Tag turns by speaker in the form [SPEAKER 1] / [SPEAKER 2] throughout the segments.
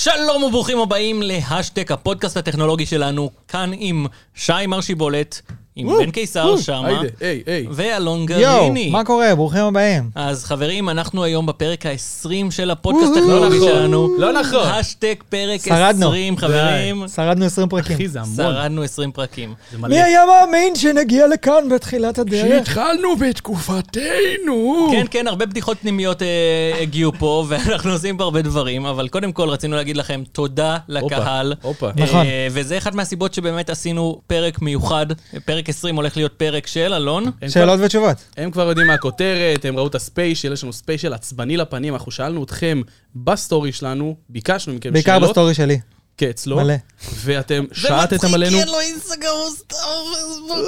[SPEAKER 1] שלום וברוכים הבאים להשטק הפודקאסט הטכנולוגי שלנו, כאן עם שי מרשיבולט, עם
[SPEAKER 2] וואו,
[SPEAKER 1] בן קיסר
[SPEAKER 2] וואו.
[SPEAKER 1] שמה,
[SPEAKER 2] היידה, היי, היי.
[SPEAKER 1] ואלון
[SPEAKER 3] יואו,
[SPEAKER 1] גריני.
[SPEAKER 3] מה קורה? ברוכים הבאים.
[SPEAKER 1] אז חברים, אנחנו היום בפרק ה-20 של הפודקאסט
[SPEAKER 3] וואו.
[SPEAKER 1] הטכנולוגי
[SPEAKER 2] לא נכון,
[SPEAKER 1] שלנו.
[SPEAKER 2] לא נכון.
[SPEAKER 1] השטק פרק
[SPEAKER 3] שרדנו.
[SPEAKER 1] 20, חברים.
[SPEAKER 3] שרדנו 20 פרקים.
[SPEAKER 2] אחי, זה המון.
[SPEAKER 1] שרדנו 20 פרקים.
[SPEAKER 3] מי היה מאמין שנגיע לכאן בתחילת הדרך?
[SPEAKER 2] שהתחלנו בתקופתנו.
[SPEAKER 1] כן, כן, הרבה בדיחות פנימיות אה, הגיעו פה, ואנחנו עושים פה הרבה דברים, אבל קודם כל רצינו להגיד לכם תודה לקהל.
[SPEAKER 2] הופה.
[SPEAKER 1] אה,
[SPEAKER 3] נכון.
[SPEAKER 1] וזה אחת מהסיבות שבאמת עשינו פרק מיוחד. פרק 20 הולך להיות פרק של אלון.
[SPEAKER 2] הם
[SPEAKER 3] שאלות
[SPEAKER 2] כבר-
[SPEAKER 3] ותשובות.
[SPEAKER 2] הם כבר יודעים מה הכותרת, הם ראו את הספיישל, יש לנו ספיישל עצבני לפנים, אנחנו שאלנו אתכם בסטורי שלנו, ביקשנו מכם שאלות.
[SPEAKER 3] בעיקר בסטורי שלי.
[SPEAKER 2] כן, אצלו.
[SPEAKER 3] מלא.
[SPEAKER 2] ואתם
[SPEAKER 1] לא
[SPEAKER 2] שעטתם עלינו,
[SPEAKER 1] אין לו אינסטגרם, הוא סתם פייסבוק.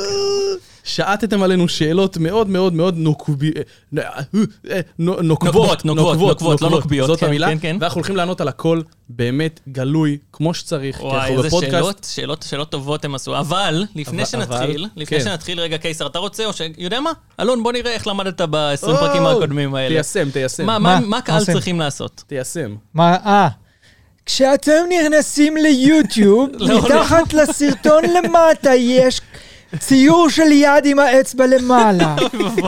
[SPEAKER 2] שעטתם עלינו שאלות מאוד מאוד מאוד נוקבי... אה, אה, נו-
[SPEAKER 1] נוקבות,
[SPEAKER 2] נוקבות,
[SPEAKER 1] נוקבות, לא נוקביות,
[SPEAKER 2] זאת
[SPEAKER 1] כן,
[SPEAKER 2] המילה,
[SPEAKER 1] כן, כן.
[SPEAKER 2] ואנחנו הולכים לענות על הכל באמת גלוי, כמו שצריך, כי
[SPEAKER 1] וואי,
[SPEAKER 2] אנחנו
[SPEAKER 1] איזה
[SPEAKER 2] בפודקאסט.
[SPEAKER 1] שאלות, שאלות, שאלות טובות הם עשו. אבל, לפני
[SPEAKER 2] אבל-
[SPEAKER 1] שנתחיל,
[SPEAKER 2] אבל,
[SPEAKER 1] לפני
[SPEAKER 2] כן.
[SPEAKER 1] שנתחיל רגע, קיסר, אתה רוצה, או ש... יודע מה? אלון, בוא נראה איך למדת ב-20
[SPEAKER 2] או,
[SPEAKER 1] פרקים הקודמים האלה.
[SPEAKER 2] תיישם, תיישם,
[SPEAKER 1] מה- מה-
[SPEAKER 3] מה?
[SPEAKER 1] מה הקהל
[SPEAKER 3] עושים?
[SPEAKER 1] צריכים לעשות?
[SPEAKER 2] תיישם.
[SPEAKER 3] מה, אה. כשאתם נכנסים ליוטיוב,
[SPEAKER 1] לא,
[SPEAKER 3] מתחת לסרטון למטה יש ציור של יד עם האצבע למעלה.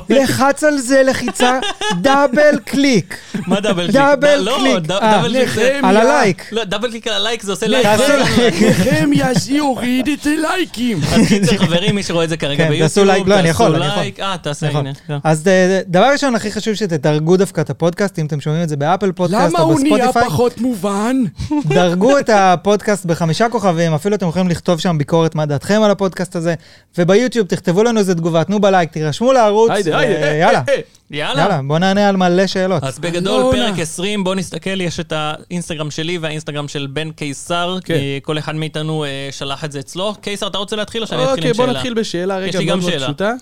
[SPEAKER 3] לחץ על זה לחיצה דאבל קליק.
[SPEAKER 1] מה דאבל קליק?
[SPEAKER 3] דאבל
[SPEAKER 1] לא,
[SPEAKER 3] קליק.
[SPEAKER 1] ד-
[SPEAKER 3] אה,
[SPEAKER 1] דאבל קליק זה...
[SPEAKER 3] על הלייק.
[SPEAKER 1] לא, דאבל קליק על הלייק זה עושה לייק.
[SPEAKER 3] תעשו לייק.
[SPEAKER 2] נחמיה שיוריד את הלייקים.
[SPEAKER 1] אז קיצר, חברים, מי שרואה את זה כרגע
[SPEAKER 3] כן,
[SPEAKER 1] ביוטיוב,
[SPEAKER 3] תעשו לייק, לא, אני יכול,
[SPEAKER 1] תעשו
[SPEAKER 3] אני יכול.
[SPEAKER 1] לייק. אה, תעשה,
[SPEAKER 3] נכון.
[SPEAKER 1] הנה. לא.
[SPEAKER 3] אז אה, דבר ראשון, הכי חשוב שתדרגו דווקא את הפודקאסט, אם אתם שומעים את זה באפל פודקאסט או בספוטיפיי.
[SPEAKER 2] מובן?
[SPEAKER 3] דרגו את הפודקאסט בחמישה כוכבים, אפילו אתם יכולים לכתוב שם ביקורת מה דעתכם על הפודקאסט הזה, וביוטיוב תכתבו לנו איזה תגובה, תנו בלייק, תירשמו לערוץ,
[SPEAKER 2] היידה,
[SPEAKER 3] ו-
[SPEAKER 2] היידה. אה,
[SPEAKER 3] יאללה,
[SPEAKER 2] אה, אה.
[SPEAKER 1] יאללה.
[SPEAKER 3] יאללה, אה, בוא נענה על מלא שאלות.
[SPEAKER 1] אז בגדול,
[SPEAKER 2] לא
[SPEAKER 1] פרק
[SPEAKER 2] עונה.
[SPEAKER 1] 20, בואו נסתכל, יש את האינסטגרם שלי והאינסטגרם של בן קיסר,
[SPEAKER 2] כן.
[SPEAKER 1] כי כל אחד מאיתנו אה, שלח את זה אצלו. קיסר, אתה רוצה להתחיל או שאני אתחיל עם
[SPEAKER 2] אוקיי,
[SPEAKER 1] שאלה?
[SPEAKER 2] בוא נתחיל בשאלה
[SPEAKER 1] יש
[SPEAKER 2] רגע
[SPEAKER 1] לי
[SPEAKER 2] מאוד
[SPEAKER 1] גם
[SPEAKER 2] מאוד
[SPEAKER 1] שאלה.
[SPEAKER 2] פשוטה.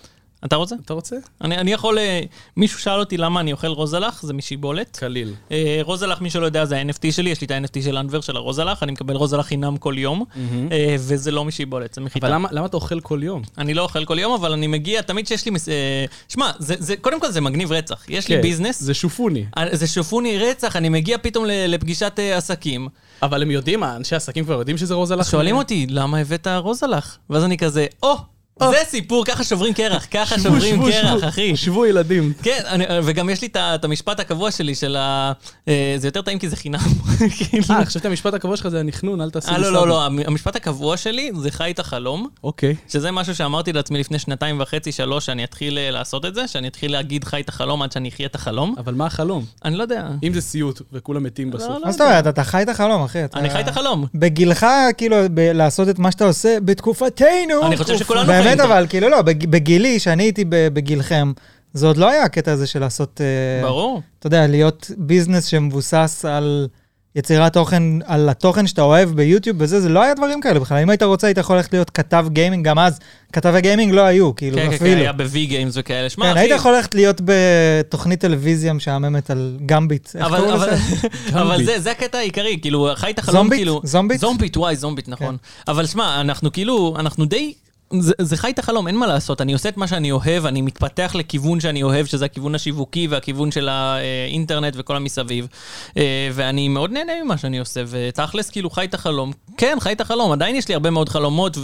[SPEAKER 1] אתה רוצה?
[SPEAKER 2] אתה רוצה?
[SPEAKER 1] אני אני יכול... אה, מישהו שאל אותי למה אני אוכל רוזלח, זה משיבולת.
[SPEAKER 2] קליל.
[SPEAKER 1] אה, רוזלח, מי שלא יודע, זה ה-NFT שלי, יש לי את ה-NFT של אנבר של הרוזלח, אני מקבל רוזלח חינם כל יום, אה, וזה לא משיבולת, זה מחיטה.
[SPEAKER 2] אבל למה- למה אתה אוכל כל יום?
[SPEAKER 1] אני לא אוכל כל יום, אבל אני מגיע, תמיד שיש לי... מס- אה, שמע, זה- זה- קודם כל זה מגניב רצח. יש לי
[SPEAKER 2] כן,
[SPEAKER 1] ביזנס,
[SPEAKER 2] זה שופוני.
[SPEAKER 1] אה, זה שופוני רצח, אני מגיע פתאום ל- לפגישת אה, עסקים, אה,
[SPEAKER 2] אבל הם יודעים, אנשי העסקים כבר יודעים שזה רוזלח?
[SPEAKER 1] שואלים אותי, למה הבאת רוזלח? ואז אני כזה, או, זה סיפור, ככה שוברים קרח, ככה
[SPEAKER 2] שבו,
[SPEAKER 1] שוברים
[SPEAKER 2] שבו,
[SPEAKER 1] קרח,
[SPEAKER 2] שבו.
[SPEAKER 1] אחי.
[SPEAKER 2] שבו ילדים.
[SPEAKER 1] כן, אני, וגם יש לי את ה- את המשפט הקבוע שלי של ה... אה, זה יותר טעים כי זה חינם. כאילו-
[SPEAKER 2] אה, חשבתי המשפט הקבוע שלך זה הנכנון, אל תעשי
[SPEAKER 1] אה,
[SPEAKER 2] לי
[SPEAKER 1] לא, לא,
[SPEAKER 2] סבא.
[SPEAKER 1] לא, המ- המשפט הקבוע שלי זה חי את החלום,
[SPEAKER 2] אוקיי.
[SPEAKER 1] שזה משהו שאמרתי לעצמי לפני שנתיים וחצי, שלוש, שאני אתחיל אה, לעשות את זה, שאני אתחיל להגיד חי את החלום עד שאני אחיה את החלום.
[SPEAKER 2] אבל מה החלום?
[SPEAKER 1] אני לא יודע.
[SPEAKER 2] אם זה סיוט וכולם מתים בסוף.
[SPEAKER 1] לא.
[SPEAKER 3] מה זאת אומרת, אתה חי את החלום, אחי. אתה-
[SPEAKER 1] אני חי את החלום.
[SPEAKER 3] כן. בגילך, כאילו, ב- לעשות את מה שאתה עושה בתקופתנו.
[SPEAKER 1] אני חושב שכולנו חיים
[SPEAKER 3] באמת,
[SPEAKER 1] את זה.
[SPEAKER 3] אבל, כאילו, לא, בג- בגילי, שאני הייתי ב- בגילכם, זה עוד לא היה הקטע הזה של לעשות... אה,
[SPEAKER 1] ברור.
[SPEAKER 3] אתה יודע, להיות ביזנס שמבוסס על יצירת תוכן, על התוכן שאתה אוהב ביוטיוב וזה, זה לא היה דברים כאלה בכלל. אם היית רוצה, היית יכול ללכת להיות כתב גיימינג, גם אז כתבי גיימינג לא היו, כאילו,
[SPEAKER 1] כן, כן, כן,
[SPEAKER 3] אפילו.
[SPEAKER 1] היה בווי גיימס וכאלה. שמע,
[SPEAKER 3] כן,
[SPEAKER 1] אחי,
[SPEAKER 3] היית יכול ללכת להיות בתוכנית טלוויזיה משעממת על גמביט. איך
[SPEAKER 1] אבל,
[SPEAKER 3] קוראים
[SPEAKER 1] אבל,
[SPEAKER 3] לזה?
[SPEAKER 1] אבל
[SPEAKER 2] זומבית.
[SPEAKER 1] זה, זה הקטע העיקרי, כאילו, חי את החלום,
[SPEAKER 3] זומבית?
[SPEAKER 1] כאילו...
[SPEAKER 3] זומבית?
[SPEAKER 1] זומבית, וואי,
[SPEAKER 2] כן.
[SPEAKER 1] זומבית, נכון. אבל שמע, אנחנו כאילו, אנחנו די... זה, זה חי את החלום, אין מה לעשות. אני עושה את מה שאני אוהב, אני מתפתח לכיוון שאני אוהב, שזה הכיוון השיווקי והכיוון של האינטרנט וכל המסביב. אה, ואני מאוד נהנה ממה שאני עושה, ותכלס, כאילו, חי את החלום. כן, חי את החלום, עדיין יש לי הרבה מאוד חלומות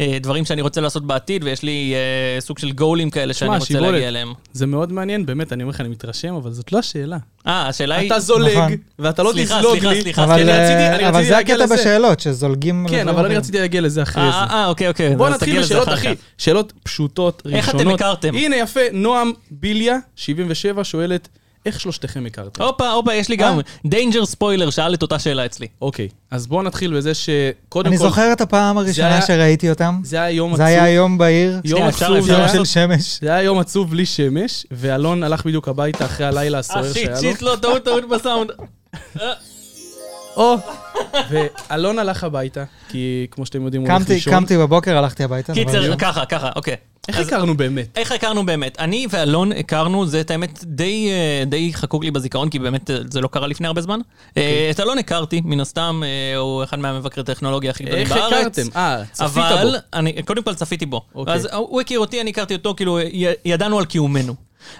[SPEAKER 1] ודברים שאני רוצה לעשות בעתיד, ויש לי אה, סוג של גולים כאלה שאני
[SPEAKER 2] שמע,
[SPEAKER 1] רוצה
[SPEAKER 2] שיבולת.
[SPEAKER 1] להגיע אליהם.
[SPEAKER 2] זה מאוד מעניין, באמת, אני אומר לך, אני מתרשם, אבל זאת לא השאלה.
[SPEAKER 1] אה, השאלה היא...
[SPEAKER 2] אתה
[SPEAKER 3] נכון.
[SPEAKER 2] זולג, ואתה לא
[SPEAKER 1] סליחה,
[SPEAKER 2] תזלוג
[SPEAKER 1] סליחה,
[SPEAKER 2] לי.
[SPEAKER 1] סליחה, כן,
[SPEAKER 3] אבל,
[SPEAKER 2] אני רציתי-
[SPEAKER 3] אה,
[SPEAKER 2] אני
[SPEAKER 3] אבל
[SPEAKER 2] רציתי
[SPEAKER 3] זה
[SPEAKER 2] להגיע
[SPEAKER 3] הקטע לא
[SPEAKER 2] לזה.
[SPEAKER 3] בשאלות, שזולגים...
[SPEAKER 2] כן, אבל אני רציתי להגיע לזה אחרי
[SPEAKER 1] אה,
[SPEAKER 2] זה.
[SPEAKER 1] אה, אה, אוקיי,
[SPEAKER 3] כן,
[SPEAKER 1] אוקיי.
[SPEAKER 2] בוא
[SPEAKER 1] אז
[SPEAKER 2] נתחיל
[SPEAKER 1] תגיע לזה
[SPEAKER 2] בשאלות,
[SPEAKER 1] אחר
[SPEAKER 2] אחי.
[SPEAKER 1] כך.
[SPEAKER 2] שאלות פשוטות,
[SPEAKER 1] איך אתם
[SPEAKER 2] ראשונות.
[SPEAKER 1] הכרתם?
[SPEAKER 2] הנה, יפה, נועם ביליה, 77, שואלת, איך שלושתכם הכרתם?
[SPEAKER 1] הופה, הופה, יש לי
[SPEAKER 2] אה?
[SPEAKER 1] גם. דיינג'ר ספוילר שאל את אותה שאלה אצלי.
[SPEAKER 2] אוקיי, אז בואו נתחיל בזה שקודם כל...
[SPEAKER 3] אני זוכר את הפעם
[SPEAKER 2] זה
[SPEAKER 3] הראשונה
[SPEAKER 2] היה-
[SPEAKER 3] שראיתי אותם.
[SPEAKER 2] זה היה יום עצוב.
[SPEAKER 3] זה היה יום בעיר,
[SPEAKER 2] יום
[SPEAKER 1] שנייה, אפשר-
[SPEAKER 2] עצוב,
[SPEAKER 1] אפשר
[SPEAKER 2] זה היה-
[SPEAKER 3] יום של שמש.
[SPEAKER 2] זה היה יום עצוב בלי שמש, ואלון הלך בדיוק הביתה אחרי הלילה הסוער
[SPEAKER 1] אחי,
[SPEAKER 2] שהיה לו.
[SPEAKER 1] צ'יט, לא, טעות, טעות בסאונד.
[SPEAKER 2] או! ואלון הלך הביתה, כי כמו שאתם יודעים, הוא הולך
[SPEAKER 3] קמתי,
[SPEAKER 2] לישון.
[SPEAKER 3] קמתי בבוקר, הלכתי הביתה. זה
[SPEAKER 1] קיצר,
[SPEAKER 3] מדהים.
[SPEAKER 1] ככה, ככה, אוקיי.
[SPEAKER 2] איך
[SPEAKER 1] אז-
[SPEAKER 2] הכרנו באמת?
[SPEAKER 1] איך הכרנו באמת? אני ואלון הכרנו, זה את האמת די, אה, די חקוק לי בזיכרון, כי באמת אה, זה לא קרה לפני הרבה זמן.
[SPEAKER 2] אוקיי.
[SPEAKER 1] אה, את אלון הכרתי, מן הסתם, אה, הוא אחד מהמבקרי טכנולוגיה הכי גדולים
[SPEAKER 2] איך
[SPEAKER 1] בארץ.
[SPEAKER 2] הכרתם? אה, צפית בו.
[SPEAKER 1] אבל אני, קודם כל צפיתי בו.
[SPEAKER 2] אוקיי.
[SPEAKER 1] אז הוא הכיר אותי, אני הכרתי אותו, כאילו י, ידענו על קיומנו.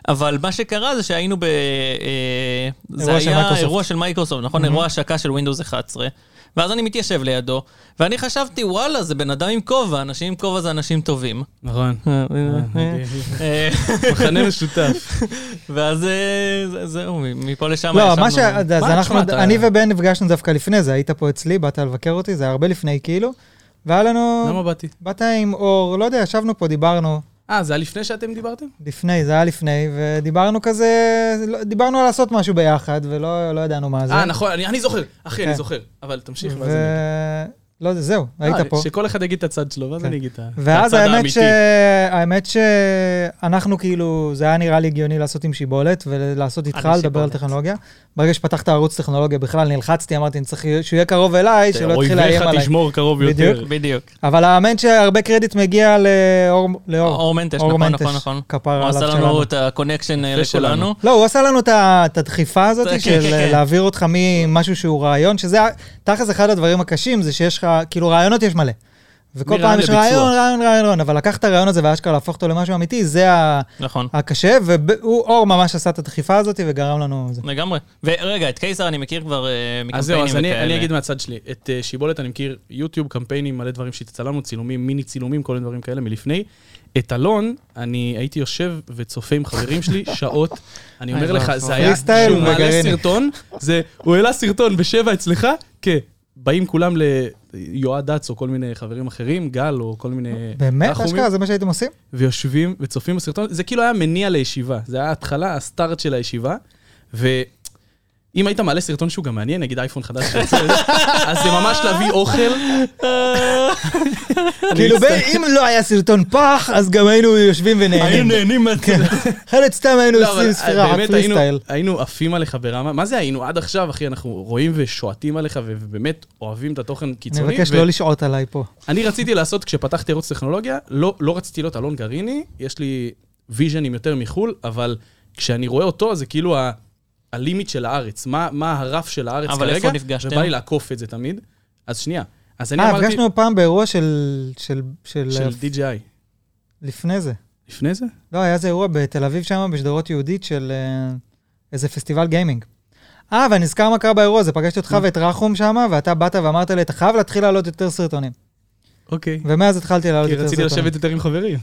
[SPEAKER 1] אבל מה שקרה זה שהיינו ב... אה, זה
[SPEAKER 3] אירוע של
[SPEAKER 1] היה
[SPEAKER 3] מייקרוסופט. Mm-hmm.
[SPEAKER 1] אירוע של מייקרוסופט, נכון? אירוע השקה של Windows 11. ואז אני מתיישב לידו, ואני חשבתי, וואלה, זה בן אדם עם כובע, אנשים עם כובע זה אנשים טובים.
[SPEAKER 2] נכון.
[SPEAKER 3] אה,
[SPEAKER 1] אה,
[SPEAKER 2] מחנה משותף.
[SPEAKER 1] ואז אה, זה- זהו, מפה לשם
[SPEAKER 3] לא,
[SPEAKER 1] ישבנו.
[SPEAKER 3] מה ש... אז
[SPEAKER 2] מה,
[SPEAKER 3] אנחנו,
[SPEAKER 2] תשמע, אתה-
[SPEAKER 3] אני ובן נפגשנו דווקא לפני זה, היית פה אצלי, באת לבקר אותי, זה היה הרבה לפני כאילו, והיה לנו...
[SPEAKER 2] למה באתי?
[SPEAKER 3] באת עם אור, לא יודע, ישבנו פה, דיברנו
[SPEAKER 2] אה, זה היה לפני שאתם דיברתם?
[SPEAKER 3] לפני, זה היה לפני, ודיברנו כזה, לא- דיברנו על לעשות משהו ביחד, ולא לא ידענו מה זה.
[SPEAKER 2] אה, נכון, אני אני זוכר. אחי, אני
[SPEAKER 3] כן.
[SPEAKER 2] זוכר. אבל תמשיך, ואז אני...
[SPEAKER 3] ו... לא, זה- זהו, היית
[SPEAKER 2] אה,
[SPEAKER 3] פה.
[SPEAKER 2] שכל אחד יגיד את הצד שלו, ואז
[SPEAKER 3] כן.
[SPEAKER 2] אני אגיד את ה- את הצד האמיתי.
[SPEAKER 3] ואז האמת, ש... האמת שאנחנו כאילו, זה היה נראה לי הגיוני לעשות עם שיבולת ולעשות איתך,
[SPEAKER 2] אני
[SPEAKER 3] לדבר על
[SPEAKER 2] שיבולת.
[SPEAKER 3] טכנולוגיה. ברגע שפתחת ערוץ טכנולוגיה בכלל נלחצתי, אמרתי, אני צריך שהוא יהיה קרוב אליי, שלא יתחיל לאיים
[SPEAKER 2] אויביך
[SPEAKER 3] עליי.
[SPEAKER 2] תשמור קרוב יותר.
[SPEAKER 3] בדיוק.
[SPEAKER 1] בדיוק.
[SPEAKER 3] אבל האמן שהרבה קרדיט מגיע לאור, לאור.
[SPEAKER 1] אור מנטש,
[SPEAKER 3] אור
[SPEAKER 1] נכון,
[SPEAKER 3] מנטש,
[SPEAKER 1] נכון, נכון.
[SPEAKER 3] כפר
[SPEAKER 1] הוא
[SPEAKER 3] עליו
[SPEAKER 1] עשה
[SPEAKER 3] שלנו.
[SPEAKER 1] לנו את הקונקשן אה,
[SPEAKER 2] שלנו.
[SPEAKER 1] לכולנו.
[SPEAKER 3] לא, הוא עשה לנו את ה- את הדחיפה
[SPEAKER 1] כן,
[SPEAKER 3] הזאת
[SPEAKER 1] כן, כן.
[SPEAKER 3] של להעביר אותך ממשהו שהוא רעיון, שזה, ה- תכלס אחד הדברים הקשים זה שיש לך, כאילו רעיונות יש מלא. וכל
[SPEAKER 2] מרעיון
[SPEAKER 3] פעם יש
[SPEAKER 2] לביצוע.
[SPEAKER 3] רעיון, רעיון, רעיון, רעיון, אבל לקח את הרעיון הזה ואשכרה להפוך אותו למשהו אמיתי, זה ה-
[SPEAKER 1] נכון.
[SPEAKER 3] הקשה, ואור ממש עשה את הדחיפה הזאת וגרם לנו זה.
[SPEAKER 1] לגמרי. ורגע, את קיסר אני מכיר כבר אה, מקמפיינים
[SPEAKER 2] אז זהו, אז אני,
[SPEAKER 1] וכאלה.
[SPEAKER 2] אני אגיד מהצד שלי. את אה, שיבולת אני מכיר, יוטיוב, קמפיינים, מלא דברים שהצטלמנו, צילומים, מיני צילומים, כל מיני דברים כאלה מלפני. את אלון, אני הייתי יושב וצופה עם חברים שלי שעות. אני אומר
[SPEAKER 1] אוי,
[SPEAKER 2] לך,
[SPEAKER 1] אוי,
[SPEAKER 2] זה
[SPEAKER 1] אוי.
[SPEAKER 2] היה,
[SPEAKER 3] פריסטייל
[SPEAKER 2] שהוא מעלה
[SPEAKER 3] וגרעיני.
[SPEAKER 2] סרטון, זה, הוא העלה סרטון בשבע אצלך, כ... באים כולם ליועד דץ או כל מיני חברים אחרים, גל או כל מיני...
[SPEAKER 3] באמת,
[SPEAKER 2] רחומים.
[SPEAKER 3] אשכרה, זה מה שהייתם עושים?
[SPEAKER 2] ויושבים וצופים בסרטון, זה כאילו היה מניע לישיבה, זה היה ההתחלה, הסטארט של הישיבה, ואם היית מעלה סרטון שהוא גם מעניין, נגיד אייפון חדש שיוצא, אז זה ממש להביא אוכל. כן, אני
[SPEAKER 3] כאילו,
[SPEAKER 2] מצטער.
[SPEAKER 3] ב- אם לא היה סרטון פח, אז גם היינו יושבים
[SPEAKER 2] היינו
[SPEAKER 3] ונהנים.
[SPEAKER 2] נהנים מה...
[SPEAKER 3] אחרת סתם היינו
[SPEAKER 2] לא, אבל
[SPEAKER 3] עושים ספירה, רק
[SPEAKER 2] באמת היינו-
[SPEAKER 3] פריסטייל.
[SPEAKER 2] היינו עפים עליך ברמה, מה זה היינו עד עכשיו, אחי, אנחנו רואים ושועטים עליך ו- ובאמת אוהבים את התוכן
[SPEAKER 3] אני
[SPEAKER 2] קיצוני.
[SPEAKER 3] מבקש
[SPEAKER 2] ו-
[SPEAKER 3] לא לשעות עליי פה.
[SPEAKER 2] אני רציתי לעשות, כשפתחתי ערוץ טכנולוגיה, לא, לא רציתי להיות אלון גריני, יש לי ויז'נים יותר מחו"ל, אבל כשאני רואה אותו, זה כאילו ה- הלימיט של הארץ, מה, מה הרף של הארץ
[SPEAKER 1] אבל
[SPEAKER 2] כרגע.
[SPEAKER 1] איפה נפגשתם?
[SPEAKER 2] ובא לי לעקוף את זה תמיד. אז שנייה. אז אני
[SPEAKER 3] אה,
[SPEAKER 2] אמרתי...
[SPEAKER 3] נפגשנו פעם באירוע של... של... של...
[SPEAKER 2] של DJI.
[SPEAKER 3] לפני זה.
[SPEAKER 2] לפני זה?
[SPEAKER 3] לא, היה איזה אירוע בתל אביב שם, בשדרות יהודית, של אה, איזה פסטיבל גיימינג. אה, ואני נזכר מה קרה באירוע הזה, פגשתי אותך ואת רחום שם, ואתה באת ואמרת לי, אתה חייב להתחיל לעלות יותר סרטונים.
[SPEAKER 2] אוקיי.
[SPEAKER 3] ומאז התחלתי לעלות
[SPEAKER 2] כי
[SPEAKER 3] יותר
[SPEAKER 2] רציתי
[SPEAKER 3] סרטונים.
[SPEAKER 2] לשבת יותר עם חברים.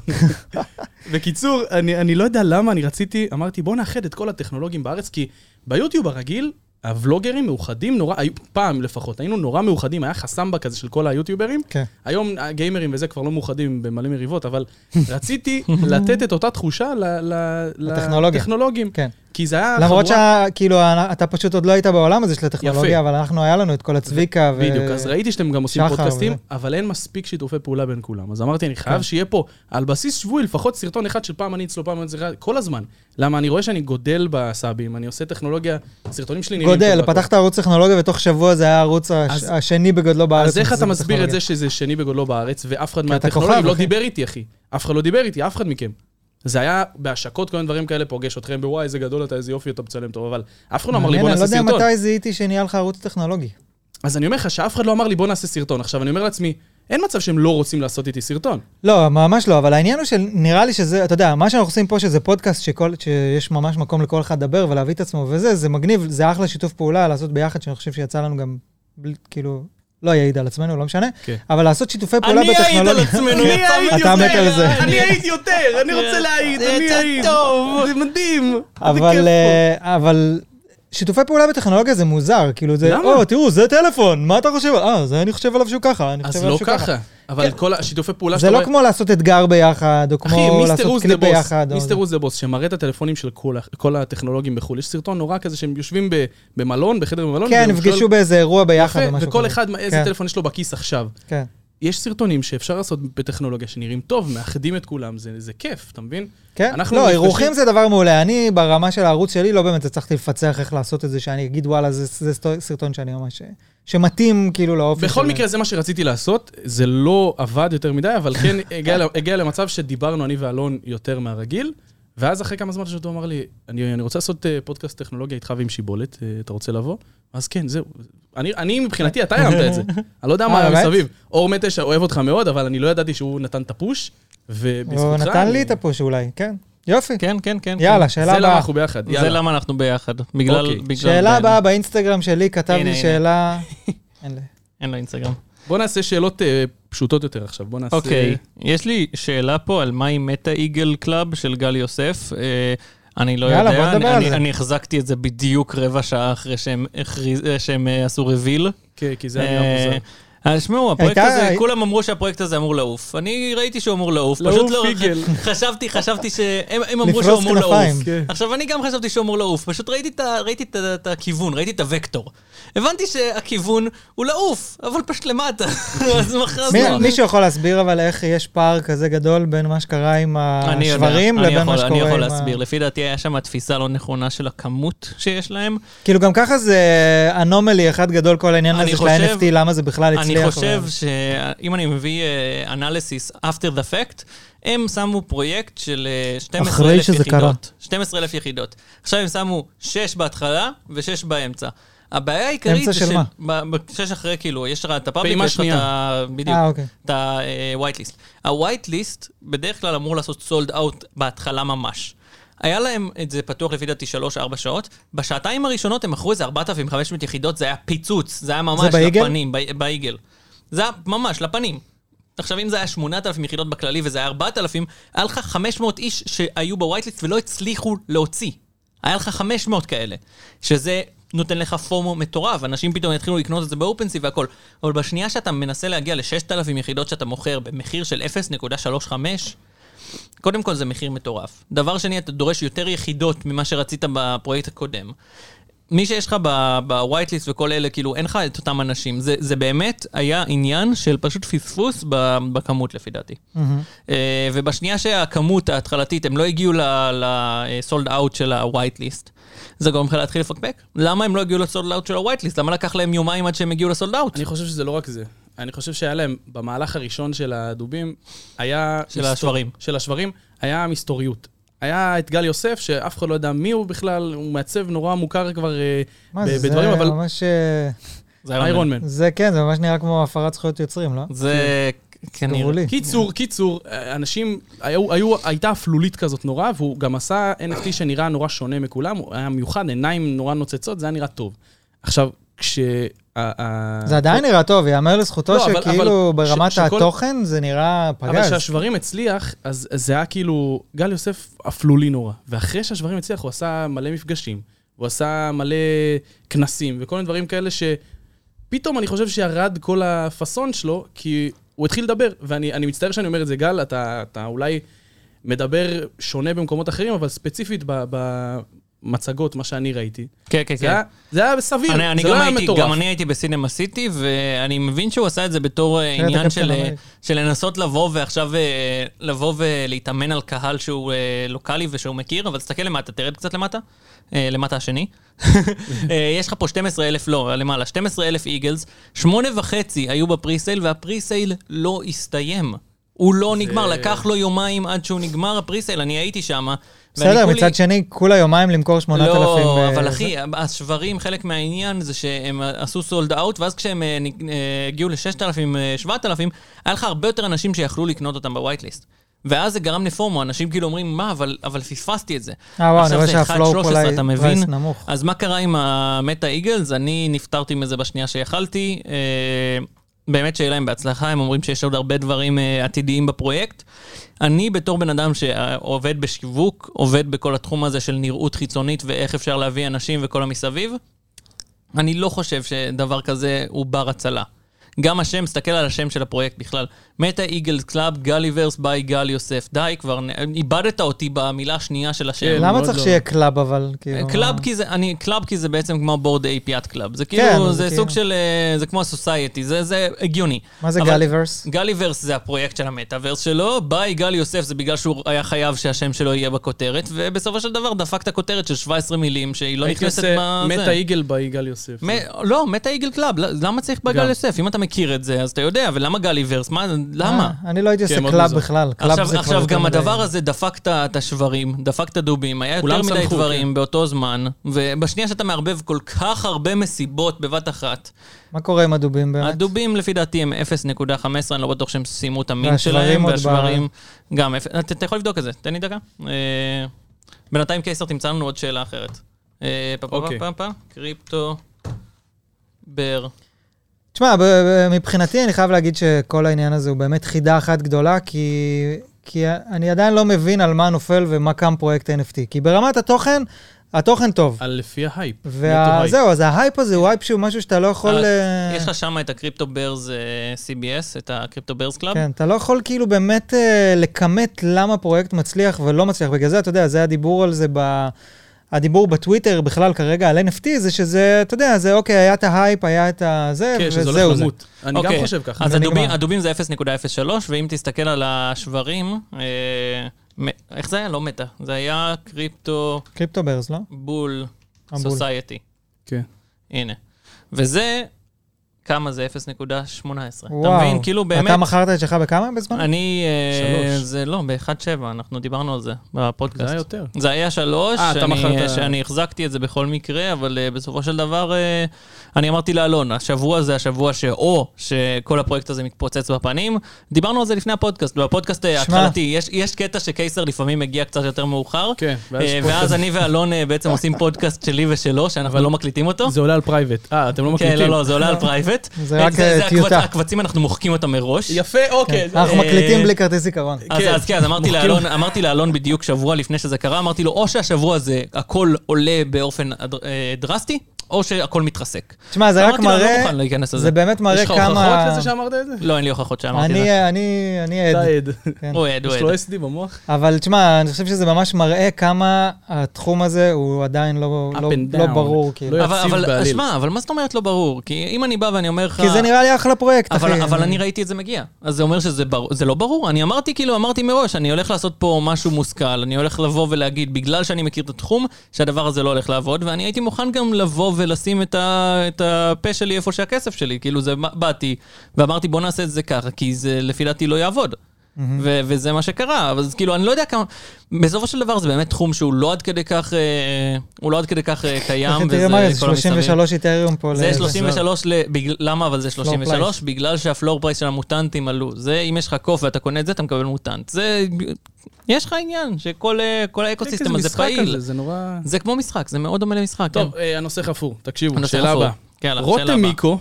[SPEAKER 2] בקיצור, אני, אני לא יודע למה, אני רציתי, אמרתי, בוא נאחד את כל הטכנולוגים בארץ, כי ביוטיוב הרגיל, הוולוגרים מאוחדים נורא, היו- פעם לפחות, היינו נורא מאוחדים, היה חסמבה כזה של כל היוטיוברים.
[SPEAKER 3] כן.
[SPEAKER 2] היום הגיימרים וזה כבר לא מאוחדים במלא מריבות, אבל רציתי לתת את אותה תחושה ל- ל-
[SPEAKER 3] לטכנולוגיה.
[SPEAKER 2] לטכנולוגים.
[SPEAKER 3] כן.
[SPEAKER 2] כי זה היה
[SPEAKER 3] למרות
[SPEAKER 2] חבורה...
[SPEAKER 3] שכאילו, אתה פשוט עוד לא היית בעולם הזה של הטכנולוגיה, אבל אנחנו, היה לנו את כל הצביקה. ו-
[SPEAKER 2] בדיוק, אז ראיתי שאתם גם עושים
[SPEAKER 3] שחר,
[SPEAKER 2] פודקאסטים,
[SPEAKER 3] וזה. כן.
[SPEAKER 2] אבל אין מספיק שיתופי פעולה בין כולם. אז אמרתי, אני חייב שיהיה פה, על בסיס שבועי, לפחות סרטון אחד של פעם אני אצלו, פעם אני אצלך, כל הזמן. למה אני רואה שאני גודל בסאבים, אני עושה טכנולוגיה, סרטונים שלי נראים...
[SPEAKER 3] גודל,
[SPEAKER 2] טוב והכל.
[SPEAKER 3] פתחת ערוץ טכנולוגיה, ותוך שבוע זה היה הערוץ הש-
[SPEAKER 2] אז-
[SPEAKER 3] השני בגודלו בארץ.
[SPEAKER 2] אז איך אתה
[SPEAKER 3] בטכנולוגיה.
[SPEAKER 2] מסביר את זה שזה שני בגודלו בארץ, ואף אחד
[SPEAKER 3] אתה
[SPEAKER 2] מהטכנולוגים
[SPEAKER 3] כוכב,
[SPEAKER 2] לא
[SPEAKER 3] אחי.
[SPEAKER 2] דיבר איתי, אחי? אף אחד לא דיבר איתי, אף אחד מכם. זה היה בהשקות, כל מיני דברים כאלה, פוגש אתכם בוואי, איזה גדול אתה, איזה יופי אתה מצלם טוב, אבל אף אחד לא אמר לי,
[SPEAKER 3] מעניין,
[SPEAKER 2] בוא נעשה
[SPEAKER 3] אני לא
[SPEAKER 2] סרטון.
[SPEAKER 3] יודע מתי זיהיתי שנהיה לך ערוץ טכנולוגי.
[SPEAKER 2] אז אני אומר לך שאף אחד לא אמר לי, בוא נעשה סרטון. עכשיו, אני אומר לעצמי, אין מצב שהם לא רוצים לעשות איתי סרטון.
[SPEAKER 3] לא, ממש לא, אבל העניין הוא שנראה לי שזה, אתה יודע, מה שאנחנו עושים פה, שזה פודקאסט שכל, שיש ממש מקום לכל אחד לדבר ולהביא את עצמו וזה, זה מגניב, זה אחלה שיתוף פעולה לעשות ביחד, שאני חושב שיצא לנו גם, בלי- כאילו, לא יעיד על עצמנו, לא משנה,
[SPEAKER 2] כן.
[SPEAKER 3] אבל לעשות שיתופי פעולה
[SPEAKER 1] אני
[SPEAKER 3] בטכנולוגיה.
[SPEAKER 1] אעיד על עצמנו,
[SPEAKER 3] כן.
[SPEAKER 1] יצא
[SPEAKER 3] אתה
[SPEAKER 1] מזה.
[SPEAKER 3] מת על זה.
[SPEAKER 2] אני אעיד יותר, אני רוצה להעיד, אני אעיד. טוב, זה מדהים.
[SPEAKER 3] אבל, אה, אבל שיתופי פעולה בטכנולוגיה זה מוזר, כאילו זה,
[SPEAKER 2] למה?
[SPEAKER 3] או, תראו, זה טלפון, מה אתה חושב? אה, זה אני חושב עליו שהוא ככה, אני חושב
[SPEAKER 2] אז
[SPEAKER 3] עליו
[SPEAKER 2] לא
[SPEAKER 3] שהוא ככה.
[SPEAKER 2] ככה, אבל כל השיתופי פעולה
[SPEAKER 3] זה לא כמו לעשות אתגר ביחד, או
[SPEAKER 2] אחי,
[SPEAKER 3] כמו
[SPEAKER 2] מיסטר
[SPEAKER 3] לעשות
[SPEAKER 2] עוז דה
[SPEAKER 3] קליפ
[SPEAKER 2] בוס,
[SPEAKER 3] ביחד. או
[SPEAKER 2] מיסטר
[SPEAKER 3] זה.
[SPEAKER 2] עוז דה בוס, שמראה את הטלפונים של כל ה- כל הטכנולוגים בחו"ל. יש סרטון נורא כזה שהם יושבים ב- במלון, בחדר במלון.
[SPEAKER 3] כן,
[SPEAKER 2] והוא
[SPEAKER 3] נפגשו
[SPEAKER 2] לא שואל,
[SPEAKER 3] באיזה אירוע ביחד
[SPEAKER 2] "יפה",
[SPEAKER 3] או משהו
[SPEAKER 2] וכל
[SPEAKER 3] כזה.
[SPEAKER 2] אחד, מה- איזה
[SPEAKER 3] כן.
[SPEAKER 2] טלפון יש לו בכיס עכשיו.
[SPEAKER 3] כן.
[SPEAKER 2] יש סרטונים שאפשר לעשות בטכנולוגיה שנראים טוב, מאחדים את כולם, זה זה כיף, אתה מבין?
[SPEAKER 3] כן,
[SPEAKER 2] אנחנו
[SPEAKER 3] לא,
[SPEAKER 2] נפגשים-
[SPEAKER 3] אירוחים זה דבר מעולה. אני, ברמה של הערוץ שלי, לא באמת הצלחתי לפצח איך לעשות את זה, שאני אגיד, וואלה, זה- זה סטו- סרטון שאני ממש... שמתאים כאילו לאופי
[SPEAKER 2] בכל
[SPEAKER 3] של-
[SPEAKER 2] מקרה, זה מה שרציתי לעשות, זה לא עבד יותר מדי, אבל כן הגיע ל- הגיע למצב שדיברנו אני ואלון יותר מהרגיל, ואז אחרי כמה זמן שאותו אמר לי, אני אני רוצה לעשות אה, פודקאסט טכנולוגיה איתך ועם שיבולת, אה, אתה רוצה לבוא? אז כן, זהו. אני- אני מבחינתי, אתה הרמת את זה. אני לא יודע מה
[SPEAKER 3] אה,
[SPEAKER 2] היה
[SPEAKER 3] באמת?
[SPEAKER 2] מסביב. אור מטש אוהב אותך מאוד, אבל אני לא ידעתי שהוא נתן את הפוש, ובזכותך...
[SPEAKER 3] הוא נתן
[SPEAKER 2] אני-
[SPEAKER 3] לי את הפוש אולי, כן. יופי.
[SPEAKER 1] כן, כן, כן.
[SPEAKER 3] יאללה,
[SPEAKER 1] כן.
[SPEAKER 3] שאלה
[SPEAKER 2] זה למה
[SPEAKER 3] הבאה.
[SPEAKER 2] אנחנו ביחד,
[SPEAKER 1] זה
[SPEAKER 2] יאללה.
[SPEAKER 1] למה אנחנו ביחד. בגלל...
[SPEAKER 2] אוקיי.
[SPEAKER 1] בגלל-
[SPEAKER 3] שאלה הבאה באינסטגרם שלי, כתב
[SPEAKER 1] הנה,
[SPEAKER 3] לי
[SPEAKER 1] הנה.
[SPEAKER 3] שאלה... אין לי.
[SPEAKER 1] אין לו אינסטגרם.
[SPEAKER 2] בוא נעשה שאלות אה, פשוטות יותר עכשיו, בוא נעשה...
[SPEAKER 1] אוקיי, יש לי שאלה פה על מהי מטה איגל קלאב של גל יוסף. אה, אני לא
[SPEAKER 3] יאללה, בוא
[SPEAKER 1] יודע,
[SPEAKER 3] נדבר
[SPEAKER 1] אני-
[SPEAKER 3] על
[SPEAKER 1] אני-
[SPEAKER 3] זה.
[SPEAKER 1] אני החזקתי את זה בדיוק רבע שעה אחרי שהם הכריז- אה, שהם אה, עשו רוויל.
[SPEAKER 2] כן, כי
[SPEAKER 1] אה,
[SPEAKER 2] זה היה נראה מוזר.
[SPEAKER 1] אז אה, שמעו, הפרויקט
[SPEAKER 3] הייתה-
[SPEAKER 1] הזה,
[SPEAKER 3] הי-
[SPEAKER 1] כולם אמרו שהפרויקט הזה אמור לעוף. אני ראיתי שהוא אמור לעוף,
[SPEAKER 2] לעוף
[SPEAKER 1] פשוט לא...
[SPEAKER 2] איגל.
[SPEAKER 1] חשבתי, חשבתי שהם הם אמרו
[SPEAKER 3] לפרוס
[SPEAKER 1] שהוא אמור לעוף.
[SPEAKER 3] כנפיים.
[SPEAKER 2] כן.
[SPEAKER 1] עכשיו, אני גם חשבתי שהוא אמור לעוף, פשוט ראיתי את ה- ראיתי את ה- את הכיוון, ראיתי את הוקטור. הבנתי שהכיוון הוא לעוף, אבל פשוט למטה. אז לא. מחר
[SPEAKER 3] מי-
[SPEAKER 1] זה...
[SPEAKER 3] מישהו יכול להסביר אבל איך יש פער כזה גדול בין מה שקרה עם
[SPEAKER 1] אני יודע,
[SPEAKER 3] השברים
[SPEAKER 1] אני
[SPEAKER 3] לבין
[SPEAKER 1] יכול-
[SPEAKER 3] מה שקורה עם...
[SPEAKER 1] אני יכול
[SPEAKER 3] ה-
[SPEAKER 1] להסביר. לפי דעתי, היה שם תפיסה לא נכונה של הכמות שיש להם.
[SPEAKER 3] כאילו גם ככה זה אנומלי אחד גדול כל העניין
[SPEAKER 1] אני
[SPEAKER 3] הזה של
[SPEAKER 1] חושב-
[SPEAKER 3] ה-NFT, למה זה בכלל הצליח.
[SPEAKER 1] אני חושב
[SPEAKER 3] אבל-
[SPEAKER 1] שאם אני מביא אנליסיס after the fact, הם שמו פרויקט של אה, 12,000
[SPEAKER 3] אחרי שזה
[SPEAKER 1] יחידות.
[SPEAKER 3] קרה.
[SPEAKER 1] 12,000 יחידות. עכשיו הם שמו 6 בהתחלה ו-6 באמצע. הבעיה העיקרית
[SPEAKER 3] באמצע
[SPEAKER 1] זה
[SPEAKER 3] של מה?
[SPEAKER 1] ב- ב- שש אחרי, כאילו, יש לך את הפאבליק
[SPEAKER 2] פעימה
[SPEAKER 1] ויש לך את
[SPEAKER 2] שנייה.
[SPEAKER 1] ה... בדיוק.
[SPEAKER 3] אה, אוקיי.
[SPEAKER 1] את ה-white list. ה-white list בדרך כלל אמור לעשות סולד אאוט בהתחלה ממש. היה להם את זה פתוח לפי דעתי 3-4 שעות, בשעתיים הראשונות הם מכרו איזה 4,500 יחידות, זה היה פיצוץ, זה היה ממש
[SPEAKER 3] זה באיגל?
[SPEAKER 1] לפנים, ב- באיגל. זה היה ממש לפנים. עכשיו, אם זה היה 8,000 יחידות בכללי וזה היה 4,000, היה לך 500 איש שהיו בווייטליסט ולא הצליחו להוציא. היה לך 500 כאלה, שזה נותן לך פומו מטורף, אנשים פתאום יתחילו לקנות את זה באופנסי והכל. אבל בשנייה שאתה מנסה להגיע ל-6,000 יחידות שאתה מוכר במחיר של 0.35, קודם כל זה מחיר מטורף. דבר שני, אתה דורש יותר יחידות ממה שרצית בפרויקט הקודם. מי שיש לך בווייט ליסט וכל אלה, כאילו, אין לך את אותם אנשים. זה, זה באמת היה עניין של פשוט פספוס ב- בכמות, לפי דעתי.
[SPEAKER 3] מהמם.
[SPEAKER 1] אה, ובשנייה שהכמות ההתחלתית, הם לא הגיעו לסולד אאוט של הווייט ליסט, זה גורם לך להתחיל לפקפק. למה הם לא הגיעו לסולד אאוט של הווייט ליסט? למה לקח להם יומיים עד שהם הגיעו לסולד אאוט?
[SPEAKER 2] אני חושב שזה לא רק זה. אני חושב שהיה להם, במהלך הראשון של הדובים, היה...
[SPEAKER 1] של
[SPEAKER 2] מסתור-
[SPEAKER 1] השברים.
[SPEAKER 2] של השברים, היה מסתוריות. היה את גל יוסף, שאף אחד לא ידע מי הוא בכלל, הוא מעצב נורא מוכר כבר אה,
[SPEAKER 3] מה
[SPEAKER 2] ב-
[SPEAKER 3] זה, זה
[SPEAKER 2] בדברים, אבל...
[SPEAKER 3] ממש... אה,
[SPEAKER 1] זה
[SPEAKER 2] איירון מן.
[SPEAKER 3] זה כן, זה ממש נראה כמו הפרת זכויות יוצרים, לא?
[SPEAKER 1] זה כנראה.
[SPEAKER 3] גבולי.
[SPEAKER 2] קיצור, קיצור, אנשים, היו, היו, הייתה אפלולית כזאת נורא, והוא גם עשה NFT שנראה נורא שונה מכולם, הוא היה מיוחד, עיניים נורא נוצצות, זה היה נראה טוב. עכשיו, כש... ה- ה-
[SPEAKER 3] זה עדיין נראה טוב, יאמר לזכותו
[SPEAKER 2] לא, אבל-
[SPEAKER 3] שכאילו
[SPEAKER 2] אבל ש-
[SPEAKER 3] ברמת
[SPEAKER 2] שכל-
[SPEAKER 3] התוכן זה נראה
[SPEAKER 2] אבל
[SPEAKER 3] פגז.
[SPEAKER 2] כשהשברים הצליח, אז אז זה היה כאילו, גל יוסף אפלולי נורא. ואחרי שהשברים הצליח, הוא עשה מלא מפגשים, הוא עשה מלא כנסים, וכל מיני דברים כאלה שפתאום אני חושב שירד כל הפאסון שלו, כי הוא התחיל לדבר. ואני אני מצטער שאני אומר את זה, גל, אתה, אתה אולי מדבר שונה במקומות אחרים, אבל ספציפית ב- במצגות, מה שאני ראיתי.
[SPEAKER 1] כן, כן,
[SPEAKER 2] זה
[SPEAKER 1] כן.
[SPEAKER 2] היה- זה היה סביר,
[SPEAKER 1] אני, אני
[SPEAKER 2] זה לא
[SPEAKER 1] גם,
[SPEAKER 2] היה
[SPEAKER 1] הייתי,
[SPEAKER 2] מטורף.
[SPEAKER 1] גם אני הייתי בסינמה סיטי, ואני מבין שהוא עשה את זה בתור אה,
[SPEAKER 3] כן, אתה
[SPEAKER 1] עניין
[SPEAKER 3] קפטן
[SPEAKER 1] של, אה,
[SPEAKER 3] אמריקה.
[SPEAKER 1] של לנסות לבוא ועכשיו אה, לבוא ולהתאמן על קהל שהוא אה, לוקאלי ושהוא מכיר, אבל תסתכל למטה, תרד קצת למטה, אה, למטה השני. אה, יש לך פה 12 אלף, לא, למעלה, 12 אלף איגלס, שמונה וחצי היו בפריסייל, והפריסייל לא הסתיים. הוא לא נגמר, לקח לו יומיים עד שהוא נגמר הפריסייל, אני הייתי שם.
[SPEAKER 3] בסדר, מצד שני, כולה יומיים למכור 8,000.
[SPEAKER 1] לא,
[SPEAKER 3] ו-
[SPEAKER 1] אבל
[SPEAKER 3] אה, זה-
[SPEAKER 1] אחי, השברים, חלק מהעניין זה שהם עשו סולד אאוט, ואז כשהם אה, נ- אה, הגיעו ל-6,000, 7,000, היה לך הרבה יותר אנשים שיכלו לקנות אותם בווייט ליסט. ואז זה גרם לפומו, אנשים כאילו אומרים, מה, אבל, אבל פספסתי את זה.
[SPEAKER 3] אה, וואו, אני
[SPEAKER 1] עכשיו
[SPEAKER 3] רואה
[SPEAKER 1] זה
[SPEAKER 3] שהפלואו
[SPEAKER 1] 1.13,
[SPEAKER 3] פה
[SPEAKER 1] אתה
[SPEAKER 3] ל-
[SPEAKER 1] מבין?
[SPEAKER 3] פרייס נמוך.
[SPEAKER 1] אז מה קרה עם המטה איגלס? אני נפטרתי מזה בשנייה שיכלתי. אה, באמת שיהיה להם בהצלחה, הם אומרים שיש עוד הרבה דברים אה, עתידיים בפרויקט. אני בתור בן אדם שעובד בשיווק, עובד בכל התחום הזה של נראות חיצונית ואיך אפשר להביא אנשים וכל המסביב, אני לא חושב שדבר כזה הוא בר הצלה. גם השם, תסתכל על השם של הפרויקט בכלל. מטה איגלס קלאב, גליברס ביי גל יוסף. די, כבר נ- איבדת אותי במילה השנייה של השם.
[SPEAKER 2] כן,
[SPEAKER 3] למה
[SPEAKER 2] מאוד
[SPEAKER 3] צריך
[SPEAKER 2] לא.
[SPEAKER 3] שיהיה קלאב אבל? כאילו,
[SPEAKER 1] קלאב
[SPEAKER 3] מה-
[SPEAKER 1] כי זה, אני, קלאב כי זה בעצם כמו בורד APIAT קלאב. זה
[SPEAKER 3] כן,
[SPEAKER 1] כאילו,
[SPEAKER 3] אבל זה
[SPEAKER 1] זה
[SPEAKER 3] כאילו-
[SPEAKER 1] סוג של, אה, זה כמו הסוסייטי, זה, זה הגיוני.
[SPEAKER 3] מה זה
[SPEAKER 1] אבל-
[SPEAKER 3] גליברס?
[SPEAKER 1] גליברס זה הפרויקט של המטאוורס שלו, ביי גל יוסף זה בגלל שהוא היה חייב שהשם שלו יהיה בכותרת, ובסופו של דבר דפק את הכותרת של 17 מילים, שהיא לא
[SPEAKER 2] הייתי
[SPEAKER 1] נכנסת
[SPEAKER 2] עושה
[SPEAKER 1] בזה.
[SPEAKER 2] מטה איגל ביגל יוסף.
[SPEAKER 1] מ- לא, מטה איגל קלאב, ל- למה צריך ביי
[SPEAKER 2] גם.
[SPEAKER 1] גל יוסף? אם אתה מכיר את זה, אז אתה יודע, ולמה גלי ורס? מה, למה?
[SPEAKER 3] אה, אני לא הייתי
[SPEAKER 2] כן,
[SPEAKER 3] עושה
[SPEAKER 2] מאוד
[SPEAKER 3] קלאב
[SPEAKER 2] מוזר.
[SPEAKER 3] בכלל. קלאב זה
[SPEAKER 1] עכשיו,
[SPEAKER 3] כבר
[SPEAKER 1] עכשיו
[SPEAKER 3] יותר
[SPEAKER 1] גם
[SPEAKER 3] מדי.
[SPEAKER 1] הדבר הזה דפק את ה- את השברים, דפק את הדובים, היה יותר
[SPEAKER 2] כולם
[SPEAKER 1] מדי
[SPEAKER 2] שמחו,
[SPEAKER 3] כן.
[SPEAKER 1] דברים באותו זמן, ובשנייה שאתה מערבב כל כך הרבה מסיבות בבת אחת,
[SPEAKER 3] מה קורה עם הדובים באמת?
[SPEAKER 1] הדובים לפי דעתי הם 0.15, אני לא בטוח שהם סיימו את המין
[SPEAKER 3] והשברים
[SPEAKER 1] שלהם,
[SPEAKER 3] עוד
[SPEAKER 1] והשברים גם, אפס- אתה אתה יכול לבדוק את זה, תן לי דקה. אה, בינתיים קיסר תמצא לנו עוד שאלה אחרת. אה, פה, פה,
[SPEAKER 2] אוקיי.
[SPEAKER 1] פה, פה, קריפטו, בר.
[SPEAKER 3] תשמע, ב- ב- מבחינתי אני חייב להגיד שכל העניין הזה הוא באמת חידה אחת גדולה, כי, כי אני עדיין לא מבין על מה נופל ומה קם פרויקט NFT. כי ברמת התוכן, התוכן טוב.
[SPEAKER 2] על לפי ההייפ. נטו הייפ.
[SPEAKER 3] וזהו, אז ההייפ הזה הוא הייפ שהוא משהו שאתה לא יכול...
[SPEAKER 1] אז
[SPEAKER 3] אה,
[SPEAKER 1] יש לך שם את הקריפטו ברז אה, CBS, את הקריפטו ברז קלאב?
[SPEAKER 3] כן, אתה לא יכול כאילו באמת אה, לכמת למה פרויקט מצליח ולא מצליח. בגלל זה, אתה יודע, זה הדיבור על זה ב... הדיבור בטוויטר בכלל כרגע על NFT, זה שזה, אתה יודע, זה אוקיי, היה את ההייפ, היה את הזה,
[SPEAKER 2] כן, שזה
[SPEAKER 3] וזהו
[SPEAKER 2] הולך
[SPEAKER 3] זה.
[SPEAKER 2] למות. אני גם
[SPEAKER 1] אוקיי,
[SPEAKER 2] חושב ככה.
[SPEAKER 1] אז
[SPEAKER 3] זה נגמר.
[SPEAKER 1] הדובים, הדובים זה 0.03, ואם תסתכל על השברים, אה, מ- איך זה היה? לא מטה. זה היה קריפטו
[SPEAKER 3] קריפטו ברז, לא?
[SPEAKER 1] בול
[SPEAKER 3] הבול.
[SPEAKER 1] סוסייטי.
[SPEAKER 2] כן.
[SPEAKER 1] הנה. וזה, כמה זה? 0.18. אתה
[SPEAKER 3] וואו.
[SPEAKER 1] מבין? כאילו באמת,
[SPEAKER 3] אתה מכרת את שלך בכמה בזמן?
[SPEAKER 1] אני... אה,
[SPEAKER 2] שלוש.
[SPEAKER 1] זה לא, ב-1.7, אנחנו דיברנו על זה
[SPEAKER 2] זה היה
[SPEAKER 1] בפודקאסט.
[SPEAKER 2] יותר.
[SPEAKER 1] זה היה שלוש,
[SPEAKER 2] אה, אתה
[SPEAKER 1] שאני-
[SPEAKER 2] מכרת-
[SPEAKER 1] שאני החזקתי את זה בכל מקרה, אבל אה, בסופו של דבר, אה, אני אמרתי לאלון, השבוע זה השבוע שאו שכל הפרויקט הזה מתפוצץ בפנים. דיברנו על זה לפני הפודקאסט, בפודקאסט אה,
[SPEAKER 3] שמע.
[SPEAKER 1] ההתחלתי, יש- יש קטע שקיסר לפעמים מגיע קצת יותר מאוחר,
[SPEAKER 2] כן, ואז
[SPEAKER 1] אה,
[SPEAKER 2] יש
[SPEAKER 1] ואז אני ואלון אה, בעצם עושים פודקאסט שלי ושלו, שאנחנו לא מקליטים אותו.
[SPEAKER 2] זה עולה על פרייבט. אה, אתם לא
[SPEAKER 1] כן,
[SPEAKER 2] מקליטים.
[SPEAKER 1] לא, לא, זה עולה על פרייבט. כן,
[SPEAKER 3] זה רק, אה,
[SPEAKER 1] הקבצ-
[SPEAKER 3] טיוטה.
[SPEAKER 1] הקבצים, אנחנו מוחקים אותם מראש.
[SPEAKER 2] יפה, אוקיי.
[SPEAKER 3] אנחנו
[SPEAKER 1] אה,
[SPEAKER 3] מקליטים בלי כרטיס זיכרון.
[SPEAKER 1] אז,
[SPEAKER 2] כן.
[SPEAKER 1] אז כן, אז אמרתי
[SPEAKER 2] מוחקים.
[SPEAKER 1] לאלון, אמרתי לאלון בדיוק שבוע לפני שזה קרה, אמרתי לו, או שהשבוע זה הכל עולה באופן הד- אה, דרסטי, או שהכל מתרסק.
[SPEAKER 3] תשמע, זה רק
[SPEAKER 1] אמרתי לו, אני לא
[SPEAKER 3] מראה,
[SPEAKER 1] מוכן להיכנס לזה.
[SPEAKER 3] זה באמת
[SPEAKER 2] יש
[SPEAKER 3] מראה
[SPEAKER 2] לך הוכחות
[SPEAKER 3] כמה...
[SPEAKER 2] לזה שאמרת את זה?
[SPEAKER 1] לא, אין לי הוכחות שאמרתי את זה.
[SPEAKER 3] אני אני- אני עד.
[SPEAKER 2] אתה עד.
[SPEAKER 3] כן.
[SPEAKER 1] הוא עד, הוא
[SPEAKER 2] יש לו
[SPEAKER 1] עד.
[SPEAKER 2] SD במוח?
[SPEAKER 3] אבל תשמע, אני חושב שזה ממש מראה כמה התחום הזה הוא עדיין לא,
[SPEAKER 2] Up
[SPEAKER 3] לא,
[SPEAKER 2] and down.
[SPEAKER 3] לא ברור, כאילו.
[SPEAKER 2] לא
[SPEAKER 1] אבל,
[SPEAKER 2] יציב
[SPEAKER 1] אבל,
[SPEAKER 2] בעליל.
[SPEAKER 1] שמע, אבל מה זאת אומרת לא ברור? כי אם אני בא ואני אומר לך...
[SPEAKER 3] כי זה נראה לי אחלה פרויקט,
[SPEAKER 1] אבל,
[SPEAKER 3] אחי.
[SPEAKER 1] אבל אני ראיתי את זה מגיע. אז זה אומר שזה בר... זה לא ברור. אני אמרתי, כאילו, אמרתי מראש, אני הולך לעשות פה משהו מושכל, אני הולך לבוא ולהגיד, בגלל שאני מכיר את התחום, שהדבר הזה לא הולך לעבוד, ואני הייתי מוכן גם לבוא ולשים את, ה... את הפה שלי איפה שהכסף שלי. כאילו, זה מה- באתי, ואמרתי, בוא נעשה את זה ככה, כי זה לפי דעתי לא יעבוד. ו- וזה מה שקרה, אבל זה כאילו, אני לא יודע כמה... בסופו של דבר זה באמת תחום שהוא לא עד כדי כך, אה, הוא לא עד כדי כך אה, קיים,
[SPEAKER 3] אחי,
[SPEAKER 1] וזה
[SPEAKER 3] תראה
[SPEAKER 1] כל
[SPEAKER 3] מה יש,
[SPEAKER 1] המסביב.
[SPEAKER 3] 33 איתריום פה.
[SPEAKER 1] זה
[SPEAKER 3] לזה.
[SPEAKER 1] 33, ל... בגלל... למה אבל זה 33?
[SPEAKER 3] פרייס.
[SPEAKER 1] בגלל שהפלור פרייס של המוטנטים עלו. זה, אם יש לך קוף ואתה קונה את זה, אתה מקבל מוטנט. זה, יש לך עניין שכל אה, כל האקוסיסטם הזה פעיל.
[SPEAKER 2] זה נורא...
[SPEAKER 1] זה כמו משחק, זה מאוד דומה למשחק.
[SPEAKER 2] טוב,
[SPEAKER 1] כן.
[SPEAKER 2] אה, הנושא חפור. תקשיבו,
[SPEAKER 1] הנושא
[SPEAKER 2] שאלה
[SPEAKER 1] חפור.
[SPEAKER 2] הבאה.
[SPEAKER 1] כן, יאללה, שאלה
[SPEAKER 2] רותם
[SPEAKER 1] הבאה.
[SPEAKER 2] מיקו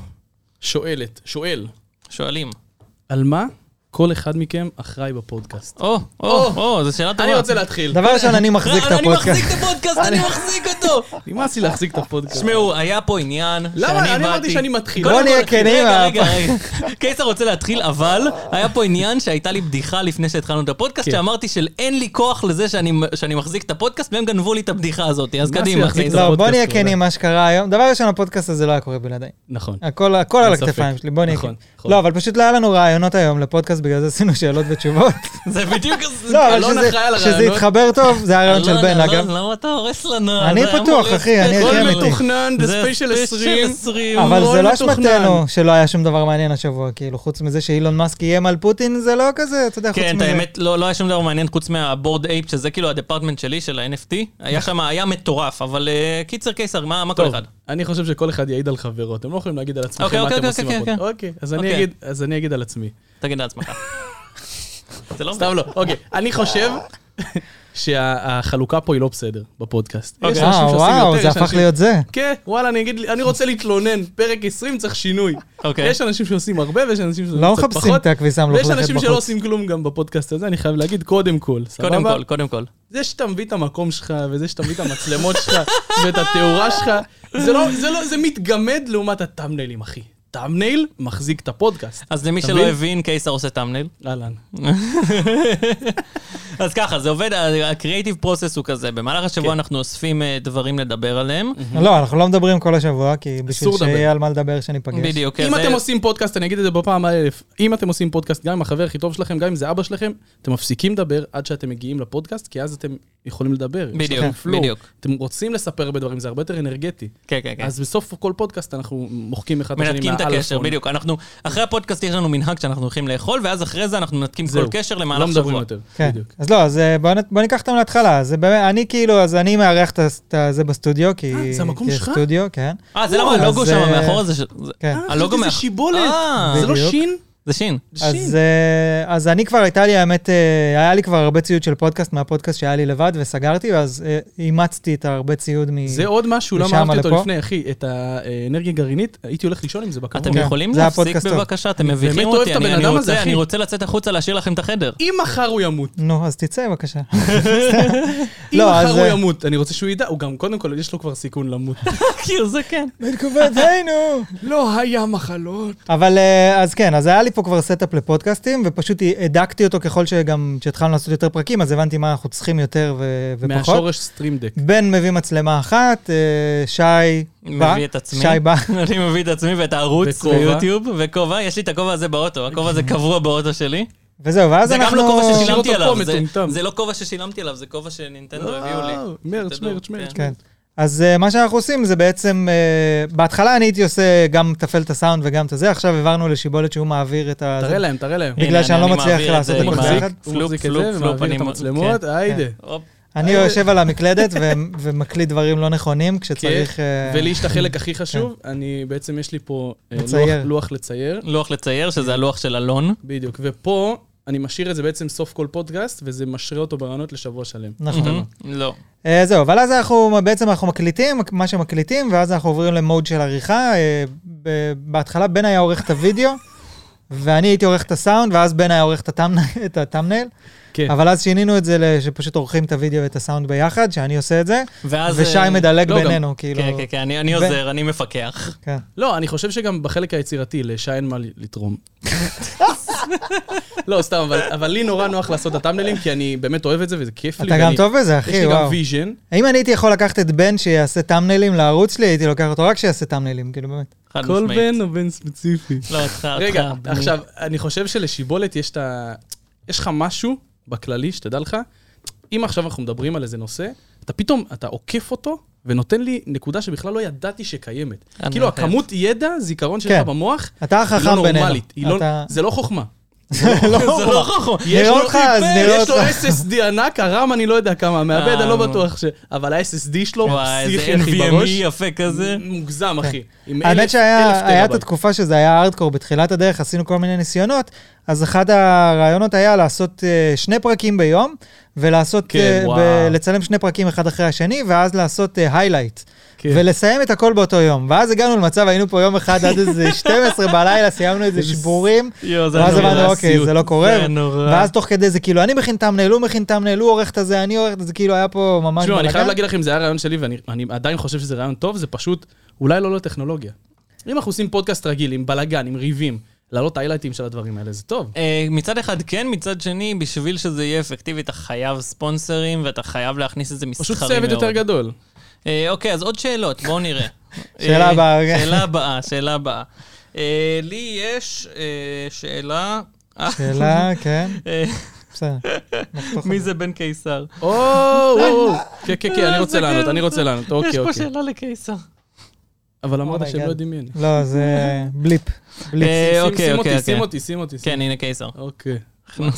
[SPEAKER 2] שואלת, שואל,
[SPEAKER 1] שואלים.
[SPEAKER 2] על מה כל אחד מכם אחראי בפודקאסט?
[SPEAKER 1] או, או, או, זו שאלה טובה.
[SPEAKER 2] אני רוצה להתחיל.
[SPEAKER 3] דבר ראשון, אני מחזיק את
[SPEAKER 1] אני מחזיק
[SPEAKER 3] הפודקאסט.
[SPEAKER 1] את הפודקאסט, אני מחזיק אותו.
[SPEAKER 2] נמאס לי להחזיק את הפודקאסט.
[SPEAKER 1] תשמעו, היה פה עניין שאני באתי...
[SPEAKER 2] למה? אני אמרתי שאני מתחיל.
[SPEAKER 1] קודם
[SPEAKER 3] בוא
[SPEAKER 1] כל,
[SPEAKER 3] נהיה לא כנים, אה,
[SPEAKER 1] רגע,
[SPEAKER 3] אבל-
[SPEAKER 1] רגע, רגע. קיסר רוצה להתחיל, אבל היה פה עניין שהייתה לי בדיחה לפני שהתחלנו את הפודקאסט,
[SPEAKER 2] כן.
[SPEAKER 1] שאמרתי של אין לי כוח לזה שאני שאני מחזיק את הפודקאסט, והם גנבו לי את הבדיחה הזאת, אז
[SPEAKER 2] מה
[SPEAKER 1] קדימה,
[SPEAKER 2] שיחזיק
[SPEAKER 1] קיסר.
[SPEAKER 3] לא, בוא
[SPEAKER 2] הפודקאסט
[SPEAKER 3] נהיה
[SPEAKER 2] הוא
[SPEAKER 3] כנים מה שקרה היום. דבר ראשון, הפודקאסט הזה לא היה קורה בלעדיי.
[SPEAKER 2] נכון.
[SPEAKER 3] הכל הכל על
[SPEAKER 2] אין ספק.
[SPEAKER 3] הכתפיים שלי, בוא נהיה
[SPEAKER 2] נכון,
[SPEAKER 3] כנים.
[SPEAKER 2] נכון.
[SPEAKER 3] לא, אבל פשוט לא היה לנו רעיונות היום לפודקאסט, בגלל זה עשינו שאלות ותשובות.
[SPEAKER 1] זה בדיוק...
[SPEAKER 3] לא, אבל
[SPEAKER 2] אלון
[SPEAKER 3] שזה-
[SPEAKER 2] אחראי על
[SPEAKER 3] שזה
[SPEAKER 2] הרעיונות.
[SPEAKER 3] התחבר טוב, זה היה רעיון של
[SPEAKER 1] אלון,
[SPEAKER 3] בן,
[SPEAKER 1] אלון,
[SPEAKER 3] אגב.
[SPEAKER 1] למה אתה הורס לנו?
[SPEAKER 3] אני
[SPEAKER 1] זה היה
[SPEAKER 3] פתוח,
[SPEAKER 1] אמור
[SPEAKER 3] אחי, אני
[SPEAKER 1] להיות
[SPEAKER 3] הכי
[SPEAKER 1] ספיישל.
[SPEAKER 2] הכל
[SPEAKER 3] אמיתי.
[SPEAKER 2] מתוכנן, זה ספיישל 20.
[SPEAKER 1] 20.
[SPEAKER 3] אבל
[SPEAKER 2] מאוד
[SPEAKER 3] זה לא
[SPEAKER 2] מתוכנן.
[SPEAKER 3] אשמתנו שלא היה שום דבר מעניין השבוע, כאילו, חוץ מזה שאילון מאסק איים על פוטין, זה לא כזה, אתה יודע, חוץ מזה.
[SPEAKER 1] כן, את האמת, לא לא היה שום דבר מעניין חוץ מהבורד אייפ, שזה כאילו הדפרטמנט שלי, של ה-NFT. היה
[SPEAKER 3] נכון.
[SPEAKER 1] שם, היה מטורף, אבל אה, קיצר קיסר, מה מה כל
[SPEAKER 2] טוב,
[SPEAKER 1] אחד?
[SPEAKER 2] אני חושב שכל אחד יעיד על חברו, אתם לא יכולים להגיד על עצמכם
[SPEAKER 1] אוקיי,
[SPEAKER 2] מה
[SPEAKER 1] אוקיי,
[SPEAKER 2] אתם
[SPEAKER 1] אוקיי,
[SPEAKER 2] עושים.
[SPEAKER 1] אוקיי,
[SPEAKER 2] עבודה.
[SPEAKER 1] אוקיי.
[SPEAKER 2] אוקיי, אז אני
[SPEAKER 1] אוקיי.
[SPEAKER 2] אגיד- אז אני אגיד על עצמי.
[SPEAKER 1] תגיד לעצמך. זה לא...
[SPEAKER 2] סתם לא, אוקיי. אני חושב שהחלוקה פה היא לא בסדר בפודקאסט. יש
[SPEAKER 1] אוקיי.
[SPEAKER 2] אנשים
[SPEAKER 3] אה,
[SPEAKER 2] שעושים
[SPEAKER 3] וואו,
[SPEAKER 2] יותר,
[SPEAKER 3] זה
[SPEAKER 2] יש
[SPEAKER 3] הפך
[SPEAKER 2] אנשים-
[SPEAKER 3] להיות זה.
[SPEAKER 2] כן, וואלה, אני אגיד, אני רוצה להתלונן, פרק 20 צריך שינוי.
[SPEAKER 1] אוקיי.
[SPEAKER 2] יש אנשים שעושים הרבה ויש אנשים שעושים
[SPEAKER 3] לא
[SPEAKER 2] קצת פחות.
[SPEAKER 3] מחפשים את הכביסה
[SPEAKER 2] ויש
[SPEAKER 3] המלוכלכת
[SPEAKER 2] אנשים שלא
[SPEAKER 3] בחוץ.
[SPEAKER 2] עושים כלום גם בפודקאסט הזה, אני חייב להגיד, קודם כל, סבבה?
[SPEAKER 1] קודם כל, קודם כל.
[SPEAKER 2] זה שאתה מביא את המקום שלך, וזה שאתה מביא את המצלמות שלך, ואת התאורה שלך, זה לא, זה לא, זה מתגמד לעומת הטאמניילים, אחי. טאמנייל מחזיק את הפודקאסט.
[SPEAKER 1] אז למי
[SPEAKER 2] אתה
[SPEAKER 1] שלא
[SPEAKER 2] מבין?
[SPEAKER 1] הבין, קיסר עושה תאמנייל.
[SPEAKER 2] אהלן.
[SPEAKER 1] אז ככה, זה עובד, הקריאיטיב פרוסס הוא כזה, במהלך השבוע
[SPEAKER 2] כן.
[SPEAKER 1] אנחנו אוספים אה, דברים לדבר עליהם.
[SPEAKER 3] לא, אנחנו לא מדברים כל השבוע, כי בשביל
[SPEAKER 2] אסור לדבר.
[SPEAKER 3] שיהיה על מה לדבר שניפגש.
[SPEAKER 1] בדיוק.
[SPEAKER 2] אם
[SPEAKER 1] אז,
[SPEAKER 2] אתם
[SPEAKER 1] אה,
[SPEAKER 2] עושים פודקאסט, אני אגיד את זה בפעם האלף, אם אתם עושים פודקאסט גם עם החבר הכי טוב שלכם, גם אם זה אבא שלכם, אתם מפסיקים לדבר עד שאתם מגיעים לפודקאסט, כי אז אתם יכולים לדבר. יש
[SPEAKER 1] בדיוק,
[SPEAKER 2] לכם flow.
[SPEAKER 1] בדיוק.
[SPEAKER 2] אתם רוצים לספר הרבה דברים, זה הרבה יותר אנרגטי.
[SPEAKER 1] כן, כן, כן.
[SPEAKER 2] אז בסוף כל פודקאסט אנחנו מוחקים אחד את השני
[SPEAKER 1] מנתקים את הקשר,
[SPEAKER 2] מהאלאפון.
[SPEAKER 1] בדיוק. אנחנו, אחרי הפודקאסט יש לנו מנהג שאנחנו הולכים לאכול, ואז אחרי זה אנחנו מנתקים כל
[SPEAKER 2] זהו.
[SPEAKER 1] קשר
[SPEAKER 2] לא
[SPEAKER 1] למהלך
[SPEAKER 2] מדברים
[SPEAKER 1] שבוע.
[SPEAKER 2] יותר,
[SPEAKER 3] כן.
[SPEAKER 2] בדיוק.
[SPEAKER 3] אז לא, אז אה, בוא נ- בוא ניקח אותם להתחלה. אז זה באמת, אני כאילו, אז אני מארח את ה- את ה- זה בסטודיו, כי...
[SPEAKER 2] אה, זה המקום
[SPEAKER 3] כי יש
[SPEAKER 2] שלך?
[SPEAKER 3] סטודיו, כן.
[SPEAKER 1] אה, זה למה
[SPEAKER 3] וואו,
[SPEAKER 1] הלוגו
[SPEAKER 3] אז,
[SPEAKER 1] שם
[SPEAKER 3] אה,
[SPEAKER 1] מאחורה זה... ש- זה-
[SPEAKER 3] כן.
[SPEAKER 1] אה, הלוגו
[SPEAKER 2] זה
[SPEAKER 1] מאח-
[SPEAKER 2] שיבולת,
[SPEAKER 1] אה,
[SPEAKER 2] זה לא
[SPEAKER 3] בדיוק.
[SPEAKER 2] שין?
[SPEAKER 1] זה שין.
[SPEAKER 2] שין.
[SPEAKER 3] אז, אה, אז אני כבר הייתה לי, האמת, אה, היה לי כבר הרבה ציוד של פודקאסט מהפודקאסט שהיה לי לבד, וסגרתי, ואז אה, אימצתי את הרבה ציוד מ...
[SPEAKER 2] זה עוד משהו, למה
[SPEAKER 3] משם
[SPEAKER 2] אהבתי אותו
[SPEAKER 3] לפה?
[SPEAKER 2] לפני, אחי, את האנרגיה הגרעינית, הייתי הולך לישון עם זה בקרוב.
[SPEAKER 1] אתם
[SPEAKER 3] כן,
[SPEAKER 1] יכולים
[SPEAKER 3] זה
[SPEAKER 1] להפסיק
[SPEAKER 3] הפודקאסט טוב.
[SPEAKER 1] בבקשה? אתם מביכים
[SPEAKER 2] באמת אוהב
[SPEAKER 1] אותי,
[SPEAKER 2] את הבן
[SPEAKER 1] אני אני
[SPEAKER 2] אדם הזה,
[SPEAKER 1] רוצה-
[SPEAKER 2] אחי.
[SPEAKER 1] אני רוצה לצאת החוצה להשאיר לכם את החדר.
[SPEAKER 2] אם מחר הוא ימות,
[SPEAKER 3] נו, אז תצא בבקשה.
[SPEAKER 2] אם
[SPEAKER 3] לא,
[SPEAKER 2] מחר
[SPEAKER 3] אז,
[SPEAKER 2] הוא
[SPEAKER 3] אה,
[SPEAKER 2] ימות, אני רוצה שהוא ידע, הוא גם, קודם כל, יש לו כבר סיכון למות.
[SPEAKER 1] כאילו, זה כן.
[SPEAKER 3] בתקופתנו.
[SPEAKER 2] לא היה מחלות.
[SPEAKER 3] אבל אה, אז כן, אז היה לי פה כבר סטאפ לפודקאסטים, ופשוט הדקתי אותו ככל שגם, כשהתחלנו לעשות יותר פרקים, אז הבנתי מה אנחנו צריכים יותר ו- ופחות.
[SPEAKER 2] מהשורש סטרימדק.
[SPEAKER 3] בן מביא מצלמה אחת, אה, שי בא.
[SPEAKER 1] מביא את עצמי.
[SPEAKER 3] שי בא.
[SPEAKER 1] אני מביא את עצמי ואת הערוץ
[SPEAKER 2] וכובע.
[SPEAKER 1] ביוטיוב, וכובע, יש לי את הכובע הזה באוטו, הכובע הזה קבוע באוטו שלי.
[SPEAKER 3] וזהו, ואז
[SPEAKER 1] זה גם
[SPEAKER 3] אנחנו...
[SPEAKER 1] לא כובע
[SPEAKER 2] נשאיר אותו
[SPEAKER 1] ששילמתי
[SPEAKER 2] פה,
[SPEAKER 1] עליו, זה-
[SPEAKER 2] מטומטם.
[SPEAKER 1] זה לא כובע ששילמתי עליו, זה כובע שנינטנדו הביאו לי.
[SPEAKER 2] אה, מרץ,
[SPEAKER 1] תדעו,
[SPEAKER 2] מרץ, מרץ.
[SPEAKER 1] כן.
[SPEAKER 3] כן. אז uh, מה שאנחנו עושים זה בעצם, uh, בהתחלה אני הייתי עושה גם תפעל את הסאונד וגם את הזה, עכשיו העברנו לשיבולת שהוא מעביר את ה...
[SPEAKER 2] תראה להם, תראה להם.
[SPEAKER 3] בגלל
[SPEAKER 1] הנה,
[SPEAKER 3] שאני
[SPEAKER 1] אני
[SPEAKER 3] לא מצליח
[SPEAKER 1] מעביר
[SPEAKER 3] לעשות
[SPEAKER 1] זה
[SPEAKER 3] את
[SPEAKER 2] הוא
[SPEAKER 1] עם
[SPEAKER 3] עם
[SPEAKER 2] מחזיק,
[SPEAKER 1] ה-
[SPEAKER 3] ביחד.
[SPEAKER 2] הוא
[SPEAKER 1] פלופ,
[SPEAKER 2] מחזיק את
[SPEAKER 1] פלופ,
[SPEAKER 2] זה
[SPEAKER 1] פלופ,
[SPEAKER 2] ומעביר
[SPEAKER 1] אני
[SPEAKER 2] את
[SPEAKER 1] מ-
[SPEAKER 2] המצלמות,
[SPEAKER 1] כן.
[SPEAKER 2] היידה.
[SPEAKER 1] הופ.
[SPEAKER 3] אני
[SPEAKER 2] אה,
[SPEAKER 3] יושב על המקלדת ו- ומקליט דברים לא נכונים כשצריך... אה,
[SPEAKER 2] כן, ולי יש את החלק הכי חשוב, אני בעצם יש לי פה אה,
[SPEAKER 3] לצייר.
[SPEAKER 2] לוח- לוח לצייר,
[SPEAKER 1] לוח לצייר, שזה הלוח של אלון.
[SPEAKER 2] בדיוק, ופה אני משאיר את זה בעצם סוף כל פודקאסט, וזה משרה אותו ברעיונות לשבוע שלם.
[SPEAKER 3] נכון.
[SPEAKER 1] Mhm, לא.
[SPEAKER 3] אה, זהו, אבל אז אנחנו, בעצם אנחנו מקליטים מה שמקליטים, ואז אנחנו עוברים למוד של עריכה. אה, ב- בהתחלה בן היה עורך את הוידאו, ואני הייתי עורך את הסאונד, ואז בן היה עורך את הטאמנ- את הטאמנייל.
[SPEAKER 2] כן.
[SPEAKER 3] אבל אז שינינו את זה ל- שפשוט עורכים את הוידאו ואת הסאונד ביחד, שאני עושה את זה,
[SPEAKER 1] ואז...
[SPEAKER 3] ושי
[SPEAKER 1] אה,
[SPEAKER 3] מדלג
[SPEAKER 2] לא, גם-
[SPEAKER 3] בינינו, כאילו.
[SPEAKER 1] כן, כן, כן, אני- אני
[SPEAKER 3] ו-
[SPEAKER 1] עוזר, אני מפקח.
[SPEAKER 3] כן.
[SPEAKER 2] לא, אני חושב שגם בחלק היצירתי, לשי אין מה ל- לתרום. לא, סתם, אבל- אבל לי נורא נוח לעשות את הטאמנלים, כי אני באמת אוהב את זה, וזה כיף לי.
[SPEAKER 3] אתה גם
[SPEAKER 2] ואני-
[SPEAKER 3] טוב בזה,
[SPEAKER 2] יש לי
[SPEAKER 3] אחי,
[SPEAKER 2] גם
[SPEAKER 3] וואו.
[SPEAKER 2] ויז'ן.
[SPEAKER 3] אם אני הייתי יכול לקחת את בן שיעשה טאמניילים לערוץ שלי, הייתי לוקח אותו רק שיעשה טאמניילים, כאילו, באמת.
[SPEAKER 1] חד
[SPEAKER 2] כל
[SPEAKER 1] משמעית.
[SPEAKER 2] בן או בן ספציפי.
[SPEAKER 1] לא, אותך, אותך.
[SPEAKER 2] רגע,
[SPEAKER 1] בני.
[SPEAKER 2] עכשיו, אני חושב שלשיבולת יש את ה... יש לך משהו בכללי, שתדע לך, אם עכשיו אנחנו מדברים על איזה נושא, אתה פתאום, אתה עוקף אותו ונותן לי נקודה שבכלל לא ידעתי שקיימת.
[SPEAKER 1] אני
[SPEAKER 2] כאילו,
[SPEAKER 1] אוהב.
[SPEAKER 2] הכמות ידע, זיכרון שלך
[SPEAKER 3] כן.
[SPEAKER 2] במוח,
[SPEAKER 3] אתה
[SPEAKER 2] היא לא
[SPEAKER 3] החכם בינינו.
[SPEAKER 2] נורמלית. היא לא-
[SPEAKER 3] אתה-
[SPEAKER 2] זה לא חוכמה.
[SPEAKER 1] זה לא רחוק.
[SPEAKER 2] יש לו-
[SPEAKER 3] אותך, אז נראה
[SPEAKER 2] יש לו
[SPEAKER 3] אותך.
[SPEAKER 2] SSD ענק, הרם אני לא יודע כמה, מעבד,
[SPEAKER 1] אה,
[SPEAKER 2] אני לא
[SPEAKER 1] נו.
[SPEAKER 2] בטוח ש... אבל ה-SSD שלו,
[SPEAKER 1] וואי, איזה
[SPEAKER 2] לא. פסיכי הכי
[SPEAKER 3] E
[SPEAKER 1] NVMe
[SPEAKER 2] בראש,
[SPEAKER 1] E יפה כזה.
[SPEAKER 2] מוגזם, אחי. עם
[SPEAKER 3] כן. האמת
[SPEAKER 2] אלף- אלף
[SPEAKER 3] שהיה היה את
[SPEAKER 2] טראבייט.
[SPEAKER 3] התקופה שזה היה ארדקור, בתחילת הדרך עשינו כל מיני ניסיונות, אז אחד הרעיונות היה לעשות אה, שני פרקים ביום, ולעשות,
[SPEAKER 2] כן,
[SPEAKER 3] אה,
[SPEAKER 2] וואו.
[SPEAKER 3] ב- לצלם שני פרקים אחד אחרי השני, ואז לעשות אה, היילייט.
[SPEAKER 2] כן.
[SPEAKER 3] ולסיים את הכל באותו יום. ואז הגענו למצב, היינו פה יום אחד עד איזה 12 בלילה, סיימנו איזה שבורים,
[SPEAKER 1] יואו, זה
[SPEAKER 3] ואז
[SPEAKER 1] נורא.
[SPEAKER 3] אמרנו, אוקיי,
[SPEAKER 2] הסיוט.
[SPEAKER 3] זה לא קורה.
[SPEAKER 1] זה נורא.
[SPEAKER 3] ואז תוך כדי זה כאילו, אני מכין תמנהל, הוא מכין תמנהל, הוא עורך את הזה, אני עורך את זה, כאילו היה פה ממש
[SPEAKER 2] תשמעו, אני חייב
[SPEAKER 3] בלאגן.
[SPEAKER 2] להגיד לכם, זה היה רעיון שלי, ואני אני עדיין חושב שזה רעיון טוב, זה פשוט אולי לא לטכנולוגיה. אם אנחנו עושים פודקאסט רגיל, עם בלאגן, עם ריבים, להעלות איילייטים של הדברים האלה, זה טוב.
[SPEAKER 1] אה, מצד אחד כן, מצד שני, בשביל שזה יהיה אפקטיבי, אתה חייב ספונסרים, ואתה חייב להכניס את זה מסחרי
[SPEAKER 2] פשוט
[SPEAKER 1] מאוד.
[SPEAKER 2] צוות יותר גדול.
[SPEAKER 1] אה, אוקיי, אז עוד שאלות, בואו נראה.
[SPEAKER 3] שאלה
[SPEAKER 1] אה,
[SPEAKER 3] הבאה, אוקיי. רגע.
[SPEAKER 1] שאלה הבאה, שאלה הבאה. אה, לי יש אה, שאלה... אה,
[SPEAKER 3] שאלה, כן,
[SPEAKER 1] אה,
[SPEAKER 3] בסדר. נחתוך
[SPEAKER 1] מי
[SPEAKER 3] את
[SPEAKER 1] זה בן קיסר?
[SPEAKER 2] או, או, או. כן, כן, כן, אני רוצה
[SPEAKER 1] זה
[SPEAKER 2] לענות,
[SPEAKER 1] כן.
[SPEAKER 2] אני רוצה לענות,
[SPEAKER 1] יש
[SPEAKER 2] אוקיי,
[SPEAKER 1] פה
[SPEAKER 2] אוקיי.
[SPEAKER 1] שאלה לקיסר.
[SPEAKER 2] אבל אמרת
[SPEAKER 3] אומייגאד.
[SPEAKER 2] שהם לא יודעים מי אני.
[SPEAKER 3] לא, זה בליפ. בליפ.
[SPEAKER 1] אה,
[SPEAKER 2] שים- שים-
[SPEAKER 1] אוקיי,
[SPEAKER 2] שים
[SPEAKER 1] אוקיי,
[SPEAKER 2] אותי, שים
[SPEAKER 1] אוקיי.
[SPEAKER 2] אותי, שים אותי. שים-
[SPEAKER 1] כן, הנה קיסר.
[SPEAKER 2] אוקיי.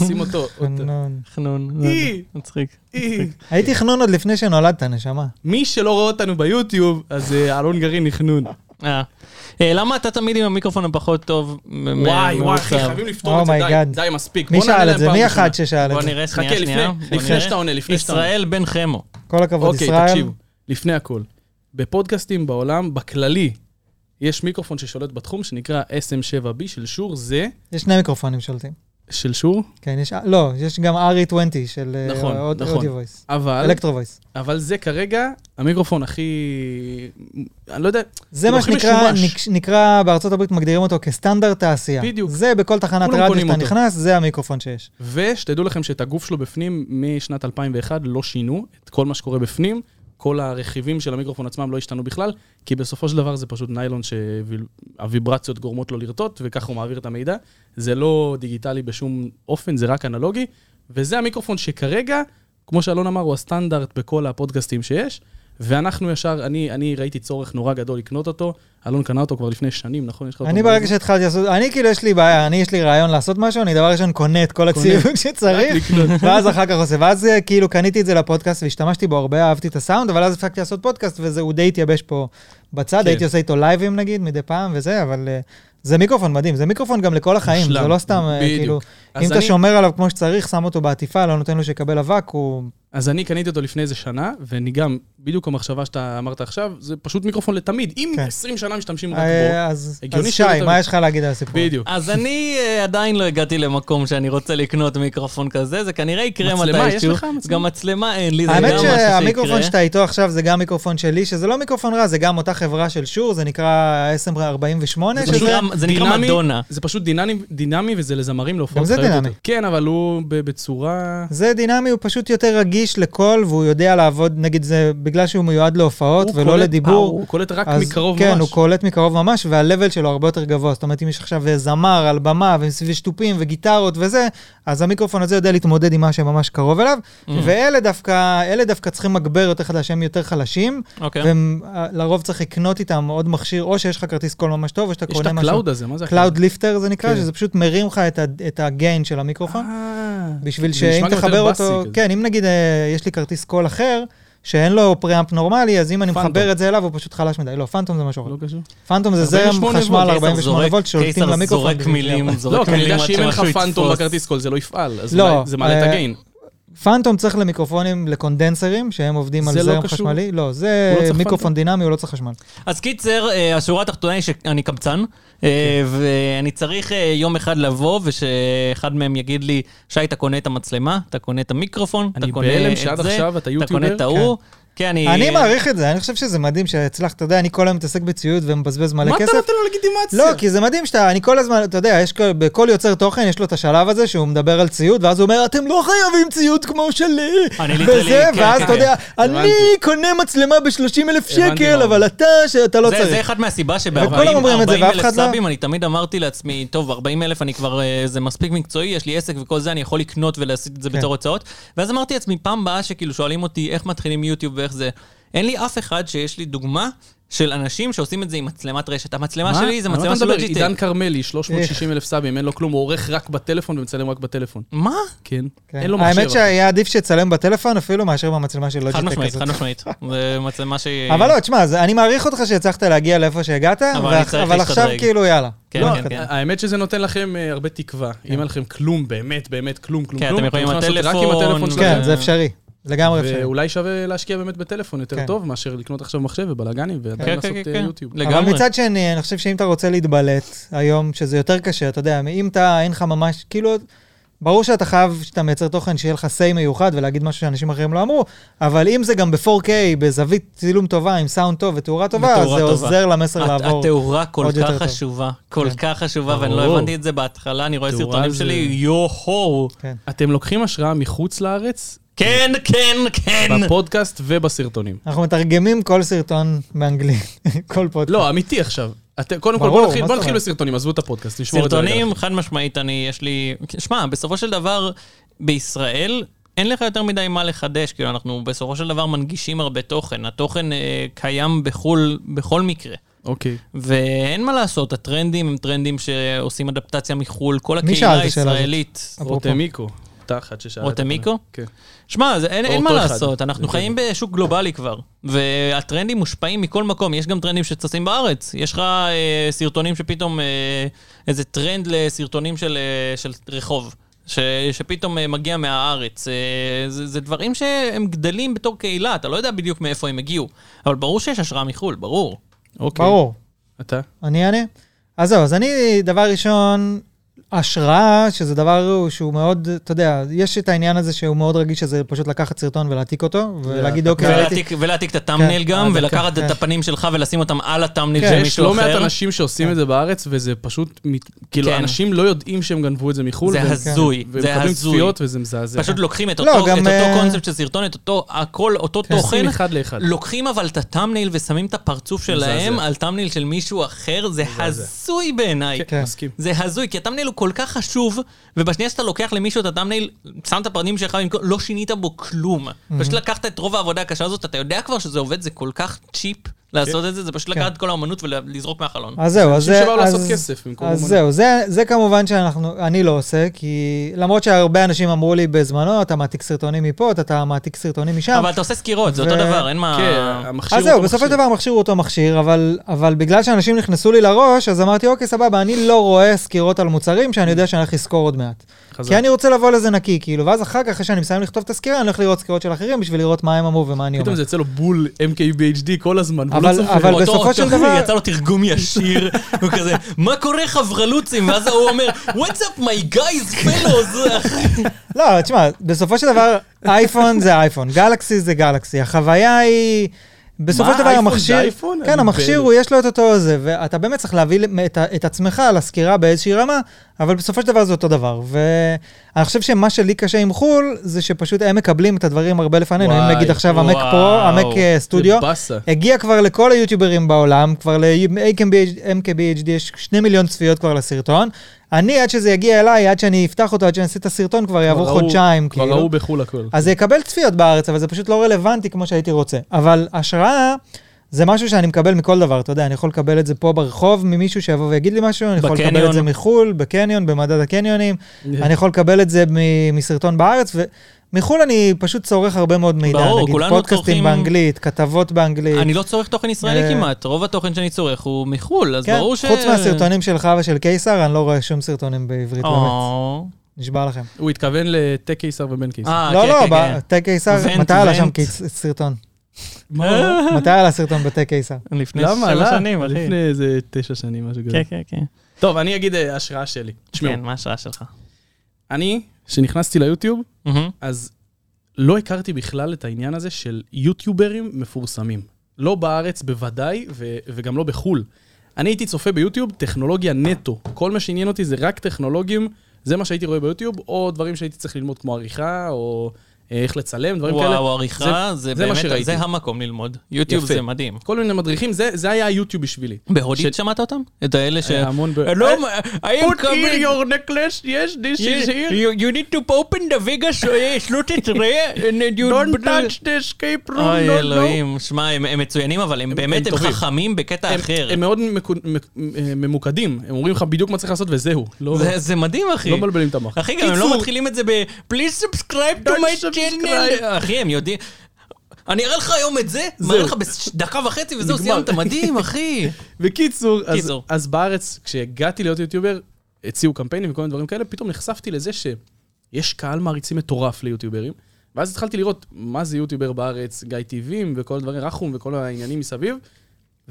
[SPEAKER 2] שים אותו. אותו.
[SPEAKER 3] חנון.
[SPEAKER 1] חנון.
[SPEAKER 2] אי!
[SPEAKER 1] מצחיק.
[SPEAKER 2] אי.
[SPEAKER 3] הייתי חנון עוד לפני שנולדת, נשמה.
[SPEAKER 2] מי שלא רואה אותנו ביוטיוב, אז אה, אלון גרעין נכנון.
[SPEAKER 1] אה. אה, למה אתה תמיד עם המיקרופון הפחות טוב? מ-
[SPEAKER 2] וואי, וואי,
[SPEAKER 1] מהמוצר?
[SPEAKER 2] אחי, חייבים
[SPEAKER 1] Oh
[SPEAKER 2] לפתור את זה, די,
[SPEAKER 3] אומייגאד.
[SPEAKER 2] די, מספיק.
[SPEAKER 3] מי
[SPEAKER 2] בוא נענה
[SPEAKER 3] שאל את
[SPEAKER 2] להם
[SPEAKER 3] זה?
[SPEAKER 2] פעם
[SPEAKER 3] מי
[SPEAKER 2] ראשונה.
[SPEAKER 3] אחד ששאל
[SPEAKER 1] בוא
[SPEAKER 3] את זה?
[SPEAKER 1] נראה, שנייה,
[SPEAKER 2] חכה,
[SPEAKER 1] שנייה.
[SPEAKER 2] לפני-
[SPEAKER 1] בוא
[SPEAKER 2] לפני
[SPEAKER 1] נראה.
[SPEAKER 2] שאתה עונה, לפני שאתה עונה.
[SPEAKER 1] ישראל בן חמו.
[SPEAKER 3] כל הכבוד,
[SPEAKER 2] אוקיי,
[SPEAKER 3] ישראל.
[SPEAKER 2] תקשיבו, לפני הכל, בפודקאסטים בעולם, בכללי, יש מיקרופון ששולט בתחום שנקרא SM7B של שור, זה
[SPEAKER 3] יש שני מיקרופונים שולטים.
[SPEAKER 2] של שור,
[SPEAKER 3] כן, יש... לא, יש גם RE20 של אה,
[SPEAKER 2] נכון, נכון.
[SPEAKER 3] אודיו וויס.
[SPEAKER 2] אבל,
[SPEAKER 3] אלקטרו וויס.
[SPEAKER 2] אבל זה כרגע המיקרופון הכי... אני לא יודע,
[SPEAKER 3] זה
[SPEAKER 2] הוא
[SPEAKER 3] מה
[SPEAKER 2] הכי
[SPEAKER 3] שנקרא,
[SPEAKER 2] משומש.
[SPEAKER 3] נק- נקרא, בארצות הברית מגדירים אותו כסטנדרט תעשייה.
[SPEAKER 2] בדיוק.
[SPEAKER 3] זה בכל תחנת
[SPEAKER 2] כולם
[SPEAKER 3] רדיו
[SPEAKER 2] קונים
[SPEAKER 3] שאתה
[SPEAKER 2] אותו.
[SPEAKER 3] נכנס, זה המיקרופון שיש.
[SPEAKER 2] ושתדעו לכם שאת הגוף שלו בפנים, משנת 2001 לא שינו את כל מה שקורה בפנים. כל הרכיבים של המיקרופון עצמם לא השתנו בכלל, כי בסופו של דבר זה פשוט ניילון שהוויברציות גורמות לו לרטוט, וככה הוא מעביר את המידע. זה לא דיגיטלי בשום אופן, זה רק אנלוגי, וזה המיקרופון שכרגע כמו שאלון אמר, הוא הסטנדרט בכל הפודקאסטים שיש, ואנחנו ישר, אני, אני ראיתי צורך נורא גדול לקנות אותו, אלון קנה אותו כבר לפני שנים, נכון? יש לך אותו
[SPEAKER 3] אני
[SPEAKER 2] באיזה-
[SPEAKER 3] ברגע שהתחלתי לעשות, אני כאילו יש לי בעיה, אני יש לי רעיון לעשות משהו, אני דבר ראשון קונה את כל הציוד שצריך, ואז אחר כך עושה, ואז אה, כאילו קניתי את זה לפודקאסט והשתמשתי בו הרבה, אהבתי את הסאונד, אבל אז הפסקתי לעשות פודקאסט, וזה, הוא די התייבש פה בצד,
[SPEAKER 2] כן.
[SPEAKER 3] הייתי עושה איתו לייבים נגיד, מדי פעם וזה, אבל אה, זה מיקרופון מדהים, זה מיקרופון גם לכל החיים,
[SPEAKER 2] מושלם,
[SPEAKER 3] זה לא סתם, אה,
[SPEAKER 2] בדיוק.
[SPEAKER 3] כאילו,
[SPEAKER 2] אז
[SPEAKER 3] אם אתה
[SPEAKER 2] אני-
[SPEAKER 3] שומר עליו כמו שצריך, שם אותו בעטיפה, לא נותן לו שיקבל אבק, הוא...
[SPEAKER 2] אז אני קניתי אותו לפני איזה שנה, ואני גם, בדיוק המחשבה שאתה אמרת עכשיו, זה פשוט מיקרופון לתמיד. אם
[SPEAKER 3] כן.
[SPEAKER 2] 20 שנה משתמשים רק בו,
[SPEAKER 3] אה, אז
[SPEAKER 2] הגיוני
[SPEAKER 3] אז שי,
[SPEAKER 2] שלא אתה-
[SPEAKER 3] מה יש לך להגיד על הסיפור?
[SPEAKER 2] בדיוק.
[SPEAKER 1] אז אני אה, עדיין לא הגעתי למקום שאני רוצה לקנות מיקרופון כזה, זה כנראה יקרה מתישהו.
[SPEAKER 2] מצלמה, יש לך מצלמה?
[SPEAKER 1] גם מצלמה אין לי, זה גם
[SPEAKER 3] האמת
[SPEAKER 1] משהו שיקרה.
[SPEAKER 3] שהמיקרופון שאתה איתו עכשיו זה גם מיקרופון שלי, שזה לא מיקרופון רע, זה גם אותה חברה של שור, זה נקרא SM48,
[SPEAKER 1] זה
[SPEAKER 3] שזה...
[SPEAKER 1] נקרא- זה נקרא
[SPEAKER 2] דינמי,
[SPEAKER 1] מדונה.
[SPEAKER 2] זה פשוט דינמי, דינמי וזה לזמרים להופעות.
[SPEAKER 3] גם זה
[SPEAKER 2] חיות יותר.
[SPEAKER 3] דינמי.
[SPEAKER 2] כן, אבל הוא ב- בצורה...
[SPEAKER 3] זה דינמי, הוא פשוט יותר רגיש לקול, והוא יודע לעבוד, נגיד זה בגלל שהוא מיועד להופעות
[SPEAKER 2] הוא
[SPEAKER 3] ולא
[SPEAKER 2] קולט- אה,
[SPEAKER 3] לדיבור.
[SPEAKER 2] הוא קולט רק
[SPEAKER 3] אז
[SPEAKER 2] מקרוב
[SPEAKER 3] כן, הוא
[SPEAKER 2] ממש.
[SPEAKER 3] קולט מקרוב ממש, והלבל שלו הרבה יותר גבוה. זאת אומרת, אם יש עכשיו אה, זמר על במה וסביב שתופים וגיטרות וזה, אז המיקרופון הזה יודע להתמודד עם מה שממש קרוב אליו,
[SPEAKER 2] Mm.
[SPEAKER 3] ואלה דווקא, אלה דווקא צריכים מגבר יותר חדש, הם יותר חלשים,
[SPEAKER 2] כן.
[SPEAKER 1] אוקיי.
[SPEAKER 3] ולרוב אה, צריך לקנות איתם עוד מכשיר, או שיש לך כרטיס קול ממש טוב, או שאתה
[SPEAKER 2] יש את
[SPEAKER 3] קונה משהו.
[SPEAKER 2] הקלאוד הזה, מה זה
[SPEAKER 3] קלאוד ליפטר זה נקרא,
[SPEAKER 2] כן.
[SPEAKER 3] שזה פשוט מרים לך את ה- את הגיין של המיקרופון.
[SPEAKER 2] אה,
[SPEAKER 3] בשביל
[SPEAKER 2] זה נשמע
[SPEAKER 3] שאם
[SPEAKER 2] גם יותר
[SPEAKER 3] תחבר
[SPEAKER 2] באסי
[SPEAKER 3] אותו,
[SPEAKER 2] כזה.
[SPEAKER 3] כן, אם נגיד אה, יש לי כרטיס קול אחר, שאין לו פריאמפ נורמלי, אז אם אני
[SPEAKER 2] פנטום.
[SPEAKER 3] מחבר את זה אליו, הוא פשוט חלש מדי. לא, פנטום זה משהו אחר.
[SPEAKER 2] לא קשור.
[SPEAKER 3] פנטום זה זרם
[SPEAKER 2] 48
[SPEAKER 3] חשמל
[SPEAKER 2] וולט,
[SPEAKER 1] קיסר
[SPEAKER 3] 48
[SPEAKER 1] זורק-
[SPEAKER 3] וולט שולטים
[SPEAKER 1] קיסר
[SPEAKER 3] למיקרופון.
[SPEAKER 1] זורק
[SPEAKER 3] בשביל
[SPEAKER 1] מילים,
[SPEAKER 3] זה.
[SPEAKER 2] לא,
[SPEAKER 1] זורק
[SPEAKER 2] כי אני
[SPEAKER 1] מילים
[SPEAKER 2] יודע
[SPEAKER 1] עד
[SPEAKER 2] שאם אין לך
[SPEAKER 1] שמשהו יתפוס.
[SPEAKER 2] פנטום בכרטיס קול זה לא יפעל, אז
[SPEAKER 3] לא,
[SPEAKER 2] אולי זה מעלה את
[SPEAKER 3] אה,
[SPEAKER 2] הגיין.
[SPEAKER 3] פנטום צריך למיקרופונים, לקונדנסרים, שהם עובדים
[SPEAKER 2] זה
[SPEAKER 3] על
[SPEAKER 2] לא
[SPEAKER 3] זרם
[SPEAKER 2] קשור.
[SPEAKER 3] חשמלי. לא, זה
[SPEAKER 2] הוא לא צריך
[SPEAKER 3] מיקרופון
[SPEAKER 2] פנטום?
[SPEAKER 3] דינמי, הוא לא צריך חשמל.
[SPEAKER 1] אז קיצר, אה, השורה התחתונה היא שאני קמצן, אה, ואני צריך אה, יום אחד לבוא, ושאחד מהם יגיד לי, שי, אתה קונה את המצלמה, אתה קונה את המיקרופון, אתה
[SPEAKER 2] אני
[SPEAKER 1] קונה
[SPEAKER 2] בהלם
[SPEAKER 1] את זה,
[SPEAKER 2] שעד עכשיו אתה
[SPEAKER 1] אתה קונה את
[SPEAKER 2] יוטיובר?
[SPEAKER 1] ההוא. כן, אני...
[SPEAKER 3] אני מעריך את זה, אני חושב שזה מדהים שהצלחת, אתה יודע, אני כל היום מתעסק בציוד ומבזבז מלא
[SPEAKER 2] מה
[SPEAKER 3] כסף.
[SPEAKER 2] אתה נותן לו לגיטימציה?
[SPEAKER 3] לא, כי זה מדהים שאתה, אני כל הזמן, אתה יודע, יש כל- בכל יוצר תוכן יש לו את השלב הזה שהוא מדבר על ציוד, ואז הוא אומר, אתם לא חייבים ציוד כמו שלי.
[SPEAKER 1] אני ליטרלי,
[SPEAKER 3] וזה,
[SPEAKER 1] כן,
[SPEAKER 3] ואז
[SPEAKER 1] כן,
[SPEAKER 3] אתה יודע, אני
[SPEAKER 2] הבנתי.
[SPEAKER 3] קונה מצלמה ב-30 אלף
[SPEAKER 2] הבנתי
[SPEAKER 3] שקל,
[SPEAKER 2] מה
[SPEAKER 3] אבל אתה, שאתה לא
[SPEAKER 1] זה, זה
[SPEAKER 3] צריך.
[SPEAKER 1] אחד מהסיבה
[SPEAKER 3] וכולם אומרים את זה,
[SPEAKER 1] שב-40
[SPEAKER 3] ואף
[SPEAKER 1] אלף
[SPEAKER 3] אחד לא-
[SPEAKER 1] סאבים, אני תמיד אמרתי לעצמי, טוב, 40 אלף אני כבר, אה, זה מספיק מקצועי, יש לי עסק וכל זה, אני יכול לקנות ולהסיט את זה
[SPEAKER 3] כן.
[SPEAKER 1] בתור הוצאות. ואז אמרתי לעצמי, פעם באה שכאילו שואלים אותי איך מתחילים יוטיוב ואיך זה, אין לי אף אחד שיש לי דוגמה של אנשים שעושים את זה עם מצלמת רשת. המצלמה
[SPEAKER 2] מה?
[SPEAKER 1] שלי זה
[SPEAKER 2] על מה
[SPEAKER 1] מצלמה
[SPEAKER 2] אתה
[SPEAKER 1] של
[SPEAKER 2] מדבר?
[SPEAKER 1] לוג'יטק.
[SPEAKER 2] עידן כרמלי, 360 אלף סאבים, אין לו כלום, הוא עורך רק בטלפון ומצלם רק בטלפון.
[SPEAKER 1] מה?
[SPEAKER 2] כן.
[SPEAKER 3] כן.
[SPEAKER 2] אין לו מחשב.
[SPEAKER 3] האמת שהיה עדיף שיצלם בטלפון אפילו מאשר במצלמה של
[SPEAKER 1] חד
[SPEAKER 3] לוג'יטק
[SPEAKER 1] משמעית,
[SPEAKER 3] הזאת.
[SPEAKER 1] חד משמעית. זה מצלמה ש...
[SPEAKER 3] אבל לא, תשמע, זה- אני מעריך אותך שהצלחת להגיע לאיפה שהגעת,
[SPEAKER 1] אבל אני
[SPEAKER 3] ואח-
[SPEAKER 1] צריך
[SPEAKER 3] אבל עכשיו
[SPEAKER 1] להשתדרג.
[SPEAKER 3] כאילו, יאללה.
[SPEAKER 1] כן,
[SPEAKER 3] לא,
[SPEAKER 1] כן,
[SPEAKER 3] אתה-
[SPEAKER 1] כן.
[SPEAKER 2] האמת שזה נותן לכם אה, הרבה תקווה.
[SPEAKER 3] כן.
[SPEAKER 2] אם אין לכם כלום, באמת, באמת כלום, כלום,
[SPEAKER 1] כן,
[SPEAKER 2] כלום,
[SPEAKER 1] אתם יכולים עם
[SPEAKER 2] לעשות רק עם
[SPEAKER 1] הטלפון,
[SPEAKER 2] הטלפון
[SPEAKER 1] כן.
[SPEAKER 2] שלכם.
[SPEAKER 3] כן, זה אפשרי. לגמרי אפשרי.
[SPEAKER 2] ואולי שווה להשקיע באמת בטלפון יותר
[SPEAKER 3] כן.
[SPEAKER 2] טוב מאשר לקנות עכשיו מחשב ובלאגנים ועדיין
[SPEAKER 1] כן,
[SPEAKER 2] לעשות
[SPEAKER 1] כן,
[SPEAKER 2] אה,
[SPEAKER 1] כן.
[SPEAKER 2] יוטיוב.
[SPEAKER 1] לגמרי.
[SPEAKER 3] אבל מצד שני, אני חושב שאם אתה רוצה להתבלט היום, שזה יותר קשה, אתה יודע, אם אתה, אין לך ממש, כאילו, ברור שאתה חייב, כשאתה מייצר תוכן, שיהיה לך say מיוחד ולהגיד משהו שאנשים אחרים לא אמרו, אבל אם זה גם ב-4K, בזווית צילום טובה, עם סאונד טוב ותאורה טובה, אז זה
[SPEAKER 1] ותאורה
[SPEAKER 3] טובה.
[SPEAKER 1] טובה.
[SPEAKER 3] עוזר למסר
[SPEAKER 1] הת-
[SPEAKER 3] לעבור.
[SPEAKER 1] התאורה כל
[SPEAKER 3] עוד יותר
[SPEAKER 1] כך
[SPEAKER 3] טוב.
[SPEAKER 1] חשובה, כל
[SPEAKER 3] כן.
[SPEAKER 1] כך חשובה, ואני לא
[SPEAKER 2] ברור.
[SPEAKER 1] הבנתי את זה בהתחלה, אני רואה
[SPEAKER 2] תאורה
[SPEAKER 1] סרטונים
[SPEAKER 2] זה-
[SPEAKER 1] שלי, יו-הו.
[SPEAKER 3] כן.
[SPEAKER 2] אה, אתם לוקחים השראה מחוץ לארץ,
[SPEAKER 1] כן, כן, כן.
[SPEAKER 2] בפודקאסט ובסרטונים.
[SPEAKER 3] אנחנו מתרגמים כל סרטון באנגלית, כל פודקאסט.
[SPEAKER 2] לא, אמיתי עכשיו. אתם- קודם כל,
[SPEAKER 3] ברור,
[SPEAKER 2] בוא נתחיל-
[SPEAKER 3] מה
[SPEAKER 2] בוא
[SPEAKER 3] זאת
[SPEAKER 2] נתחיל
[SPEAKER 3] אומרת?
[SPEAKER 2] בסרטונים, עזבו את הפודקאסט, נשמור את זה. רגע.
[SPEAKER 1] סרטונים, חד משמעית, אני, יש לי... שמע, בסופו של דבר, בישראל, אין לך יותר מדי מה לחדש, כאילו, אנחנו בסופו של דבר מנגישים הרבה תוכן. התוכן אה, קיים בחו"ל, בכל מקרה.
[SPEAKER 2] אוקיי.
[SPEAKER 1] ואין מה לעשות, הטרנדים הם טרנדים שעושים אדפטציה מחו"ל, כל
[SPEAKER 3] מי
[SPEAKER 1] הקהילה
[SPEAKER 3] שאל את השאלה הזאת?
[SPEAKER 1] הישראלית.
[SPEAKER 3] אפרופו.
[SPEAKER 2] רותם מיקו, אותה אחת ששאלה.
[SPEAKER 1] רותם מיקו?
[SPEAKER 2] כן.
[SPEAKER 1] שמע, זה- אין,
[SPEAKER 2] או
[SPEAKER 1] אין מה
[SPEAKER 2] אותו אחד. אוקיי.
[SPEAKER 1] לעשות, אנחנו
[SPEAKER 2] זה
[SPEAKER 1] חיים בשוק גלובלי כבר, והטרנדים מושפעים מכל מקום, יש גם טרנדים שצצים בארץ, יש לך אה, סרטונים שפתאום, אה, איזה טרנד לסרטונים של, אה, של רחוב, ש, שפתאום אה, מגיע מהארץ, אה, זה, זה דברים שהם גדלים בתור קהילה, אתה לא יודע בדיוק מאיפה הם הגיעו, אבל ברור שיש השראה מחו"ל, ברור.
[SPEAKER 2] אוקיי.
[SPEAKER 3] ברור.
[SPEAKER 2] אתה?
[SPEAKER 3] אני אענה? אז זהו, אז אני, דבר ראשון, השראה, שזה דבר שהוא מאוד, אתה יודע, יש את העניין הזה שהוא מאוד רגיש, שזה פשוט לקחת סרטון ולהעתיק אותו, ולהגיד, אוקיי, ראיתי
[SPEAKER 1] ולהעתיק, ולהעתיק את הטאמנייל
[SPEAKER 3] כן,
[SPEAKER 1] גם,
[SPEAKER 3] אה,
[SPEAKER 1] ולקחת
[SPEAKER 3] כן.
[SPEAKER 1] את הפנים שלך ולשים אותם על הטאמנייל
[SPEAKER 3] כן.
[SPEAKER 1] של
[SPEAKER 2] יש לא
[SPEAKER 1] מישהו
[SPEAKER 2] מעט
[SPEAKER 1] אחר.
[SPEAKER 2] אנשים שעושים את זה בארץ, וזה פשוט, מת- כאילו,
[SPEAKER 1] כן.
[SPEAKER 2] אנשים לא יודעים שהם גנבו את זה מחו"ל.
[SPEAKER 1] זה
[SPEAKER 3] כן.
[SPEAKER 2] והם-
[SPEAKER 1] הזוי, זה
[SPEAKER 2] ומקבלים
[SPEAKER 1] הזוי.
[SPEAKER 2] צפיות וזה מזעזע.
[SPEAKER 1] פשוט לוקחים את
[SPEAKER 3] לא,
[SPEAKER 1] אותו,
[SPEAKER 3] גם,
[SPEAKER 1] את אותו
[SPEAKER 3] אה, כן,
[SPEAKER 1] קונספט של סרטון, את אותו, הכל, אותו תוכן,
[SPEAKER 2] עושים אחד לאחד.
[SPEAKER 1] לוקחים אבל את הטאמנייל ושמים את הפרצוף שלהם
[SPEAKER 2] מזעזע.
[SPEAKER 1] על טאמנייל של מישהו אחר, זה הזוי בעיניי.
[SPEAKER 2] כן,
[SPEAKER 3] כן.
[SPEAKER 2] מסכים.
[SPEAKER 1] זה הזוי, כי הטאמנייל הוא כל כך חשוב, ובשנייה שאתה לוקח למישהו את הטאמנייל, שם את הפרנים שלך, במקום- לא שינית בו
[SPEAKER 3] Mhm.
[SPEAKER 1] כלום. פשוט לקחת את רוב העבודה הקשה הזאת, אתה יודע כבר שזה עובד, זה כל כך צ'יפ לעשות
[SPEAKER 3] כן.
[SPEAKER 1] את זה, זה פשוט לקחת את כל האמנות ולזרוק מהחלון.
[SPEAKER 3] אז זהו, אז
[SPEAKER 2] אנשים
[SPEAKER 3] זה...
[SPEAKER 2] שבאו לעשות
[SPEAKER 3] אז-
[SPEAKER 2] כסף במקום
[SPEAKER 3] אז
[SPEAKER 2] אומנות.
[SPEAKER 3] זהו, זה, זה כמובן שאנחנו, אני לא עושה, כי למרות שהרבה אנשים אמרו לי בזמנו, אתה מעתיק סרטונים מפה, אתה- אתה מעתיק סרטונים משם.
[SPEAKER 1] אבל אתה עושה סקירות, זה אותו
[SPEAKER 3] ו-
[SPEAKER 1] דבר, אין מה...
[SPEAKER 2] כן, המכשיר
[SPEAKER 1] אה,
[SPEAKER 3] אז
[SPEAKER 2] הוא
[SPEAKER 3] זהו,
[SPEAKER 2] אותו
[SPEAKER 3] בסופו של
[SPEAKER 2] מכשיר.
[SPEAKER 3] דבר המכשיר הוא אותו מכשיר, אבל, אבל בגלל שאנשים נכנסו לי לראש, אז אמרתי, אוקיי, סבבה, אני לא רואה סקירות על מוצרים שאני יודע שאני הולך לזכור עוד מעט.
[SPEAKER 2] חזק.
[SPEAKER 3] כי
[SPEAKER 1] כן.
[SPEAKER 3] אני רוצה לבוא לזה נקי, כאילו, ואז אחר כך, אחרי שאני מסיים לכתוב את הסקירה, אני הולך לראות סקירות של אחרים בשביל לראות מה הם אמרו ומה אני אומר.
[SPEAKER 2] פתאום זה יוצא לו בול MKBHD כל הזמן, והוא לא
[SPEAKER 3] אבל-
[SPEAKER 2] צופה.
[SPEAKER 3] אבל
[SPEAKER 1] אותו-
[SPEAKER 3] בסופו
[SPEAKER 1] אותו-
[SPEAKER 3] של דבר-
[SPEAKER 1] יצא לו תרגום ישיר, הוא כזה, מה קורה חברלוצים? ואז הוא אומר, what's up my guys fellows?
[SPEAKER 3] לא, תשמע, בסופו של דבר, אייפון זה אייפון, גלקסי זה גלקסי. החוויה היא... בסופו
[SPEAKER 2] מה,
[SPEAKER 3] של דבר
[SPEAKER 2] אייפון זה
[SPEAKER 3] המכשיר,
[SPEAKER 2] אייפון?
[SPEAKER 3] כן,
[SPEAKER 2] אני
[SPEAKER 3] המכשיר,
[SPEAKER 2] בהלם.
[SPEAKER 3] הוא יש לו את אותו זה, ואתה באמת צריך להביא את, ה- את עצמך לסקירה באיזושהי רמה, אבל בסופו של דבר זה אותו דבר. ואני חושב שמה שלי קשה עם חו"ל, זה שפשוט הם מקבלים את הדברים הרבה לפנינו. אם
[SPEAKER 2] וואי,
[SPEAKER 3] נגיד עכשיו המק
[SPEAKER 1] וואו,
[SPEAKER 3] פרו, המק אה, סטודיו,
[SPEAKER 2] זה באסה.
[SPEAKER 3] הגיע כבר לכל היוטיוברים בעולם, כבר ל-MKBHD יש שני מיליון צפיות כבר לסרטון. אני, עד שזה יגיע אליי, עד שאני אפתח אותו, עד שאני אעשה את הסרטון, כבר יעבור
[SPEAKER 2] כבר ראו-
[SPEAKER 3] חודשיים,
[SPEAKER 2] כבר
[SPEAKER 3] כאילו.
[SPEAKER 2] ראו בחו"ל הכל.
[SPEAKER 1] אה.
[SPEAKER 3] אז זה יקבל צפיות בארץ, אבל זה פשוט לא רלוונטי כמו שהייתי רוצה. אבל השראה... זה משהו שאני מקבל מכל דבר, אתה יודע, אני יכול לקבל את זה פה ברחוב ממישהו שיבוא ויגיד לי משהו, אני יכול לקבל
[SPEAKER 1] בקניון.
[SPEAKER 3] את זה מחו"ל, בקניון, במדד הקניונים, אני יכול לקבל את זה מ- מסרטון בארץ, ומחו"ל אני פשוט צורך הרבה מאוד מידע,
[SPEAKER 1] ברור,
[SPEAKER 3] נגיד
[SPEAKER 1] כולנו
[SPEAKER 3] פודקאסטים
[SPEAKER 1] צורכים-
[SPEAKER 3] באנגלית, כתבות
[SPEAKER 2] אה,
[SPEAKER 3] באנגלית.
[SPEAKER 1] אני לא צורך תוכן ישראלי
[SPEAKER 3] אה.
[SPEAKER 1] כמעט, רוב התוכן שאני צורך הוא מחו"ל, אז
[SPEAKER 3] כן,
[SPEAKER 1] ברור ש...
[SPEAKER 3] חוץ מהסרטונים שלך ושל קיסר, אני לא רואה שום סרטונים בעברית,
[SPEAKER 1] אה,
[SPEAKER 3] באמת.
[SPEAKER 1] או.
[SPEAKER 3] נשבע לכם.
[SPEAKER 2] הוא התכוון לטק קיסר ובן קיסר.
[SPEAKER 1] אה,
[SPEAKER 3] לא,
[SPEAKER 1] כן,
[SPEAKER 3] לא,
[SPEAKER 1] כן, כן.
[SPEAKER 3] בטק קיסר,
[SPEAKER 1] ונט,
[SPEAKER 3] מתי עלה
[SPEAKER 1] ונט.
[SPEAKER 3] שם קיצ- סרטון?
[SPEAKER 2] מה?
[SPEAKER 3] מתי עלה סרטון בטק קיסר?
[SPEAKER 1] לפני
[SPEAKER 2] למה?
[SPEAKER 1] שבע
[SPEAKER 2] לא,
[SPEAKER 1] שנים, אחי.
[SPEAKER 2] לפני איזה תשע שנים, משהו כזה.
[SPEAKER 1] כן, כן, כן.
[SPEAKER 2] טוב, אני אגיד אה, השראה שלי. תשמעו,
[SPEAKER 1] כן, מה השעה שלך?
[SPEAKER 2] אני, שנכנסתי ליוטיוב,
[SPEAKER 1] מהמם.
[SPEAKER 2] אז לא הכרתי בכלל את העניין הזה של יוטיוברים מפורסמים. לא בארץ בוודאי, ו- וגם לא בחו"ל. אני הייתי צופה ביוטיוב טכנולוגיה נטו. כל מה שעניין אותי זה רק טכנולוגים, זה מה שהייתי רואה ביוטיוב, או דברים שהייתי צריך ללמוד כמו עריכה, או אה, איך לצלם, דברים כאלה.
[SPEAKER 1] וואו, עריכה, זה
[SPEAKER 2] זה מה
[SPEAKER 1] באמת,
[SPEAKER 2] שראיתי.
[SPEAKER 1] זה המקום ללמוד. יוטיוב
[SPEAKER 2] יפה.
[SPEAKER 1] זה מדהים.
[SPEAKER 2] כל מיני מדריכים, זה, זה היה היוטיוב בשבילי.
[SPEAKER 1] בהודית שמעת אותם? את האלה ש...
[SPEAKER 2] היה אה, המון ב-
[SPEAKER 1] לא, I am
[SPEAKER 2] Put
[SPEAKER 1] coming-
[SPEAKER 2] in your necklace, yes, this
[SPEAKER 1] You,
[SPEAKER 2] is here.
[SPEAKER 1] you, you need to open the Vegas uh, slot is rare and then you...
[SPEAKER 2] Don't touch the escape room,
[SPEAKER 1] אוי
[SPEAKER 2] no, no.
[SPEAKER 1] אה, אלוהים, שמע, הם הם מצוינים, אבל הם באמת, הם
[SPEAKER 2] טובים.
[SPEAKER 1] חכמים בקטע
[SPEAKER 2] הם-
[SPEAKER 1] אחר.
[SPEAKER 2] הם מאוד מקו- מק- אה, ממוקדים, הם אומרים לך בדיוק מה צריך לעשות וזהו. לא-
[SPEAKER 1] זה- זה מדהים, אחי.
[SPEAKER 2] לא מבלבלים את המוח.
[SPEAKER 1] אחי, גם הם
[SPEAKER 2] קיצור,
[SPEAKER 1] לא מתחילים את זה ב... Please subscribe to
[SPEAKER 2] Don't
[SPEAKER 1] my
[SPEAKER 2] subscribe.
[SPEAKER 1] channel. אחי, הם יודעים... אני אראה לך היום את זה, מראה
[SPEAKER 2] זהו.
[SPEAKER 1] לך בדקה וחצי וזהו,
[SPEAKER 2] נגמר.
[SPEAKER 1] סיימת, מדהים, אחי.
[SPEAKER 2] בקיצור, אז-
[SPEAKER 1] קיצור.
[SPEAKER 2] אז בארץ, כשהגעתי להיות יוטיובר, הציעו קמפיינים וכל מיני דברים כאלה, פתאום נחשפתי לזה שיש קהל מעריצים מטורף ליוטיוברים, ואז התחלתי לראות מה זה יוטיובר בארץ, גיא טיבים וכל הדברים, רחום וכל העניינים מסביב,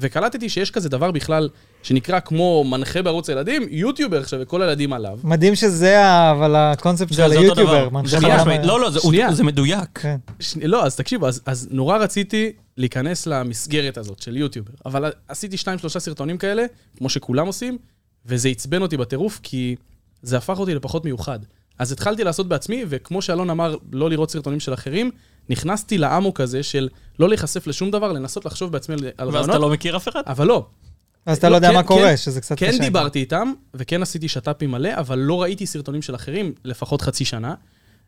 [SPEAKER 2] וקלטתי שיש כזה דבר בכלל, שנקרא כמו מנחה בערוץ הילדים, יוטיובר עכשיו, וכל הילדים עליו.
[SPEAKER 3] מדהים שזה, ה- אבל הקונספט של
[SPEAKER 1] זה אותו דבר.
[SPEAKER 3] היוטיובר.
[SPEAKER 1] זה
[SPEAKER 3] מנחה
[SPEAKER 1] חד
[SPEAKER 3] בעולם
[SPEAKER 1] משמעית.
[SPEAKER 3] ה-
[SPEAKER 1] לא, לא, זה-
[SPEAKER 2] שנייה.
[SPEAKER 1] זה מדויק.
[SPEAKER 3] כן.
[SPEAKER 2] ש... לא, אז תקשיב, אז, אז נורא רציתי להיכנס למסגרת הזאת של יוטיובר, אבל עשיתי שניים, שלושה סרטונים כאלה, כמו שכולם עושים, וזה עצבן אותי בטירוף, כי זה הפך אותי לפחות מיוחד. אז התחלתי לעשות בעצמי, וכמו שאלון אמר, לא לראות סרטונים של אחרים, נכנסתי לאמוק הזה של לא להיחשף לשום דבר, לנסות לחשוב בעצמי על- על
[SPEAKER 1] ואז אתה
[SPEAKER 2] רעיונות,
[SPEAKER 1] לא מכיר אף אחד?
[SPEAKER 2] אבל לא,
[SPEAKER 3] אז אתה לא יודע
[SPEAKER 2] כן,
[SPEAKER 3] מה
[SPEAKER 2] כן,
[SPEAKER 3] קורה, שזה קצת קשה.
[SPEAKER 2] כן דיברתי איתם, וכן עשיתי שת"פים מלא, אבל לא ראיתי סרטונים של אחרים לפחות חצי שנה.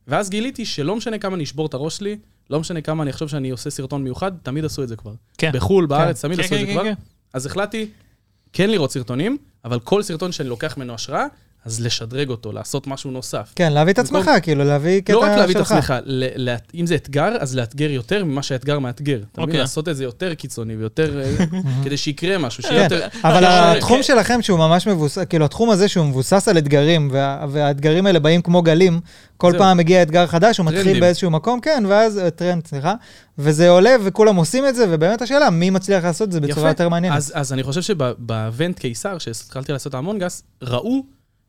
[SPEAKER 2] ואז גיליתי שלא משנה כמה אני אשבור את הראש שלי, לא משנה כמה אני אחשוב שאני עושה סרטון מיוחד, תמיד עשו את זה כבר.
[SPEAKER 1] כן.
[SPEAKER 2] בחו"ל, בארץ, תמיד
[SPEAKER 1] כן,
[SPEAKER 2] עשו את
[SPEAKER 1] כן, כן,
[SPEAKER 2] זה כבר.
[SPEAKER 1] כן.
[SPEAKER 2] אז החלטתי כן לראות סרטונים, אבל כל סרטון שאני לוקח ממנו השראה, אז לשדרג אותו, לעשות משהו נוסף.
[SPEAKER 3] כן, להביא את עצמך,
[SPEAKER 2] במקום-
[SPEAKER 3] כאילו, להביא
[SPEAKER 1] כן,
[SPEAKER 3] קטע
[SPEAKER 2] לא
[SPEAKER 3] שלך.
[SPEAKER 2] רק להביא את עצמך, ל- לה- אם זה אתגר, אז לאתגר יותר ממה שהאתגר מאתגר. אתה מבין?
[SPEAKER 1] אוקיי.
[SPEAKER 2] לעשות את זה יותר קיצוני ויותר... אה, כדי שיקרה משהו, שיהיה
[SPEAKER 3] כן,
[SPEAKER 2] יותר...
[SPEAKER 3] אבל
[SPEAKER 2] אה,
[SPEAKER 3] התחום
[SPEAKER 2] כן.
[SPEAKER 3] שלכם שהוא ממש מבוסס, כאילו התחום הזה שהוא מבוסס על אתגרים, וה- והאתגרים האלה באים כמו גלים, כל
[SPEAKER 2] זהו.
[SPEAKER 3] פעם מגיע אתגר חדש, הוא מתחיל
[SPEAKER 2] טרנדים.
[SPEAKER 3] באיזשהו מקום, כן, ואז, אה, טרנד, סליחה, וזה עולה וכולם עושים את זה, ובאמת השאלה, מי מצליח לעשות את זה בצורה יותר מעניינת.
[SPEAKER 2] אז, אז אני חושב שבאבנט קיסר, שהתחלתי לעשות המונגס, ראו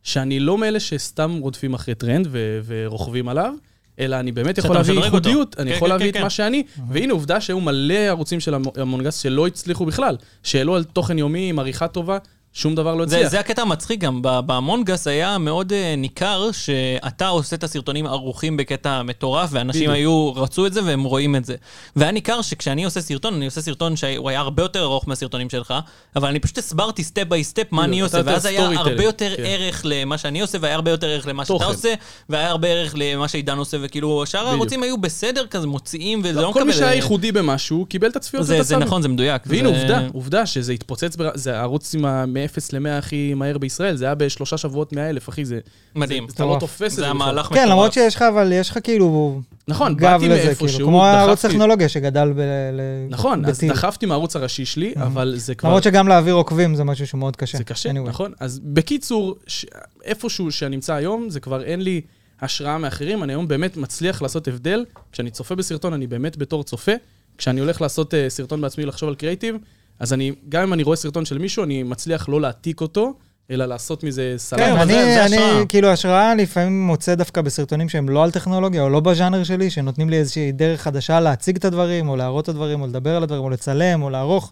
[SPEAKER 2] שאני לא מאלה שסתם רודפים אחרי טרנד ו- ורוכבים עליו, אלא אני באמת
[SPEAKER 1] שאתה
[SPEAKER 2] יכול להביא
[SPEAKER 1] משדרג אותו.
[SPEAKER 2] ייחודיות, אני
[SPEAKER 1] כן,
[SPEAKER 2] יכול
[SPEAKER 1] כן,
[SPEAKER 2] להביא
[SPEAKER 1] כן,
[SPEAKER 2] את
[SPEAKER 1] כן.
[SPEAKER 2] מה שאני, והנה עובדה שהיו מלא ערוצים של המונגס שלא הצליחו בכלל, שהעלו על תוכן יומי עם עריכה טובה, שום דבר לא
[SPEAKER 1] זה,
[SPEAKER 2] הצליח.
[SPEAKER 1] זה הקטע המצחיק גם, ב- בהמונגס היה מאוד אה, ניכר שאתה עושה את הסרטונים ערוכים בקטע מטורף, ואנשים
[SPEAKER 2] בדיוק.
[SPEAKER 1] היו, רצו את זה והם רואים את זה. והיה ניכר שכשאני עושה סרטון, אני עושה סרטון שהוא היה הרבה יותר ארוך מהסרטונים שלך, אבל אני פשוט הסברתי סטפ ביי סטפ מה
[SPEAKER 2] בדיוק,
[SPEAKER 1] אני עושה,
[SPEAKER 2] אתה יותר
[SPEAKER 1] ואז היה
[SPEAKER 2] storytelling,
[SPEAKER 1] הרבה יותר
[SPEAKER 2] כן.
[SPEAKER 1] ערך למה שאני עושה, והיה הרבה יותר ערך למה שאתה
[SPEAKER 2] תוכן.
[SPEAKER 1] עושה, והיה הרבה ערך למה שעידן עושה, וכאילו, שאר
[SPEAKER 2] בדיוק.
[SPEAKER 1] הערוצים היו בסדר כזה, מוציאים, וזה לא מקבל...
[SPEAKER 2] כל מי שהיה
[SPEAKER 1] אה,
[SPEAKER 2] ייחודי במשהו, קיבל את הצפיות
[SPEAKER 1] זה,
[SPEAKER 2] ואת
[SPEAKER 1] זה
[SPEAKER 2] הסאבים.
[SPEAKER 1] נכון, זה מדויק.
[SPEAKER 2] והנה
[SPEAKER 1] זה-
[SPEAKER 2] עובדה, עובדה שזה התפוצץ, בר... זה הערוץ עם ה- מ-0 ל-100 הכי מהר בישראל, זה היה בשלושה שבועות 100 אלף, אחי, זה...
[SPEAKER 1] מדהים.
[SPEAKER 2] זה, אתה לא
[SPEAKER 3] מטורף.
[SPEAKER 2] תופס את זה.
[SPEAKER 1] זה היה
[SPEAKER 2] בכלל.
[SPEAKER 1] מהלך
[SPEAKER 3] כן, למרות
[SPEAKER 1] מטורף.
[SPEAKER 3] שיש לך, אבל יש לך כאילו
[SPEAKER 2] נכון,
[SPEAKER 3] גב
[SPEAKER 2] באתי
[SPEAKER 3] לזה, כאילו,
[SPEAKER 2] מאיפשהו,
[SPEAKER 3] כמו הערוץ
[SPEAKER 2] דחפתי-
[SPEAKER 3] טכנולוגיה שגדל ב... ל-
[SPEAKER 2] נכון, אז
[SPEAKER 3] בטיל.
[SPEAKER 2] דחפתי מהערוץ הראשי שלי, אבל זה כבר...
[SPEAKER 3] למרות שגם להעביר עוקבים זה משהו שמאוד קשה.
[SPEAKER 2] זה קשה,
[SPEAKER 3] Anyway.
[SPEAKER 2] נכון? אז בקיצור, ש... איפשהו שאני נמצא היום, זה כבר אין לי השראה מאחרים, אני היום באמת מצליח לעשות הבדל. כשאני צופה בסרטון, אני באמת בתור צופה. כשאני הולך לעשות uh, סרטון בעצמי, לחשוב על קריאיטיב, אז אני, גם אם אני רואה סרטון של מישהו, אני מצליח לא להעתיק אותו, אלא לעשות מזה סלט.
[SPEAKER 3] כן,
[SPEAKER 1] אבל
[SPEAKER 3] אני,
[SPEAKER 1] זה- זה
[SPEAKER 3] אני,
[SPEAKER 1] השראה.
[SPEAKER 3] כאילו, השראה לפעמים מוצא דווקא בסרטונים שהם לא על טכנולוגיה, או לא בז'אנר שלי, שנותנים לי איזושהי דרך חדשה להציג את הדברים, או להראות את הדברים, או לדבר על הדברים, או לצלם, או לערוך.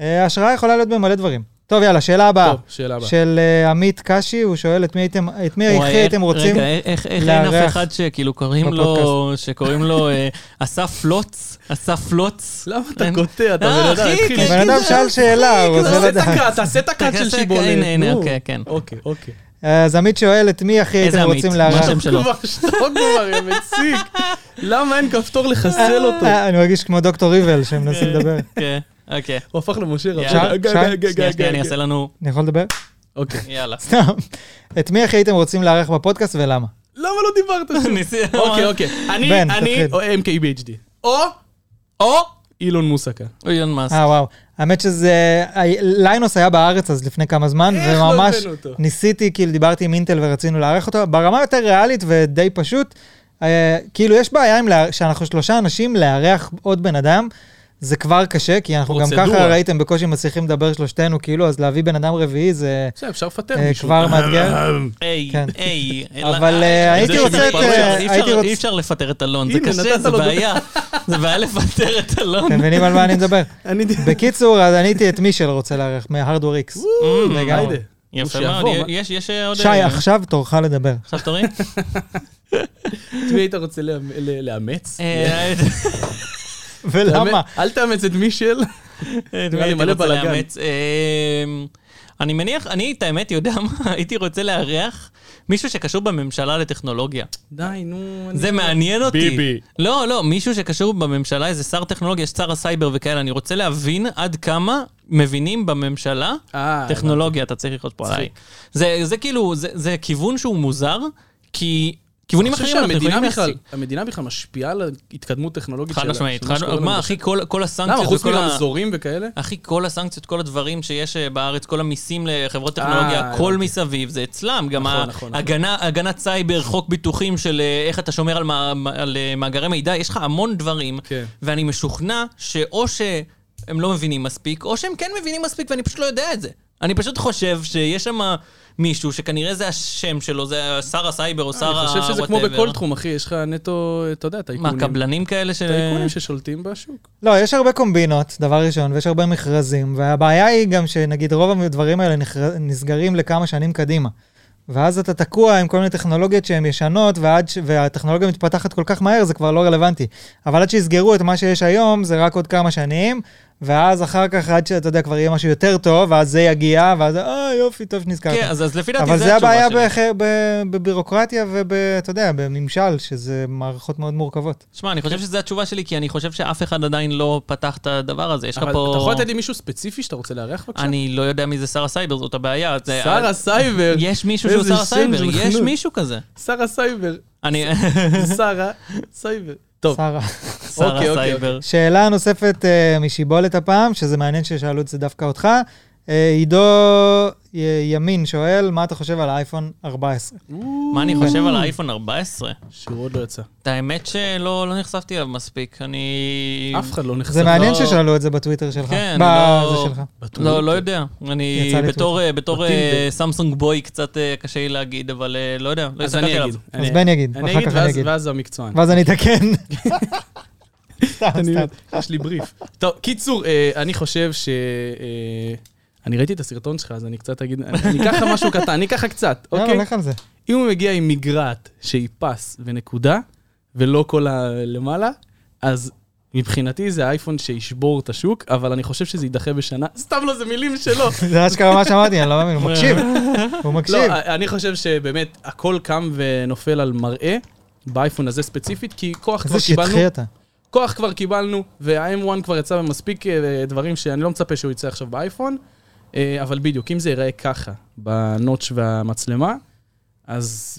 [SPEAKER 3] אה, השראה יכולה להיות במלא דברים. טוב, יאללה, שאלה הבאה.
[SPEAKER 2] טוב, שאלה הבאה.
[SPEAKER 3] של אה, עמית קשי, הוא שואל את מי הייתם, את מי
[SPEAKER 1] וואי,
[SPEAKER 3] הכי
[SPEAKER 1] איך-
[SPEAKER 3] הייתם רוצים?
[SPEAKER 1] רגע, איך- איך איך אין
[SPEAKER 3] לארח
[SPEAKER 1] אף אחד שכאילו קוראים לו, שקוראים לו אה, אסף לוץ? אסף לוץ?
[SPEAKER 2] למה אתה
[SPEAKER 1] אין-
[SPEAKER 2] קוטע? אתה
[SPEAKER 1] אה,
[SPEAKER 2] בן אדם,
[SPEAKER 1] אחי,
[SPEAKER 2] התחיל.
[SPEAKER 1] כן,
[SPEAKER 3] הבן אדם
[SPEAKER 1] לא, זה
[SPEAKER 3] שאל שאלה, הוא רוצה
[SPEAKER 2] תעשה את
[SPEAKER 3] לדעת.
[SPEAKER 2] הקאט, תעשה את הקאט של
[SPEAKER 1] תעשה-
[SPEAKER 2] שיבולת.
[SPEAKER 1] הנה, הנה,
[SPEAKER 2] נו.
[SPEAKER 1] אוקיי, כן.
[SPEAKER 2] אוקיי, אוקיי.
[SPEAKER 3] אה, אז עמית שואל את מי הכי
[SPEAKER 1] איזה
[SPEAKER 3] הייתם
[SPEAKER 1] עמית?
[SPEAKER 3] רוצים
[SPEAKER 1] מה
[SPEAKER 3] לארח.
[SPEAKER 1] השם שלו?
[SPEAKER 2] כבר, שתוק כבר, יא מציק. למה אין כפתור לחסל אותו?
[SPEAKER 3] אה, אני מרגיש כמו דוקטור ריבל שמנסים לדבר.
[SPEAKER 1] כן, אוקיי.
[SPEAKER 2] הוא הפך למשה רב.
[SPEAKER 1] אפשר?
[SPEAKER 3] אפשר?
[SPEAKER 1] שנייה, שנייה, אני אעשה לנו...
[SPEAKER 3] אני יכול לדבר?
[SPEAKER 2] אוקיי.
[SPEAKER 1] יאללה.
[SPEAKER 3] סתם. את מי הכי הייתם רוצים לארח בפודקאסט ולמה?
[SPEAKER 2] למה לא דיברת? שוב?
[SPEAKER 1] ניסי-
[SPEAKER 2] אוקיי, אוקיי. אני,
[SPEAKER 3] בן,
[SPEAKER 2] אני,
[SPEAKER 3] תתחיל.
[SPEAKER 2] או MKBHD. או, או, אילון מוסקה.
[SPEAKER 1] אילון מאסק.
[SPEAKER 3] אה, וואו. האמת שזה... הי- ליינוס היה בארץ אז לפני כמה זמן,
[SPEAKER 2] איך לא
[SPEAKER 3] וממש
[SPEAKER 2] הבאנו אותו?
[SPEAKER 3] ניסיתי, כאילו דיברתי עם אינטל ורצינו לארח אותו. ברמה יותר ריאלית ודי פשוט, אה, כאילו יש בעיה עם לארח- שאנחנו שלושה אנשים, לארח עוד בן אדם. זה כבר קשה, כי אנחנו גם
[SPEAKER 2] פרוצדורה.
[SPEAKER 3] ככה ראיתם בקושי מצליחים לדבר שלושתנו, כאילו, אז להביא בן אדם רביעי זה
[SPEAKER 2] בסדר, אפשר לפטר
[SPEAKER 3] אה,
[SPEAKER 2] מישהו.
[SPEAKER 3] כבר מאתגר.
[SPEAKER 1] היי,
[SPEAKER 3] כן.
[SPEAKER 1] היי.
[SPEAKER 3] אבל,
[SPEAKER 1] אלא- זה
[SPEAKER 3] אה, הייתי
[SPEAKER 1] שהוא
[SPEAKER 3] רוצה את,
[SPEAKER 1] מתפרץ,
[SPEAKER 3] אה,
[SPEAKER 1] אי אפשר-
[SPEAKER 3] הייתי רוצ-
[SPEAKER 1] אי אפשר לפטר את אלון, זה
[SPEAKER 2] הנה,
[SPEAKER 1] קשה,
[SPEAKER 2] נתת
[SPEAKER 1] זה
[SPEAKER 2] לו דוגמה.
[SPEAKER 1] בעיה. זה בעיה לפטר את אלון.
[SPEAKER 3] אתם מבינים על מה אני מדבר?
[SPEAKER 2] אני...
[SPEAKER 3] בקיצור, אז עניתי את מישל רוצה לארח, מהארדוור איקס.
[SPEAKER 1] אה,
[SPEAKER 3] לגמרי.
[SPEAKER 2] היידה. הוא
[SPEAKER 1] יפה
[SPEAKER 2] שיבוא,
[SPEAKER 1] מאוד,
[SPEAKER 2] מה?
[SPEAKER 1] יש- יש אה, עוד...
[SPEAKER 3] שי,
[SPEAKER 1] אה,
[SPEAKER 3] עכשיו תורך לדבר.
[SPEAKER 1] עכשיו תורי?
[SPEAKER 2] את מי היית רוצה לאמ- ל- לאמץ?
[SPEAKER 1] אה,
[SPEAKER 3] ולמה?
[SPEAKER 2] לאמץ- אל תאמץ את מישל. נראה לי
[SPEAKER 1] אה, הייתי
[SPEAKER 2] אה, מלא
[SPEAKER 1] רוצה
[SPEAKER 2] בלאגן.
[SPEAKER 1] לאמץ, אמ, אני מניח, אני את האמת יודע מה, הייתי רוצה לארח מישהו שקשור בממשלה לטכנולוגיה.
[SPEAKER 2] די, נו. אני-
[SPEAKER 1] זה מעניין אותי.
[SPEAKER 2] ביבי.
[SPEAKER 1] לא, לא, מישהו שקשור בממשלה, איזה שר טכנולוגיה, שר הסייבר וכאלה, אני רוצה להבין עד כמה מבינים בממשלה
[SPEAKER 2] אה,
[SPEAKER 1] טכנולוגיה, אתה צריך לחיות פה עליי. זה זה כאילו, זה- זה כיוון שהוא מוזר, כי כיוונים
[SPEAKER 2] אני חושב
[SPEAKER 1] אחרים אנחנו יכולים
[SPEAKER 2] שהמדינה בכלל,
[SPEAKER 1] להשיג.
[SPEAKER 2] המדינה בכלל משפיעה על ההתקדמות הטכנולוגית שלה.
[SPEAKER 1] חד משמעית,
[SPEAKER 2] של
[SPEAKER 1] חד-
[SPEAKER 2] מה שקורה
[SPEAKER 1] מה
[SPEAKER 2] לנו.
[SPEAKER 1] אחי, כל כל הסנקציות,
[SPEAKER 2] למה, חוץ
[SPEAKER 1] וכל ה-
[SPEAKER 2] מרמזורים וכאלה?
[SPEAKER 1] אחי, כל הסנקציות, כל הדברים שיש אה, בארץ, כל המיסים לחברות טכנולוגיה,
[SPEAKER 2] אה,
[SPEAKER 1] הכל
[SPEAKER 2] הבנתי.
[SPEAKER 1] מסביב, זה אצלם. גם
[SPEAKER 2] נכון, נכון, נכון.
[SPEAKER 1] ההגנה- הגנת סייבר, חוק ביטוחים של אה, איך אתה שומר על מה- על אה, מאגרי מידע, יש לך המון דברים,
[SPEAKER 2] כן.
[SPEAKER 1] ואני משוכנע שאו שהם לא מבינים מספיק, או שהם כן מבינים מספיק ואני פשוט לא יודע את זה. אני פשוט חושב שיש שם מישהו שכנראה זה השם שלו, זה שר הסייבר או שר ה...
[SPEAKER 2] אני חושב שזה כמו
[SPEAKER 1] whatever.
[SPEAKER 2] בכל תחום, אחי, יש לך נטו, אתה יודע,
[SPEAKER 1] מה,
[SPEAKER 2] טייקונים.
[SPEAKER 1] קבלנים כאלה ש...
[SPEAKER 2] טייקונים ששולטים בשוק.
[SPEAKER 3] לא, יש הרבה קומבינות, דבר ראשון, ויש הרבה מכרזים, והבעיה היא גם שנגיד רוב הדברים האלה נכר- נסגרים לכמה שנים קדימה. ואז אתה תקוע עם כל מיני טכנולוגיות שהן ישנות, ועד ש... והטכנולוגיה מתפתחת כל כך מהר, זה כבר לא רלוונטי. אבל עד שיסגרו את מה שיש היום, זה רק עוד כמה שנים, ואז אחר כך, עד שאתה יודע, כבר יהיה משהו יותר טוב, ואז זה יגיע, ואז אה, יופי, טוב שנזכרת.
[SPEAKER 1] כן, אז אז לפי דעתי
[SPEAKER 3] אבל
[SPEAKER 1] זה
[SPEAKER 3] זה
[SPEAKER 1] התשובה
[SPEAKER 3] הבעיה
[SPEAKER 1] שלי.
[SPEAKER 3] בח- ב- בבירוקרטיה ואתה יודע, בממשל, שזה מערכות מאוד מורכבות.
[SPEAKER 1] שמע, אני חושב
[SPEAKER 2] כן.
[SPEAKER 1] שזו התשובה שלי, כי אני חושב שאף אחד עדיין לא פתח את הדבר הזה. יש לך
[SPEAKER 2] אבל
[SPEAKER 1] פה...
[SPEAKER 2] אתה יכול לתת לי מישהו ספציפי שאתה רוצה לארח בבקשה?
[SPEAKER 1] אני לא יודע מי זה שר הסייבר, זאת הבעיה. זה- אה,
[SPEAKER 2] שר הסייבר.
[SPEAKER 1] יש מישהו שהוא
[SPEAKER 2] איזה
[SPEAKER 1] שר
[SPEAKER 2] שם
[SPEAKER 1] הסייבר,
[SPEAKER 2] של
[SPEAKER 1] יש
[SPEAKER 2] חנות.
[SPEAKER 1] מישהו כזה.
[SPEAKER 2] שר הסייבר.
[SPEAKER 1] אני...
[SPEAKER 2] אוקיי, שר הסייבר. טוב,
[SPEAKER 3] שרה.
[SPEAKER 1] שר
[SPEAKER 2] אוקיי, אוקיי.
[SPEAKER 1] הסייבר.
[SPEAKER 3] שאלה נוספת uh, משיבולת הפעם, שזה מעניין ששאלו את זה דווקא אותך. Uh, עידו י- ימין שואל, מה אתה חושב על האייפון 14?
[SPEAKER 1] מה אני חושב על האייפון 14?
[SPEAKER 2] שהוא עוד לא יצא.
[SPEAKER 1] את האמת שלא לא נחשפתי אליו מספיק. אני...
[SPEAKER 2] אף אחד לא נחשף.
[SPEAKER 3] זה מעניין
[SPEAKER 1] לא-
[SPEAKER 3] ששאלו את זה בטוויטר שלך.
[SPEAKER 1] כן,
[SPEAKER 3] בזה
[SPEAKER 1] לא-
[SPEAKER 3] שלך.
[SPEAKER 2] בטוויטר.
[SPEAKER 1] לא, לא יודע. אני
[SPEAKER 3] יצא לי
[SPEAKER 1] בתור, אה, בתור אה,
[SPEAKER 2] בטינדר.
[SPEAKER 1] סמסונג בוי קצת אה, קשה לי להגיד, אבל אה, לא יודע. לא
[SPEAKER 2] אז
[SPEAKER 1] הסתכלתי
[SPEAKER 2] אני
[SPEAKER 1] עליו.
[SPEAKER 2] אגיד.
[SPEAKER 3] אז בן יגיד,
[SPEAKER 2] אני
[SPEAKER 3] ואחר
[SPEAKER 2] אגיד,
[SPEAKER 3] כך אני
[SPEAKER 2] ואז-
[SPEAKER 3] אגיד.
[SPEAKER 2] ואז המקצוען.
[SPEAKER 3] ואז אני אתקן. סתם,
[SPEAKER 2] אני-
[SPEAKER 3] סתם.
[SPEAKER 2] יש לי בריף. טוב, קיצור, אה, אני חושב ש... אה, אני ראיתי את הסרטון שלך, אז אני קצת אגיד, אני אני אקח לך משהו קטן, אני אקח לך קצת,
[SPEAKER 3] יאללה,
[SPEAKER 2] אוקיי?
[SPEAKER 3] לא, לך על זה.
[SPEAKER 2] אם הוא מגיע עם מגרעת שהיא פס ונקודה, ולא כל הלמעלה, אז מבחינתי זה האייפון שישבור את השוק, אבל אני חושב שזה יידחה בשנה. סתם לא, זה מילים שלו.
[SPEAKER 3] זה אשכרה מה שאמרתי, אני לא מאמין, הוא מקשיב. הוא
[SPEAKER 2] לא,
[SPEAKER 3] מקשיב.
[SPEAKER 2] אני חושב שבאמת הכל קם ונופל על מראה, באייפון הזה ספציפית, כי כוח כבר
[SPEAKER 3] איזה
[SPEAKER 2] קיבלנו,
[SPEAKER 3] שטחי אתה.
[SPEAKER 2] כוח כבר קיבלנו, וה-M1 כבר יצא במספיק אה, דברים שאני לא מצפה שהוא יצא עכשיו באייפון, אה, אבל בדיוק, אם זה ייראה ככה, בנוטש והמצלמה, אז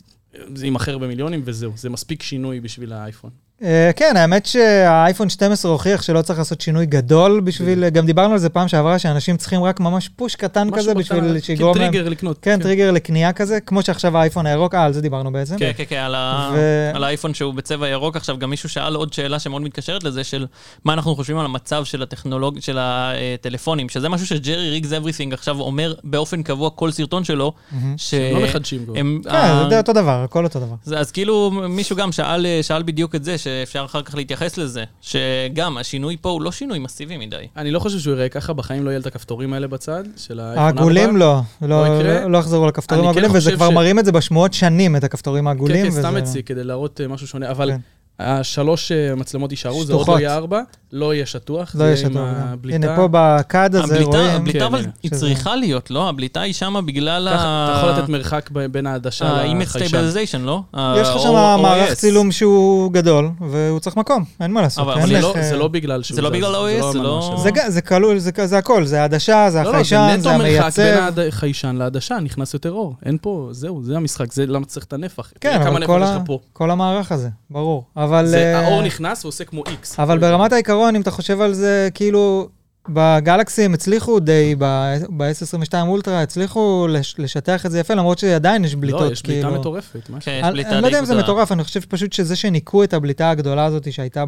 [SPEAKER 2] זה יימכר במיליונים וזהו, זה מספיק שינוי בשביל האייפון.
[SPEAKER 3] אה, כן, האמת שהאייפון 12 הוכיח שלא צריך לעשות שינוי גדול בשביל, גם דיברנו על זה פעם שעברה, שאנשים צריכים רק ממש פוש קטן
[SPEAKER 2] משהו
[SPEAKER 3] כזה
[SPEAKER 2] בקטן,
[SPEAKER 3] בשביל שיגרום להם...
[SPEAKER 2] אה, כטריגר לקנות.
[SPEAKER 3] כן, טריגר לקנייה כזה, כמו שעכשיו האייפון הירוק, אה, על זה דיברנו בעצם.
[SPEAKER 1] כן, כן, כן, על ה-
[SPEAKER 3] ו-
[SPEAKER 1] על האייפון שהוא בצבע ירוק עכשיו, גם מישהו שאל עוד שאלה שמאוד מתקשרת לזה, של מה אנחנו חושבים על המצב של הטכנולוג... של הטלפונים, שזה משהו שג'רי ריגס אבריסינג עכשיו אומר באופן קבוע כל סרטון שלו,
[SPEAKER 3] מהמם.
[SPEAKER 1] ש...
[SPEAKER 2] לא מחדשים כבר.
[SPEAKER 1] אה, הם- אה,
[SPEAKER 3] כן, זה אותו דבר, הכל אותו דבר.
[SPEAKER 1] אז, אז כאילו מישהו גם שאל, שאל בדיוק את זה, שאפשר אחר כך להתייחס לזה, שגם השינוי פה הוא לא שינוי מסיבי מדי.
[SPEAKER 2] אני לא חושב שהוא ייראה ככה, בחיים לא יהיה את הכפתורים האלה בצד, של האייפון 4.
[SPEAKER 3] העגולים לא, לא-
[SPEAKER 2] יקרה.
[SPEAKER 3] לא יחזרו לכפתורים
[SPEAKER 2] אני כן
[SPEAKER 3] העגולים, וזה
[SPEAKER 2] חושב
[SPEAKER 3] כבר
[SPEAKER 2] ש-
[SPEAKER 3] מראים את זה בשמועות שנים, את הכפתורים העגולים.
[SPEAKER 2] כן, כן,
[SPEAKER 3] וזה
[SPEAKER 2] סתם
[SPEAKER 3] לא-
[SPEAKER 2] הציג, כדי להראות אה, משהו שונה, אבל
[SPEAKER 3] כן.
[SPEAKER 2] השלוש אה, מצלמות יישארו, זה עוד לא
[SPEAKER 3] שטוחות.
[SPEAKER 2] יהיה ארבע, לא יהיה שטוח,
[SPEAKER 3] לא
[SPEAKER 2] זה
[SPEAKER 3] יש
[SPEAKER 2] עם
[SPEAKER 3] אותו.
[SPEAKER 2] הבליטה.
[SPEAKER 3] הנה, פה בקד הזה רואים...
[SPEAKER 1] הבליטה, הבליטה
[SPEAKER 2] כן,
[SPEAKER 1] אבל
[SPEAKER 2] הנה.
[SPEAKER 1] היא
[SPEAKER 3] שזה-
[SPEAKER 1] צריכה להיות, לא? הבליטה היא שמה בגלל
[SPEAKER 2] ככה, אתה יכול לתת
[SPEAKER 1] ה...
[SPEAKER 2] מרחק ב- בין העדשה
[SPEAKER 1] ה-image
[SPEAKER 2] לחיישן.
[SPEAKER 1] stabilization, לא?
[SPEAKER 3] יש לך
[SPEAKER 1] ה-
[SPEAKER 3] שם
[SPEAKER 1] O-
[SPEAKER 3] מערך
[SPEAKER 1] OS.
[SPEAKER 3] צילום שהוא גדול, והוא צריך מקום, אין מה לעשות.
[SPEAKER 1] אבל-
[SPEAKER 3] אין
[SPEAKER 2] אבל זה
[SPEAKER 3] לך-
[SPEAKER 2] לא- זה לא בגלל שהוא
[SPEAKER 1] זה לא
[SPEAKER 2] זז,
[SPEAKER 1] בגלל ה-OS, זה
[SPEAKER 2] ממש
[SPEAKER 1] לא-
[SPEAKER 2] זז.
[SPEAKER 3] אה, זה ג- זה כלול, זה כ- זה הכל, זה העדשה, זה
[SPEAKER 2] לא, לא, זה
[SPEAKER 3] החיישן,
[SPEAKER 2] נטו
[SPEAKER 3] זה
[SPEAKER 2] מרחק בין
[SPEAKER 3] המייצב.
[SPEAKER 2] העד- החיישן לעדשה, נכנס יותר אור. אין פה, זהו, זה המשחק, זה למה צריך את הנפח.
[SPEAKER 3] כן,
[SPEAKER 2] תראה כמה
[SPEAKER 3] אבל
[SPEAKER 2] נפח
[SPEAKER 3] כל
[SPEAKER 2] יש
[SPEAKER 3] ה-
[SPEAKER 2] לך פה.
[SPEAKER 3] כל המערך הזה, ברור. אבל...
[SPEAKER 2] זה-
[SPEAKER 3] אה,
[SPEAKER 2] האור נכנס ועושה כמו איקס.
[SPEAKER 3] אבל ברמת העיקרון, אם אתה חושב על זה, כאילו, בגלקסי הם הצליחו די, ב-S22 אולטרה הצליחו לש- לשטח את זה יפה, למרות שעדיין יש בליטות,
[SPEAKER 2] לא, יש בליטה
[SPEAKER 3] כאילו.
[SPEAKER 2] מטורפת. משהו.
[SPEAKER 1] כן, יש
[SPEAKER 3] אני-
[SPEAKER 1] בליטה
[SPEAKER 3] אני לא
[SPEAKER 1] די
[SPEAKER 3] יודע אם זה
[SPEAKER 1] גדולה.
[SPEAKER 3] מטורף, אני חושב פשוט שזה שניקו את הבליטה הגדולה הזאת שהייתה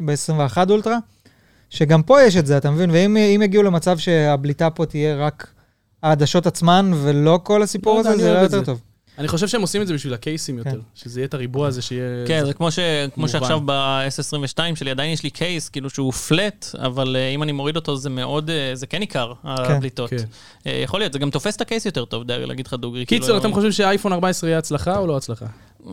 [SPEAKER 3] ב-S21 אולטרה, שגם פה יש את זה, אתה מבין? ואם אם יגיעו למצב שהבליטה פה תהיה רק העדשות עצמן ולא כל
[SPEAKER 2] לא
[SPEAKER 3] הסיפור
[SPEAKER 2] יודע,
[SPEAKER 3] הזה,
[SPEAKER 2] אני
[SPEAKER 3] זה
[SPEAKER 2] אוהב
[SPEAKER 3] יהיה
[SPEAKER 2] את
[SPEAKER 3] יותר
[SPEAKER 2] זה.
[SPEAKER 3] טוב.
[SPEAKER 2] אני חושב שהם עושים את זה בשביל הקייסים יותר.
[SPEAKER 3] כן.
[SPEAKER 2] שזה יהיה את הריבוע הזה שיהיה...
[SPEAKER 1] כן, זה כמו, ש... כמו
[SPEAKER 2] מובן.
[SPEAKER 1] שעכשיו ב-S22 שלי, עדיין יש לי קייס, כאילו שהוא פלט, אבל אה, אם אני מוריד אותו זה מאוד, אה, זה כן עיקר, הבליטות.
[SPEAKER 2] כן.
[SPEAKER 1] אה, יכול להיות, זה גם תופס את הקייס יותר טוב, די, להגיד לך דוגרי.
[SPEAKER 2] קיצר,
[SPEAKER 1] כאילו,
[SPEAKER 2] אתם חושבים שהאייפון 14 יהיה הצלחה או לא הצלחה?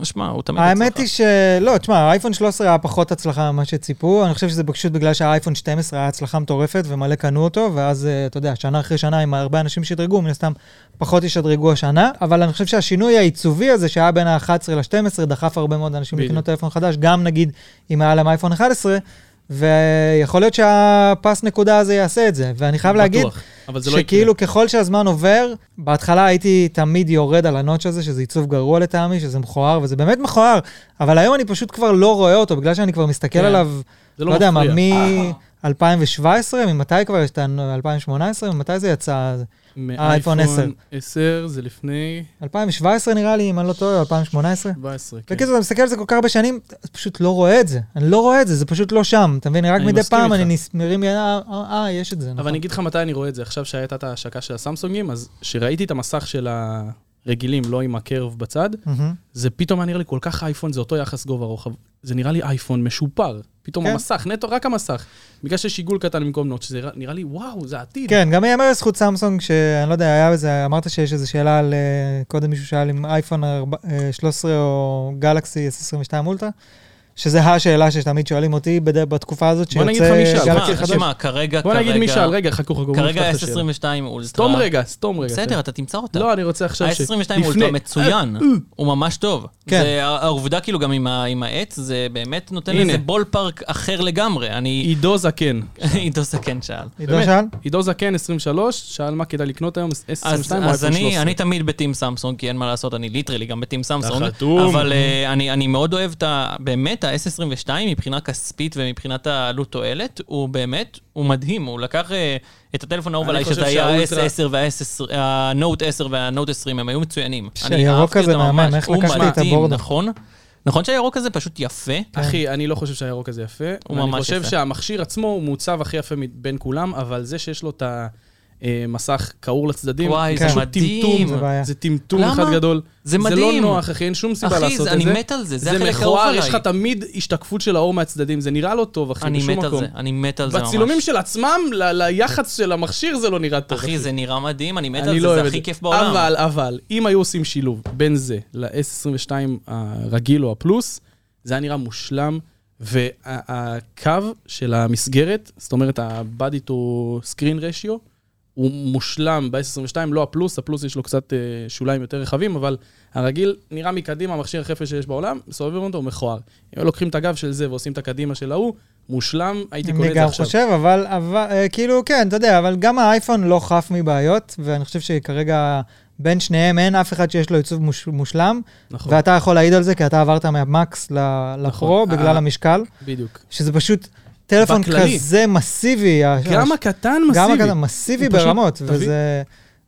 [SPEAKER 1] שמע, הוא תמיד
[SPEAKER 3] האמת
[SPEAKER 1] הצלחה.
[SPEAKER 3] היא שלא, תשמע, האייפון 13 היה פחות הצלחה ממה שציפו, אני חושב שזה פשוט בגלל שהאייפון 12 היה הצלחה מטורפת ומלא קנו אותו, ואז, אה, אתה יודע, שנה אחרי שנה, עם הרבה אנשים שדרגו, מן הסתם פחות ישדרגו השנה, אבל אני חושב שהשינוי העיצובי הזה שהיה בין ה-11 ל-12 דחף הרבה מאוד אנשים
[SPEAKER 2] בדיוק.
[SPEAKER 3] לקנות טלפון חדש, גם נגיד אם היה להם אייפון 11, ויכול להיות שהפס נקודה הזה יעשה את זה, ואני חייב להגיד...
[SPEAKER 2] בטוח, אבל זה לא יקרה.
[SPEAKER 3] שכאילו ככל שהזמן עובר, בהתחלה הייתי תמיד יורד על הנוטש הזה, שזה עיצוב גרוע לטעמי, שזה מכוער, וזה באמת מכוער, אבל היום אני פשוט כבר לא רואה אותו, בגלל שאני כבר מסתכל
[SPEAKER 2] כן.
[SPEAKER 3] עליו,
[SPEAKER 2] זה
[SPEAKER 3] לא, יודע מה,
[SPEAKER 2] מפריע.
[SPEAKER 3] מ-2017, ממתי כבר יש את ה-2018, ממתי זה יצא? האייפון 10.
[SPEAKER 2] 10 זה לפני
[SPEAKER 3] 2017 נראה לי, אם אני לא טועה, 2018.
[SPEAKER 2] 17, כן.
[SPEAKER 3] בקיצור, אתה מסתכל על זה כל כך הרבה שנים, אתה פשוט לא רואה את זה. אני לא רואה את זה, זה פשוט לא שם. אתה מבין? רק
[SPEAKER 2] אני
[SPEAKER 3] מדי
[SPEAKER 2] מסכים
[SPEAKER 3] פעם
[SPEAKER 2] איתך.
[SPEAKER 3] אני נס- מרים יד, אה, אה, אה, יש את זה,
[SPEAKER 2] אבל
[SPEAKER 3] נכון.
[SPEAKER 2] אני אגיד לך מתי אני רואה את זה. עכשיו שהייתה את ההשקה של הסמסונגים, אז כשראיתי את המסך של הרגילים, לא עם הקרב בצד,
[SPEAKER 3] מהמם.
[SPEAKER 2] זה פתאום היה נראה לי כל כך אייפון, זה אותו יחס גובה רוחב. זה נראה לי אייפון משופר. פתאום
[SPEAKER 3] כן.
[SPEAKER 2] המסך, נטו רק המסך. בגלל שיש עיגול קטן במקום נוטש, זה נראה- נראה לי, וואו, זה העתיד.
[SPEAKER 3] כן, גם ייאמר לזכות סמסונג, שאני לא יודע, היה איזה, אמרת שיש איזו שאלה על, אה, קודם מישהו שאל אם אייפון ארבע- אה, 13 או גלקסי S22 אולטרה, שזה השאלה שתמיד שואלים אותי בד- בתקופה הזאת,
[SPEAKER 2] בוא נגיד
[SPEAKER 3] שיוצא
[SPEAKER 2] לך מי שאל.
[SPEAKER 1] שמע,
[SPEAKER 3] גלקסי חדש.
[SPEAKER 1] אה, שמע, כרגע,
[SPEAKER 2] בוא נגיד מי
[SPEAKER 1] כרגע-
[SPEAKER 2] שאל, רגע, חכו, חכו, בוא
[SPEAKER 1] כרגע
[SPEAKER 2] נפתח את השאלה.
[SPEAKER 1] S22 אולטרה.
[SPEAKER 2] סתום רגע, סתום רגע.
[SPEAKER 1] בסדר, אתה תמצא אותה.
[SPEAKER 2] לא, אני רוצה עכשיו ש...
[SPEAKER 1] ה-22
[SPEAKER 2] לפני. אה,
[SPEAKER 1] אולטרה מצוין, הוא ממש טוב.
[SPEAKER 3] כן.
[SPEAKER 1] זה- העובדה כאילו גם עם ה- עם העץ, זה באמת נותן
[SPEAKER 2] הנה.
[SPEAKER 1] לזה בול פארק אחר לגמרי. אני...
[SPEAKER 2] עידו זקן.
[SPEAKER 1] עידו זקן שאל.
[SPEAKER 3] עידו
[SPEAKER 2] באמת.
[SPEAKER 3] שאל?
[SPEAKER 2] עידו זקן, 23, שאל מה כדאי לקנות היום, S22 או
[SPEAKER 1] אז,
[SPEAKER 2] אייפון
[SPEAKER 1] אז
[SPEAKER 2] 13.
[SPEAKER 1] אני, אני תמיד בטים סמסונג, כי אין מה לעשות, אני ליטרלי גם בטים סמסונג.
[SPEAKER 2] חתום.
[SPEAKER 1] אבל uh, אני, אני מאוד אוהב את ה... באמת, ה-S22 מבחינה כספית ומבחינת העלות תועלת, הוא באמת, הוא מדהים. הוא לקח uh, את הטלפון האהוב
[SPEAKER 2] אני
[SPEAKER 1] עליי,
[SPEAKER 2] חושב
[SPEAKER 1] שזה היה
[SPEAKER 2] שהאולטרה-
[SPEAKER 1] ה-S10 וה-Note 10 וה-Note 20, הם היו מצוינים. אני
[SPEAKER 3] שהירוק
[SPEAKER 1] אהבתי
[SPEAKER 3] הזה
[SPEAKER 1] אותם
[SPEAKER 3] מהמם,
[SPEAKER 1] ממש.
[SPEAKER 3] איך
[SPEAKER 1] הוא
[SPEAKER 3] לקחתי את
[SPEAKER 1] מדהים,
[SPEAKER 3] הבורד.
[SPEAKER 1] נכון? נכון שהירוק הזה פשוט יפה?
[SPEAKER 2] אחי, אני לא חושב שהירוק הזה יפה.
[SPEAKER 1] כן. הוא
[SPEAKER 2] אני
[SPEAKER 1] ממש
[SPEAKER 2] חושב
[SPEAKER 1] יפה.
[SPEAKER 2] שהמכשיר עצמו הוא מעוצב הכי יפה מבין כולם, אבל זה שיש לו את ה... אה, מסך קעור לצדדים.
[SPEAKER 1] וואי,
[SPEAKER 2] פשוט
[SPEAKER 3] זה
[SPEAKER 1] מדהים.
[SPEAKER 2] טמטום,
[SPEAKER 1] זה
[SPEAKER 3] בעיה.
[SPEAKER 2] זה טמטום אחד
[SPEAKER 1] למה?
[SPEAKER 2] גדול.
[SPEAKER 1] זה
[SPEAKER 2] זה לא
[SPEAKER 1] מדהים.
[SPEAKER 2] נוח, אחי, אין שום סיבה
[SPEAKER 1] אחי,
[SPEAKER 2] לעשות את
[SPEAKER 1] זה-
[SPEAKER 2] זה.
[SPEAKER 1] אני מת על זה, זה החלק האהוב
[SPEAKER 2] מכוער,
[SPEAKER 1] עליי.
[SPEAKER 2] יש לך תמיד השתקפות של האור מהצדדים, זה נראה לא טוב, אחי,
[SPEAKER 1] אני
[SPEAKER 2] בשום
[SPEAKER 1] מת על
[SPEAKER 2] מקום.
[SPEAKER 1] זה, אני מת על זה ממש.
[SPEAKER 2] בצילומים של עצמם, ל- ליח"צ של המכשיר זה לא נראה טוב.
[SPEAKER 1] אחי, זה נראה מדהים, אני מת
[SPEAKER 2] אני
[SPEAKER 1] על
[SPEAKER 2] לא
[SPEAKER 1] זה,
[SPEAKER 2] אוהב
[SPEAKER 1] זה
[SPEAKER 2] את
[SPEAKER 1] הכי כיף בעולם.
[SPEAKER 2] אבל, אבל, אם היו עושים שילוב בין זה ל-S22 הרגיל או הפלוס, זה היה נראה מושלם, והקו של המסגרת, זאת אומרת, ה-body to screen ratio, הוא מושלם ב-S22, לא הפלוס, הפלוס יש לו קצת אה, שוליים יותר רחבים, אבל הרגיל נראה מקדימה המכשיר הכי יפה שיש בעולם, מסובבים אותו, הוא מכוער. אם היו לוקחים את הגב של זה ועושים את הקדימה של ההוא, מושלם, הייתי קונה
[SPEAKER 3] אני
[SPEAKER 2] את זה
[SPEAKER 3] גם
[SPEAKER 2] עכשיו.
[SPEAKER 3] חושב, אבל, אבל אה, כאילו, כן, אתה יודע, אבל גם האייפון לא חף מבעיות, ואני חושב שכרגע בין שניהם אין אף אחד שיש לו עיצוב מוש, מושלם,
[SPEAKER 2] נכון,
[SPEAKER 3] ואתה יכול להעיד על זה, כי אתה עברת מהמקס ל- לפרו
[SPEAKER 2] נכון.
[SPEAKER 3] בגלל
[SPEAKER 2] אה.
[SPEAKER 3] המשקל,
[SPEAKER 2] בדיוק.
[SPEAKER 3] שזה פשוט טלפון
[SPEAKER 2] בכללי.
[SPEAKER 3] כזה מסיבי. ה-
[SPEAKER 2] גם הקטן
[SPEAKER 3] גם
[SPEAKER 2] מסיבי.
[SPEAKER 3] הקטן, מסיבי
[SPEAKER 2] הוא פשוט-
[SPEAKER 3] ברמות,
[SPEAKER 2] תבין.
[SPEAKER 3] וזה,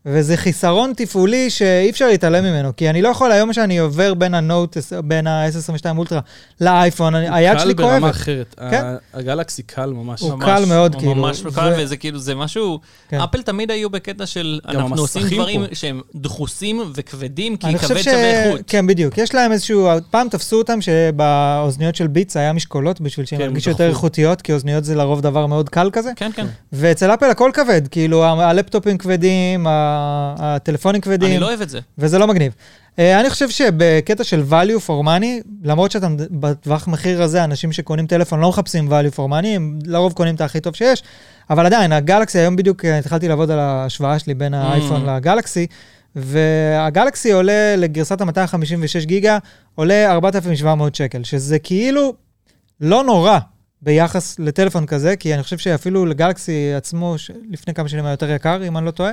[SPEAKER 3] וזה חיסרון תפעולי שאי אפשר להתעלם ממנו, כי אני לא יכול, היום שאני עובר בין הנוט, בין ה-S22 אולטרה לאייפון, אני- היד שלי
[SPEAKER 2] קל ברמה
[SPEAKER 3] כואבת.
[SPEAKER 2] אחרת.
[SPEAKER 3] כן.
[SPEAKER 2] ה- הגלקסי קל ממש.
[SPEAKER 3] הוא
[SPEAKER 1] ממש,
[SPEAKER 3] קל מאוד,
[SPEAKER 1] הוא
[SPEAKER 3] כאילו,
[SPEAKER 1] ממש קל,
[SPEAKER 3] ו-
[SPEAKER 1] וזה כאילו, זה משהו...
[SPEAKER 3] כן.
[SPEAKER 1] אפל תמיד היו בקטע של, אנחנו עושים
[SPEAKER 2] המסכים
[SPEAKER 1] דברים
[SPEAKER 2] פה.
[SPEAKER 1] שהם דחוסים וכבדים, כי
[SPEAKER 3] אני
[SPEAKER 1] כבד
[SPEAKER 3] חושב ש...
[SPEAKER 1] שווה איכות.
[SPEAKER 3] כן, בדיוק. יש להם איזשהו... פעם תפסו אותם שבאוזניות של ביטס היה משקולות בשביל שהן
[SPEAKER 2] כן,
[SPEAKER 3] ירגישו
[SPEAKER 2] דחו.
[SPEAKER 3] יותר איכותיות, כי אוזניות זה לרוב דבר מאוד קל כזה.
[SPEAKER 1] כן, כן.
[SPEAKER 3] ואצל אפל הכל כבד, כאילו ה- הלפטופים כבדים, ה- הטלפונים כבדים.
[SPEAKER 1] אני לא אוהב את זה.
[SPEAKER 3] וזה לא מגניב. אה, אני חושב שבקטע של value for money, למרות שאתה מד- בטווח מחיר הזה, אנשים שקונים טלפון לא מחפשים value for money, הם לרוב קונים את הכי טוב שיש, אבל עדיין, הגלקסי, היום בדיוק אה, התחלתי לעבוד על ההשוואה שלי בין
[SPEAKER 1] Mm.
[SPEAKER 3] האייפון לגלקסי, והגלקסי עולה לגרסת ה-256 גיגה, עולה 4,700 שקל, שזה כאילו לא נורא ביחס לטלפון כזה, כי אני חושב שאפילו לגלקסי עצמו, ש- לפני כמה שנים היה יותר יקר, אם אני לא טועה,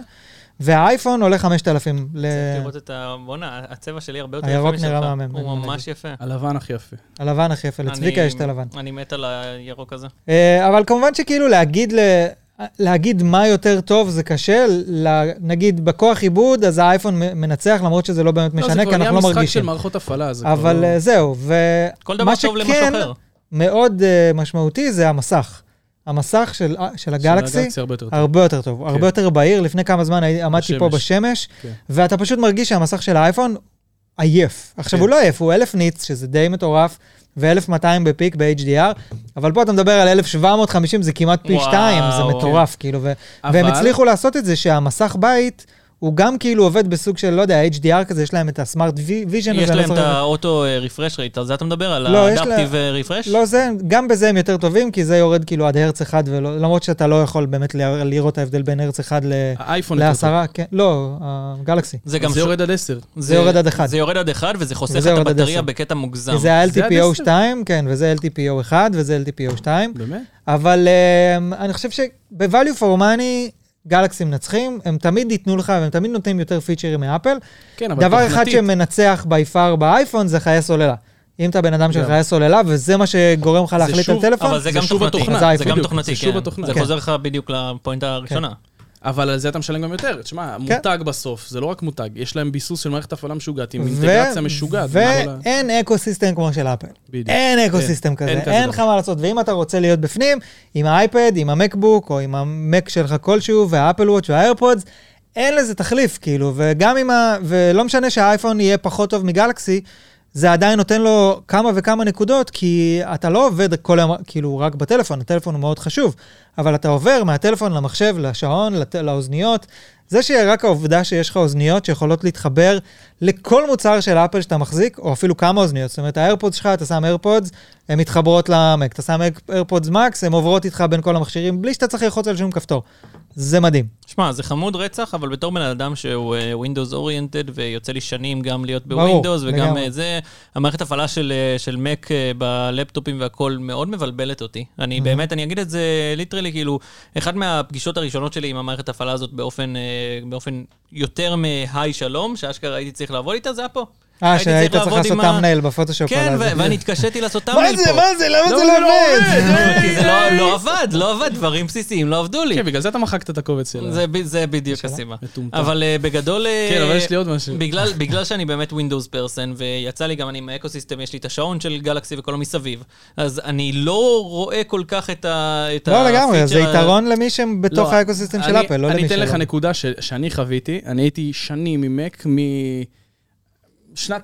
[SPEAKER 3] והאייפון עולה 5,000. ל...
[SPEAKER 1] צריך לראות את ה... בואנה, הצבע שלי הרבה יותר
[SPEAKER 3] כן. הירוק
[SPEAKER 1] יפה משלך.
[SPEAKER 3] נראה מהמם,
[SPEAKER 1] הוא
[SPEAKER 3] אני
[SPEAKER 1] ממש יפה.
[SPEAKER 2] הלבן הכי יפה.
[SPEAKER 3] הלבן הכי יפה, לצביקה
[SPEAKER 1] אני-
[SPEAKER 3] יש את הלבן.
[SPEAKER 1] אני מת על הירוק הזה.
[SPEAKER 3] אה, אבל כמובן שכאילו להגיד, ל... להגיד מה יותר טוב זה קשה, ל- נגיד בכוח עיבוד, אז האייפון מ- מנצח, למרות שזה לא באמת משנה, כי אנחנו לא
[SPEAKER 2] זה כבר נהיה משחק של
[SPEAKER 3] מרגישים.
[SPEAKER 2] מערכות הפעלה. זה כבר
[SPEAKER 3] אבל
[SPEAKER 2] לא-
[SPEAKER 3] אה, זהו,
[SPEAKER 1] כל
[SPEAKER 3] ומה
[SPEAKER 1] דבר טוב למשהו
[SPEAKER 3] שכן
[SPEAKER 1] אחר.
[SPEAKER 3] מאוד אה, משמעותי זה המסך. המסך של, של
[SPEAKER 2] של
[SPEAKER 3] הגלקסי,
[SPEAKER 2] הגלקסי הרבה יותר טוב.
[SPEAKER 3] הרבה יותר טוב,
[SPEAKER 1] כן.
[SPEAKER 3] הרבה יותר בהיר. לפני כמה זמן הי- עמדתי פה
[SPEAKER 2] בשמש.
[SPEAKER 3] בשמש,
[SPEAKER 2] כן.
[SPEAKER 3] ואתה פשוט מרגיש שהמסך של האייפון עייף. עכשיו,
[SPEAKER 2] כן.
[SPEAKER 3] הוא לא עייף, הוא 1,000 ניץ, שזה די מטורף, ו-1,200 בפיק ב-HDR, אבל פה אתה מדבר על 1,750, זה כמעט פי
[SPEAKER 1] וואו,
[SPEAKER 3] 2, זה
[SPEAKER 1] כן.
[SPEAKER 3] מטורף, כאילו, ו-
[SPEAKER 2] אבל-
[SPEAKER 3] והם הצליחו לעשות את זה שהמסך בית... הוא גם כאילו עובד בסוג של, לא יודע, HDR כזה, יש להם את הסמארט ויז'ן הזה.
[SPEAKER 1] יש
[SPEAKER 3] אני לא
[SPEAKER 1] להם את
[SPEAKER 3] זוכר.
[SPEAKER 1] האוטו רפרש רייט, על זה אתה מדבר? על
[SPEAKER 3] לא, יש לה-
[SPEAKER 1] האדפטיב אה, רפרש?
[SPEAKER 3] לא זה, גם בזה הם יותר טובים, כי זה יורד כאילו עד הרץ אחד, ולא- למרות שאתה לא יכול באמת ל- לראות ההבדל בין הרץ אחד ל-
[SPEAKER 2] האייפון אה, יותר טוב.
[SPEAKER 3] לעשרה, כן, לא, הגלקסי.
[SPEAKER 1] זה גם...
[SPEAKER 2] זה יורד עד 10.
[SPEAKER 3] זה יורד עד אחד.
[SPEAKER 1] זה יורד עד אחד, וזה חוסך
[SPEAKER 3] וזה
[SPEAKER 1] את
[SPEAKER 3] יורד עד
[SPEAKER 1] הבטריה
[SPEAKER 3] עשר.
[SPEAKER 1] בקטע מוגזם.
[SPEAKER 3] כי זה
[SPEAKER 2] זה עד
[SPEAKER 3] ה-LTPO
[SPEAKER 2] עשר.
[SPEAKER 3] 2, כן, וזה LTPO 1, וזה
[SPEAKER 2] לא.
[SPEAKER 3] LTPO 2,
[SPEAKER 2] באמת?
[SPEAKER 3] אבל um, אני חושב שב-value for money, גלקסי מנצחים, הם תמיד ייתנו לך, והם תמיד נותנים יותר פיצ'רים מאפל.
[SPEAKER 2] כן, אבל
[SPEAKER 3] דבר אחד
[SPEAKER 2] תוכנתית.
[SPEAKER 3] שמנצח by far באייפון זה חיי סוללה. אם אתה בן אדם של
[SPEAKER 2] גם.
[SPEAKER 3] חיי סוללה, וזה מה שגורם לך להחליט על
[SPEAKER 2] שוב-
[SPEAKER 3] טלפון,
[SPEAKER 1] אבל זה
[SPEAKER 2] זה
[SPEAKER 1] גם
[SPEAKER 2] שוב
[SPEAKER 1] תוכנתי,
[SPEAKER 2] התוכנה,
[SPEAKER 1] זה
[SPEAKER 3] בדיוק,
[SPEAKER 1] גם
[SPEAKER 2] זה
[SPEAKER 1] תוכנתי,
[SPEAKER 2] שוב
[SPEAKER 1] כן.
[SPEAKER 2] התוכנה.
[SPEAKER 1] זה
[SPEAKER 3] כן.
[SPEAKER 1] חוזר לך בדיוק לפואנטה הראשונה.
[SPEAKER 2] אבל על זה אתה משלם גם יותר. תשמע, מותג בסוף, זה לא רק מותג, יש להם ביסוס של מערכת הפעלה משוגעת, עם אינטגרציה משוגעת. לא עם כל ה-
[SPEAKER 3] ואין אקו סיסטם כמו של אפל.
[SPEAKER 2] בדיוק. כן.
[SPEAKER 3] אין אקו סיסטם כזה,
[SPEAKER 2] אין כזה
[SPEAKER 3] אין
[SPEAKER 2] דבר.
[SPEAKER 3] לך מה לעשות. ואם אתה רוצה להיות בפנים, עם האייפד, עם המקבוק, או עם המק שלך כלשהו, והאפל וואץ' והאיירפודס, אין לזה תחליף, כאילו, וגם אם ה... ולא משנה שהאייפון יהיה פחות טוב מגלקסי, זה עדיין נותן לו כמה וכמה נקודות, כי אתה לא עובד כל היום, כאילו, רק בטלפון, הטלפון הוא מאוד חשוב, אבל אתה עובר מהטלפון למחשב, לשעון, לט... לאוזניות. זה שרק העובדה שיש לך אוזניות שיכולות להתחבר לכל מוצר של אפל שאתה מחזיק, או אפילו כמה אוזניות, זאת אומרת, האיירפודס שלך, אתה שם איירפודס, הן מתחברות למק, אתה שם איירפודס מקס, הן עוברות איתך בין כל המכשירים, בלי שאתה צריך ללחוץ על שום כפתור. זה מדהים.
[SPEAKER 1] שמע, זה חמוד רצח, אבל בתור בן אדם שהוא אה, Windows oriented ויוצא לי שנים גם להיות
[SPEAKER 3] ברור,
[SPEAKER 1] ב-Windows וגם
[SPEAKER 3] לגמרי.
[SPEAKER 1] אה, זה, המערכת הפעלה של, אה, של Mac אה, בלפטופים והכל מאוד מבלבלת אותי. אני
[SPEAKER 3] Mhm.
[SPEAKER 1] באמת, אני אגיד את זה ליטרלי, כאילו, אחת מהפגישות הראשונות שלי עם המערכת הפעלה הזאת באופן, אה, באופן יותר מהי שלום, שאשכרה הייתי צריך לעבוד איתה, זה היה פה.
[SPEAKER 3] אה,
[SPEAKER 1] הייתי
[SPEAKER 3] שהיית צריך
[SPEAKER 1] לעבוד
[SPEAKER 3] לעשות
[SPEAKER 1] עם ה-
[SPEAKER 3] תאמנייל בפוטושופ.
[SPEAKER 1] כן,
[SPEAKER 3] על הזה.
[SPEAKER 1] ו- ואני התקשיתי לעשות
[SPEAKER 3] מה
[SPEAKER 1] תמליל
[SPEAKER 3] זה,
[SPEAKER 1] פה.
[SPEAKER 3] מה זה, למה זה
[SPEAKER 2] למה זה
[SPEAKER 3] לא
[SPEAKER 2] לא
[SPEAKER 3] עובד?
[SPEAKER 2] עובד? היי,
[SPEAKER 1] כי זה לא-
[SPEAKER 2] היי.
[SPEAKER 1] לא עבד, לא עבד, דברים בסיסיים לא עבדו לי.
[SPEAKER 2] כן, בגלל זה אתה מחקת את הקובץ שלה.
[SPEAKER 1] זה ב- זה בדיוק הסיבה.
[SPEAKER 2] מטומטם.
[SPEAKER 1] אבל אה, בגדול... אה,
[SPEAKER 2] כן, אבל יש לי עוד משהו.
[SPEAKER 1] בגלל, בגלל שאני באמת Windows פרסן, ויצא לי גם, אני עם האקוסיסטם, יש לי את השעון של גלקסי וכל המסביב, אז אני לא רואה כל כך את ה... את
[SPEAKER 3] לא לגמרי,
[SPEAKER 1] הפיצ'ר
[SPEAKER 3] זה
[SPEAKER 1] ה-
[SPEAKER 3] יתרון למי שהם בתוך
[SPEAKER 2] לא,
[SPEAKER 3] האקוסיסטם של
[SPEAKER 2] אני-
[SPEAKER 3] אפל, לא
[SPEAKER 2] אני
[SPEAKER 3] למי
[SPEAKER 2] אתן
[SPEAKER 3] שלא.
[SPEAKER 2] לך נקודה ש- שאני חוויתי. אני הייתי שנים עם מק משנת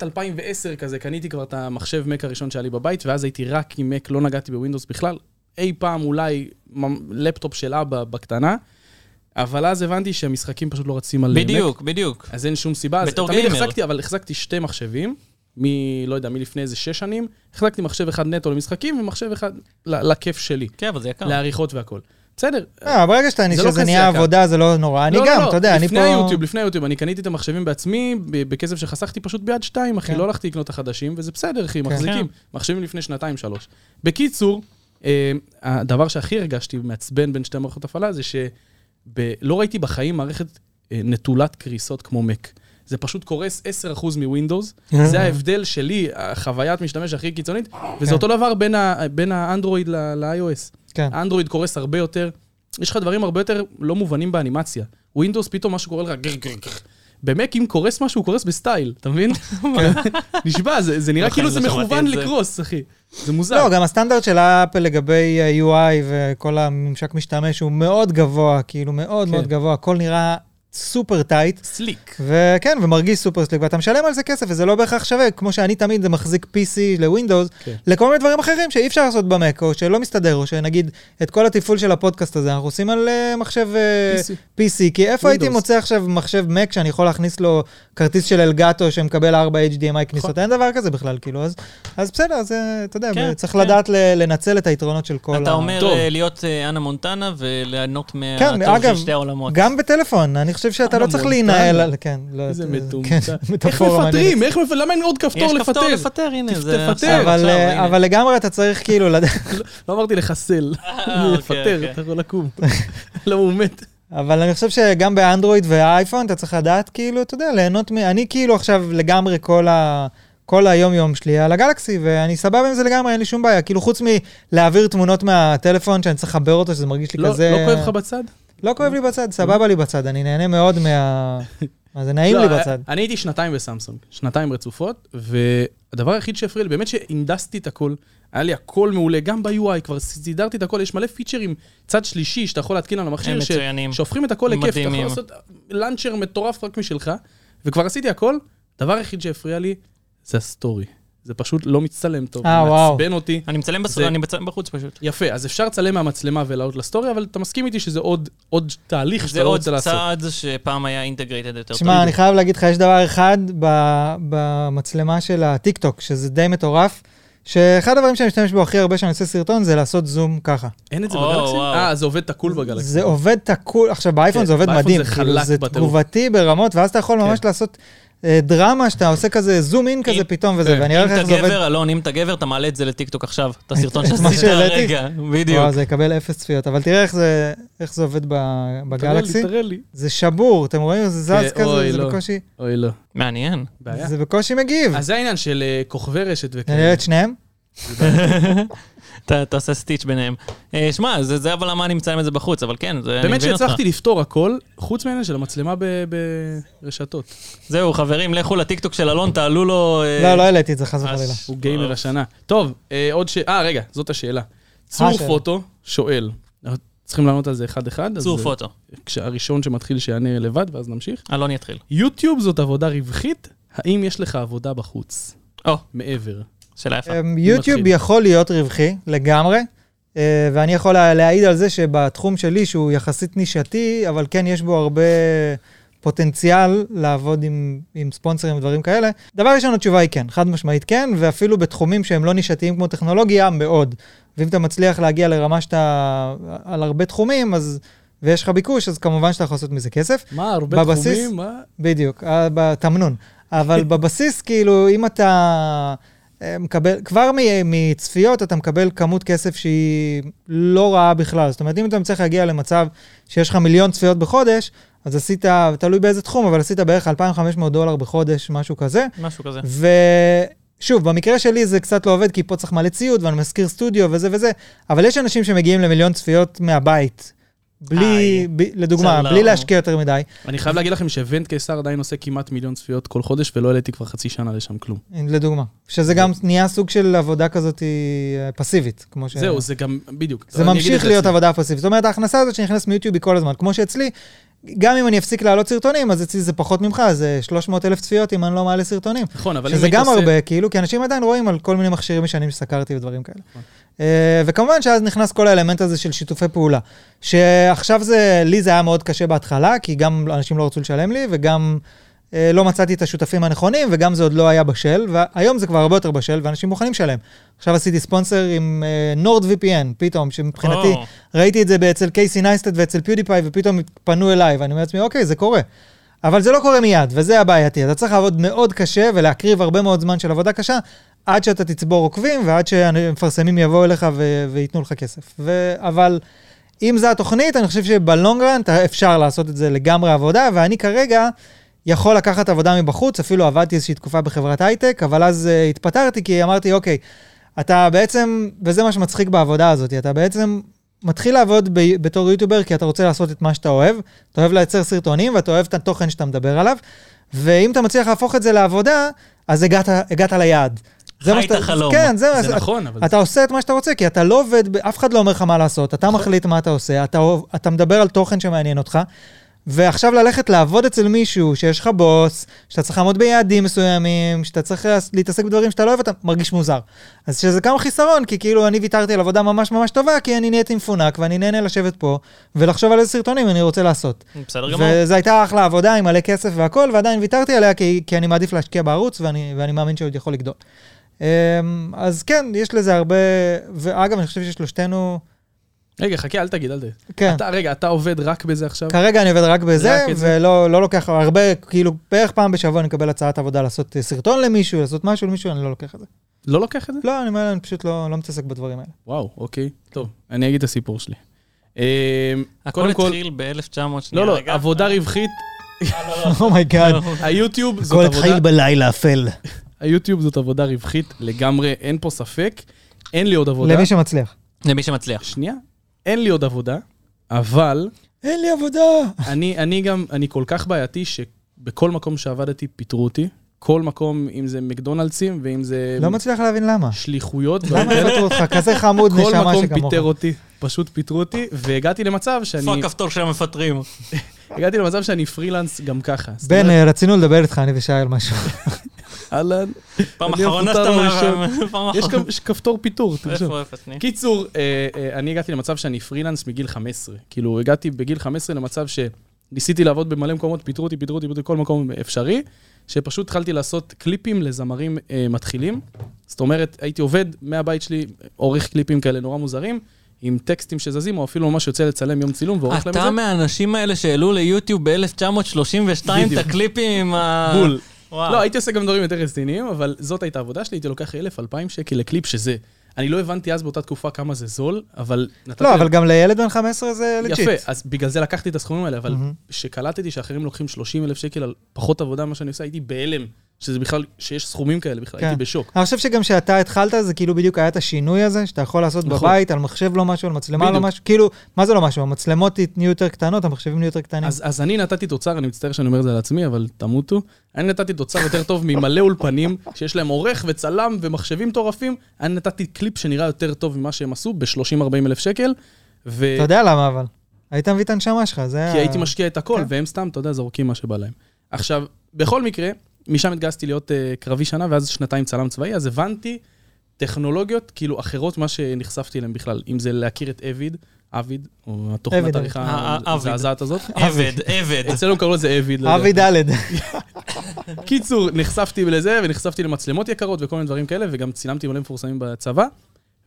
[SPEAKER 2] 2010 כזה, קניתי כבר את המחשב מק הראשון שהיה לי בבית, ואז הייתי רק עם מק, לא נגעתי בווינדוס בכלל. אי פעם אולי ממ- לפטופ של אבא בקטנה, אבל אז הבנתי שהמשחקים פשוט לא רצים על אה, מק.
[SPEAKER 1] בדיוק, בדיוק.
[SPEAKER 2] אז אין שום סיבה. אז
[SPEAKER 1] בתור
[SPEAKER 2] תמיד
[SPEAKER 1] גיימר.
[SPEAKER 2] החזקתי, אבל החזקתי שתי מחשבים, מ... לא יודע, מלפני איזה שש שנים. החזקתי מחשב אחד נטו למשחקים, ומחשב אחד ל- לכיף שלי,
[SPEAKER 1] כן, אבל זה יקר.
[SPEAKER 2] לעריכות והכול. בסדר.
[SPEAKER 3] אה, ברגע שאתה
[SPEAKER 2] זה לא
[SPEAKER 3] שזה נהיה
[SPEAKER 2] חזקה.
[SPEAKER 3] עבודה, זה לא נורא. אני
[SPEAKER 2] לא, לא,
[SPEAKER 3] גם,
[SPEAKER 2] לא,
[SPEAKER 3] אתה יודע, אני
[SPEAKER 2] לפני
[SPEAKER 3] פה...
[SPEAKER 2] היוטיוב, לפני היוטיוב, אני קניתי את המחשבים בעצמי, ב- בכסף שחסכתי פשוט ביד שתיים, אחי,
[SPEAKER 3] כן.
[SPEAKER 2] לא הלכתי לקנות את החדשים, וזה בסדר, אחי,
[SPEAKER 1] כן.
[SPEAKER 2] מחזיקים. מחשבים לפני שנתיים, שלוש. בקיצור, אה, הדבר שהכי הרגשתי מעצבן בין שתי מערכות הפעלה זה שלא ראיתי בחיים מערכת אה, נטולת קריסות כמו מק. זה פשוט קורס 10% מווינדוס,
[SPEAKER 3] אה.
[SPEAKER 2] זה ההבדל שלי, החוויית משתמש הכי קיצונית, וזה
[SPEAKER 3] כן.
[SPEAKER 2] אותו דבר בין ה- בין האנדרואיד ל- ל-iOS.
[SPEAKER 3] כן.
[SPEAKER 2] אנדרואיד קורס הרבה יותר, יש לך דברים הרבה יותר לא מובנים באנימציה. ווינדוס פתאום משהו קורה לך גר גר גר. במק אם קורס משהו, הוא קורס בסטייל, אתה מבין?
[SPEAKER 3] כן.
[SPEAKER 2] נשבע, זה זה נראה
[SPEAKER 1] נכון,
[SPEAKER 2] כאילו זה
[SPEAKER 1] לא שמעתי
[SPEAKER 2] מכוון
[SPEAKER 1] את זה.
[SPEAKER 2] לקרוס, אחי. זה מוזר.
[SPEAKER 3] לא, גם הסטנדרט של אפל לגבי אה, UI וכל הממשק משתמש הוא מאוד גבוה, כאילו מאוד
[SPEAKER 2] כן.
[SPEAKER 3] מאוד גבוה, הכל נראה סופר טייט.
[SPEAKER 2] סליק.
[SPEAKER 3] וכן, ומרגיש סופר סליק, ואתה משלם על זה כסף, וזה לא בהכרח שווה, כמו שאני תמיד מחזיק PC לווינדוס,
[SPEAKER 2] כן.
[SPEAKER 3] לכל מיני דברים אחרים שאי אפשר לעשות במק, או שלא מסתדר, או שנגיד, את כל התפעול של הפודקאסט הזה, אנחנו עושים על אה, מחשב אה,
[SPEAKER 2] PC.
[SPEAKER 3] PC, כי איפה הייתי
[SPEAKER 2] Windows.
[SPEAKER 3] מוצא עכשיו מחשב Mac שאני יכול להכניס לו כרטיס של אלגטו שמקבל 4 HDMI כניסות? אין דבר כזה בכלל, כאילו, אז- אז בסדר, אז אה, אתה יודע,
[SPEAKER 1] נכון. כן,
[SPEAKER 3] צריך
[SPEAKER 1] כן.
[SPEAKER 3] לדעת ל- לנצל את היתרונות של כל ה...
[SPEAKER 1] אתה אומר
[SPEAKER 2] טוב.
[SPEAKER 1] אה, להיות אה, אנה מונטנה וליהנות
[SPEAKER 3] כן,
[SPEAKER 1] מהטוב של
[SPEAKER 3] אגב,
[SPEAKER 1] שתי העולמות.
[SPEAKER 3] גם בטלפון, אני חושב
[SPEAKER 1] אה,
[SPEAKER 3] שאתה
[SPEAKER 2] אנה
[SPEAKER 3] לא צריך
[SPEAKER 2] מונטנה.
[SPEAKER 3] להינעל, על- כן, לא,
[SPEAKER 2] איזה
[SPEAKER 3] זה-
[SPEAKER 2] מטומטם.
[SPEAKER 3] כן,
[SPEAKER 2] איך
[SPEAKER 3] מטאפורה מעניינת.
[SPEAKER 2] מפטרים? איך מפ- למה אין עוד כפתור
[SPEAKER 1] יש כפתור
[SPEAKER 2] לפטר?
[SPEAKER 1] לפטר, הנה, זה...
[SPEAKER 2] תפטר.
[SPEAKER 1] עכשיו,
[SPEAKER 3] אבל,
[SPEAKER 1] עכשיו,
[SPEAKER 3] אה,
[SPEAKER 1] הנה.
[SPEAKER 3] אבל לגמרי אתה צריך כאילו לדעת,
[SPEAKER 2] לא אמרתי לחסל.
[SPEAKER 1] אה, אוקיי,
[SPEAKER 2] לפטר,
[SPEAKER 1] אוקיי.
[SPEAKER 2] אתה יכול לקום. למה הוא מת?
[SPEAKER 3] אבל אני חושב שגם באנדרואיד ואייפון אתה צריך לדעת כאילו, אתה יודע, ליהנות מ... אני כאילו עכשיו לגמרי כל ה... כל היום-יום שלי על הגלקסי, ואני סבבה עם זה לגמרי, אין לי שום בעיה. כאילו, חוץ מלהעביר תמונות מהטלפון שאני צריך לחבר אותו, שזה מרגיש לי
[SPEAKER 2] לא
[SPEAKER 3] כזה...
[SPEAKER 2] לא כואב לך בצד?
[SPEAKER 3] לא כואב לי בצד, סבבה לי בצד, אני נהנה מאוד מה... מה זה נעים
[SPEAKER 2] לא,
[SPEAKER 3] לי בצד.
[SPEAKER 2] אני הייתי שנתיים בסמסונג, שנתיים רצופות, והדבר היחיד שהפריע לי, באמת שהנדסתי את הכל, היה לי הכל מעולה, גם ב-UI, כבר סידרתי את הכל, יש מלא פיצ'רים צד שלישי שאתה יכול להתקין על המכשיר,
[SPEAKER 1] הם
[SPEAKER 2] ש-
[SPEAKER 1] מצוינים.
[SPEAKER 2] שהופכים את הכל לכיף, אתה יכול
[SPEAKER 1] מדהימים.
[SPEAKER 2] לעשות לאנצ'ר מטורף רק משלך, וכבר עשיתי הכל, הדבר היחיד שהפריע לי זה הסטורי. זה פשוט לא מצטלם טוב,
[SPEAKER 3] אה, וואו.
[SPEAKER 2] מעצבן אותי.
[SPEAKER 1] אני מצלם בס-
[SPEAKER 2] זה-
[SPEAKER 1] אני מצלם בחוץ פשוט.
[SPEAKER 2] יפה, אז אפשר לצלם מהמצלמה ולהעלות לסטורי, אבל אתה מסכים איתי שזה עוד, עוד תהליך
[SPEAKER 1] זה
[SPEAKER 2] שאתה לא
[SPEAKER 1] עוד
[SPEAKER 2] רוצה לעשות.
[SPEAKER 1] צעד שפעם היה אינטגרייטד יותר טוב.
[SPEAKER 3] תשמע, אני חייב להגיד לך, יש דבר אחד ב- במצלמה של הטיקטוק, שזה די מטורף, שאחד הדברים שאני משתמש בו הכי הרבה כשאני עושה סרטון, זה לעשות זום ככה.
[SPEAKER 2] אין את זה
[SPEAKER 1] או,
[SPEAKER 2] בגלקסי?
[SPEAKER 1] וואו.
[SPEAKER 2] אה, זה עובד תקול בגלקסי.
[SPEAKER 3] זה עובד תקול, עכשיו באייפון
[SPEAKER 2] כן,
[SPEAKER 3] זה עובד
[SPEAKER 2] באייפון
[SPEAKER 3] מדהים,
[SPEAKER 2] זה
[SPEAKER 3] כאילו,
[SPEAKER 2] חלק
[SPEAKER 3] זה
[SPEAKER 2] בטירוף.
[SPEAKER 3] תגובתי ברמות, ואז אתה יכול ממש
[SPEAKER 2] כן.
[SPEAKER 3] לעשות אה, דרמה, שאתה עושה כזה זום אין כזה
[SPEAKER 1] אם-
[SPEAKER 3] פתאום וזה,
[SPEAKER 2] כן.
[SPEAKER 3] ואני אראה לך
[SPEAKER 1] אם אתה
[SPEAKER 3] איך זה עובד.
[SPEAKER 1] גבר, אלון, אם אתה גבר, אתה מעלה את זה לטיקטוק עכשיו, את הסרטון
[SPEAKER 3] את מה
[SPEAKER 1] שעשית
[SPEAKER 3] שהעליתי?
[SPEAKER 1] הרגע, בדיוק.
[SPEAKER 3] וואו, זה יקבל אפס צפיות, אבל תראה איך זה- איך זה עובד ב-
[SPEAKER 2] תראה לי,
[SPEAKER 3] בגלקסי.
[SPEAKER 2] תראה לא לי.
[SPEAKER 3] זה שבור, אתם רואים? זה
[SPEAKER 2] כן,
[SPEAKER 3] זז כזה,
[SPEAKER 2] אוי,
[SPEAKER 3] זה
[SPEAKER 2] לא.
[SPEAKER 3] בקושי,
[SPEAKER 2] אוי, לא.
[SPEAKER 1] מעניין.
[SPEAKER 2] בעיה.
[SPEAKER 3] זה בקושי מגיב.
[SPEAKER 2] אז זה העניין של אה, כוכבי רשת
[SPEAKER 3] נראה
[SPEAKER 2] וכאלה.
[SPEAKER 3] את שניהם?
[SPEAKER 1] אתה אתה עושה סטיץ' ביניהם. אה, שמע, זה זה אבל למה אני מצלם את זה בחוץ, אבל כן, זה- אני מבין
[SPEAKER 2] באמת
[SPEAKER 1] אותך.
[SPEAKER 2] שהצלחתי לפתור הכל, חוץ מהעניין של המצלמה ב- ברשתות.
[SPEAKER 1] זהו, חברים, לכו לטיקטוק של אלון, תעלו לו... אה,
[SPEAKER 3] לא, לא העליתי את זה, חס וחלילה.
[SPEAKER 1] אז-
[SPEAKER 2] הוא גיימר השנה. טוב, אה, עוד ש... אה, רגע, זאת השאלה. צור
[SPEAKER 3] השאלה.
[SPEAKER 2] פוטו שואל. אנחנו צריכים לענות על זה אחד-אחד. אז,
[SPEAKER 1] צור
[SPEAKER 2] אה,
[SPEAKER 1] פוטו.
[SPEAKER 2] כשהראשון שמתחיל שיענה לבד, ואז נמשיך.
[SPEAKER 1] אלון יתחיל.
[SPEAKER 2] יוטיוב זאת עבודה רווחית, האם יש לך עבודה בחוץ?
[SPEAKER 1] או,
[SPEAKER 2] מעבר.
[SPEAKER 1] שאלה יפה.
[SPEAKER 3] אמ, יוטיוב
[SPEAKER 2] מתחיל.
[SPEAKER 3] יכול להיות רווחי לגמרי, אה, ואני יכול לה- להעיד על זה שבתחום שלי, שהוא יחסית נישתי, אבל כן יש בו הרבה פוטנציאל לעבוד עם, עם ספונסרים ודברים כאלה. דבר ראשון, התשובה היא כן, חד משמעית כן, ואפילו בתחומים שהם לא נישתיים כמו טכנולוגיה, מאוד. ואם אתה מצליח להגיע לרמה שאתה על הרבה תחומים, אז... ויש לך ביקוש, אז כמובן שאתה יכול לעשות מזה כסף.
[SPEAKER 2] מה, הרבה
[SPEAKER 3] בבסיס-
[SPEAKER 2] תחומים? מה?
[SPEAKER 3] בדיוק, אה, בתמנון. אבל בבסיס, כאילו, אם אתה אה, מקבל, כבר מ- מצפיות אתה מקבל כמות כסף שהיא לא רעה בכלל. זאת אומרת, אם אתה מצליח להגיע למצב שיש לך מיליון צפיות בחודש, אז אז עשית, תלוי באיזה תחום, אבל עשית בערך 2,500 דולר בחודש, משהו כזה.
[SPEAKER 1] משהו כזה.
[SPEAKER 3] ושוב, במקרה שלי זה קצת לא עובד, כי פה צריך מלא ציוד, ואני מזכיר סטודיו וזה וזה, אבל יש אנשים שמגיעים למיליון צפיות מהבית. בלי,
[SPEAKER 1] איי,
[SPEAKER 3] ב, לדוגמה,
[SPEAKER 1] זה
[SPEAKER 3] בלי
[SPEAKER 1] לא.
[SPEAKER 3] להשקיע יותר מדי.
[SPEAKER 2] אני חייב להגיד לכם שאבנט קיסר עדיין עושה כמעט מיליון צפיות כל חודש, ולא העליתי כבר חצי שנה לשם כלום.
[SPEAKER 3] לדוגמה. שזה גם נהיה סוג של עבודה כזאת אה, פסיבית, כמו ש...
[SPEAKER 2] זהו, זה גם, בדיוק.
[SPEAKER 3] זה
[SPEAKER 2] אני אגיד את
[SPEAKER 3] ממשיך להיות
[SPEAKER 2] אצלי.
[SPEAKER 3] עבודה פסיבית. זאת אומרת, ההכנסה הזאת שנכנסת מיוטיוב היא כל הזמן. כמו שאצלי, גם אם אני אפסיק להעלות סרטונים, אז אצלי זה פחות ממך, זה 300 אלף צפיות אם אני לא מעלה סרטונים.
[SPEAKER 2] נכון, אבל אם
[SPEAKER 3] שזה
[SPEAKER 2] היית
[SPEAKER 3] גם
[SPEAKER 2] עושה-
[SPEAKER 3] הרבה, כאילו, כי אנשים עדיין רואים על כל מיני מכשירים ישנים שסקרתי ודברים כאלה.
[SPEAKER 2] נכון.
[SPEAKER 3] אה, וכמובן שאז נכנס כל האלמנט הזה של שיתופי פעולה. שעכשיו זה, לי זה היה מאוד קשה בהתחלה, כי גם אנשים לא רצו לשלם לי, וגם אה, לא מצאתי את השותפים הנכונים, וגם זה עוד לא היה בשל, והיום זה כבר הרבה יותר בשל, ואנשים מוכנים לשלם. עכשיו עשיתי ספונסר עם אה, נורד VPN, פתאום, שמבחינתי,
[SPEAKER 1] או.
[SPEAKER 3] ראיתי את זה אצל קייסי נייסטד ואצל פיודיפיי, ופתאום פנו אליי, ואני אומר לעצמי, אוקיי, זה קורה. אבל זה לא קורה מיד, וזה הבעייתי. אתה צריך לעבוד מאוד קשה ולהקריב הרבה מאוד זמן של עבודה קשה, עד שאתה תצבור עוקבים ועד שהמפרסמים יבואו אליך ו- וייתנו לך כסף. ו- אבל אם זו התוכנית, אני חושב שבלונגרן אפשר לעשות את זה לגמרי עבודה, ואני כרגע יכול לקחת עבודה מבחוץ, אפילו עבדתי איזושהי תקופה בחברת הייטק, אבל אז uh, התפטרתי כי אמרתי, אוקיי, אתה בעצם, וזה מה שמצחיק בעבודה הזאת, אתה בעצם מתחיל לעבוד ב- בתור יוטיובר כי אתה רוצה לעשות את מה שאתה אוהב, אתה אוהב לייצר סרטונים ואתה אוהב את התוכן שאתה מדבר עליו, ואם אתה מצליח להפוך את זה לעבודה, אז הגעת, הגעת ליעד. זה מה
[SPEAKER 1] חי את
[SPEAKER 3] שאתה-
[SPEAKER 1] החלום.
[SPEAKER 3] כן, זה, מה-
[SPEAKER 2] זה נכון, אבל...
[SPEAKER 3] אתה עושה את מה שאתה רוצה, כי אתה לא עובד, ב- אף אחד לא אומר לך מה לעשות, אתה מחליט מה אתה עושה, אתה, אוהב- אתה מדבר על תוכן שמעניין אותך, ועכשיו ללכת לעבוד אצל מישהו שיש לך בוס, שאתה צריך לעמוד ביעדים מסוימים, שאתה צריך לעס- להתעסק בדברים שאתה לא אוהב, אתה מרגיש מוזר. אז שזה כמה חיסרון, כי כאילו אני ויתרתי על עבודה ממש ממש טובה, כי אני נהייתי מפונק, ואני נהנה לשבת פה, ולחשוב על איזה סרטונים אני רוצה לעשות.
[SPEAKER 1] בסדר גמור.
[SPEAKER 3] וזו הייתה אחלה עבודה עם מלא כסף והכל, ועדיין ויתרתי עליה כי, כי אני מעדיף להשקיע בערוץ, ואני, ואני מאמין שעוד יכול לגדול. אמ, אז כן, יש לזה הרבה, ואגב, אני חושב ששלושתנו,
[SPEAKER 2] רגע, חכה, אל תגיד, אל תגיד.
[SPEAKER 3] כן,
[SPEAKER 2] אתה, רגע, אתה עובד רק בזה עכשיו?
[SPEAKER 3] כרגע אני עובד רק בזה,
[SPEAKER 2] רק את זה.
[SPEAKER 3] ולא לא לוקח הרבה, כאילו, בערך פעם בשבוע אני מקבל הצעת עבודה לעשות אה, סרטון למישהו, לעשות משהו למישהו, אני לא לוקח את זה.
[SPEAKER 2] לא לוקח את זה?
[SPEAKER 3] לא, אני, אומר, אני פשוט לא, לא מתעסק בדברים האלה.
[SPEAKER 2] וואו, אוקיי. טוב, אני אגיד את הסיפור שלי. אמ,
[SPEAKER 1] הכל
[SPEAKER 2] קודם כל,
[SPEAKER 1] התחיל ב-1900...
[SPEAKER 2] לא, לא, עבודה רווחית,
[SPEAKER 3] אומייגאד.
[SPEAKER 2] היוטיוב לא, זאת עבודה...
[SPEAKER 3] בלילה אפל.
[SPEAKER 2] היוטיוב זאת עבודה רווחית לגמרי, אין פה ספק. אין לי עוד עבודה.
[SPEAKER 3] למי שמצליח.
[SPEAKER 1] למי שמצליח.
[SPEAKER 2] שנייה, אין לי עוד עבודה, אבל
[SPEAKER 3] אין לי עבודה.
[SPEAKER 2] אני, אני גם, אני כל כך בעייתי שבכל מקום שעבדתי פיטרו אותי. כל מקום, אם זה מקדונלדסים ואם זה
[SPEAKER 3] לא מצליח להבין למה.
[SPEAKER 2] שליחויות.
[SPEAKER 3] למה יפטרו אותך? כזה חמוד
[SPEAKER 2] כל
[SPEAKER 3] נשמה
[SPEAKER 2] מקום
[SPEAKER 3] שכמוך.
[SPEAKER 2] פיטר אותי, פשוט פיטרו אותי, והגעתי למצב
[SPEAKER 1] איפה
[SPEAKER 2] שאני,
[SPEAKER 1] הכפתור של המפטרים?
[SPEAKER 2] הגעתי למצב שאני פרילנס גם ככה. זאת
[SPEAKER 3] בן,
[SPEAKER 2] אומרת,
[SPEAKER 3] אה, רצינו לדבר איתך, אני ושי על משהו.
[SPEAKER 2] אהלן,
[SPEAKER 1] פעם
[SPEAKER 2] אני
[SPEAKER 1] אחרונה
[SPEAKER 2] המפוטר
[SPEAKER 1] שאתה...
[SPEAKER 2] הראשון.
[SPEAKER 1] פעם
[SPEAKER 2] יש
[SPEAKER 1] אחרונה.
[SPEAKER 2] גם יש כפתור פיטור, תרשום.
[SPEAKER 1] איפה אפס? שנייה.
[SPEAKER 2] קיצור, אה, אה, אני הגעתי למצב שאני פרילנס מגיל 15. כאילו, הגעתי בגיל 15 למצב שניסיתי לעבוד במלא מקומות, פיטרו אותי, פיטרו אותי, פיטרו אותי, כל מקום אפשרי, שפשוט התחלתי לעשות קליפים לזמרים אה, מתחילים. זאת אומרת, הייתי עובד מהבית שלי, עורך קליפים כאלה נורא מוזרים, עם טקסטים שזזים, או אפילו ממש יוצא לצלם יום צילום ועורך להם את
[SPEAKER 1] אתה
[SPEAKER 2] כאילו, זה.
[SPEAKER 1] מהאנשים האלה שהעלו ליוטיוב ב-1932 את
[SPEAKER 2] בדיוק.
[SPEAKER 1] הקליפים עם ה...
[SPEAKER 2] בול.
[SPEAKER 1] וואו.
[SPEAKER 2] לא, הייתי עושה גם דברים יותר רציניים, אבל זאת הייתה העבודה שלי, הייתי לוקח 1,000-2,000 שקל לקליפ שזה. אני לא הבנתי אז באותה תקופה כמה זה זול, אבל נתתי...
[SPEAKER 3] לא, אבל גם לילד בן 15 זה לג'יט.
[SPEAKER 2] יפה, אז בגלל זה לקחתי את הסכומים האלה, אבל
[SPEAKER 3] מהמם.
[SPEAKER 2] כשקלטתי שאחרים לוקחים 30 אלף שקל על פחות עבודה ממה שאני עושה, הייתי בהלם, שזה בכלל, שיש סכומים כאלה בכלל,
[SPEAKER 3] כן.
[SPEAKER 2] הייתי בשוק.
[SPEAKER 3] אני חושב שגם כשאתה התחלת, זה כאילו בדיוק היה את השינוי הזה, שאתה יכול לעשות
[SPEAKER 2] נכון.
[SPEAKER 3] בבית, על מחשב לא משהו, על מצלמה לא
[SPEAKER 2] בדיוק.
[SPEAKER 3] משהו. כאילו, מה זה לא משהו? המצלמות נהיו יותר קטנות, המחשבים נהיו יותר קטנים.
[SPEAKER 2] אז, אז אני נתתי תוצר, אני מצטער שאני אומר את זה על עצמי, אבל תמותו. אני נתתי תוצר יותר טוב ממלא אולפנים, שיש להם עורך וצלם ומחשבים מטורפים. אני נתתי קליפ שנראה יותר טוב ממה שהם עשו, ב-30-40 אלף שקל, ו...
[SPEAKER 3] אתה יודע למה אבל. היית מביא את הנשמה שלך, זה
[SPEAKER 2] אה, כי
[SPEAKER 3] היה...
[SPEAKER 2] הייתי משקיע את הכל,
[SPEAKER 3] כן.
[SPEAKER 2] והם סתם, אתה יודע, זורקים מה שבא להם. עכשיו, בכל מקרה, משם התגייסתי להיות אה, קרבי שנה, ואז שנתיים צלם צבאי, אז הבנתי טכנולוגיות כאילו אחרות ממה שנחשפתי אליהן בכלל. אם זה להכיר את אביד, אביד, או
[SPEAKER 3] אביד,
[SPEAKER 2] התוכנת
[SPEAKER 1] אה,
[SPEAKER 2] עריכה
[SPEAKER 1] אה, אביד.
[SPEAKER 2] המזעזעת הזאת.
[SPEAKER 1] עבד, עבד.
[SPEAKER 2] אצלנו קראו לזה אביד. לא יודע.
[SPEAKER 3] אבי ד'.
[SPEAKER 2] קיצור, נחשפתי לזה, ונחשפתי למצלמות יקרות וכל מיני דברים כאלה, וגם צילמתי מלא מפורסמים בצבא.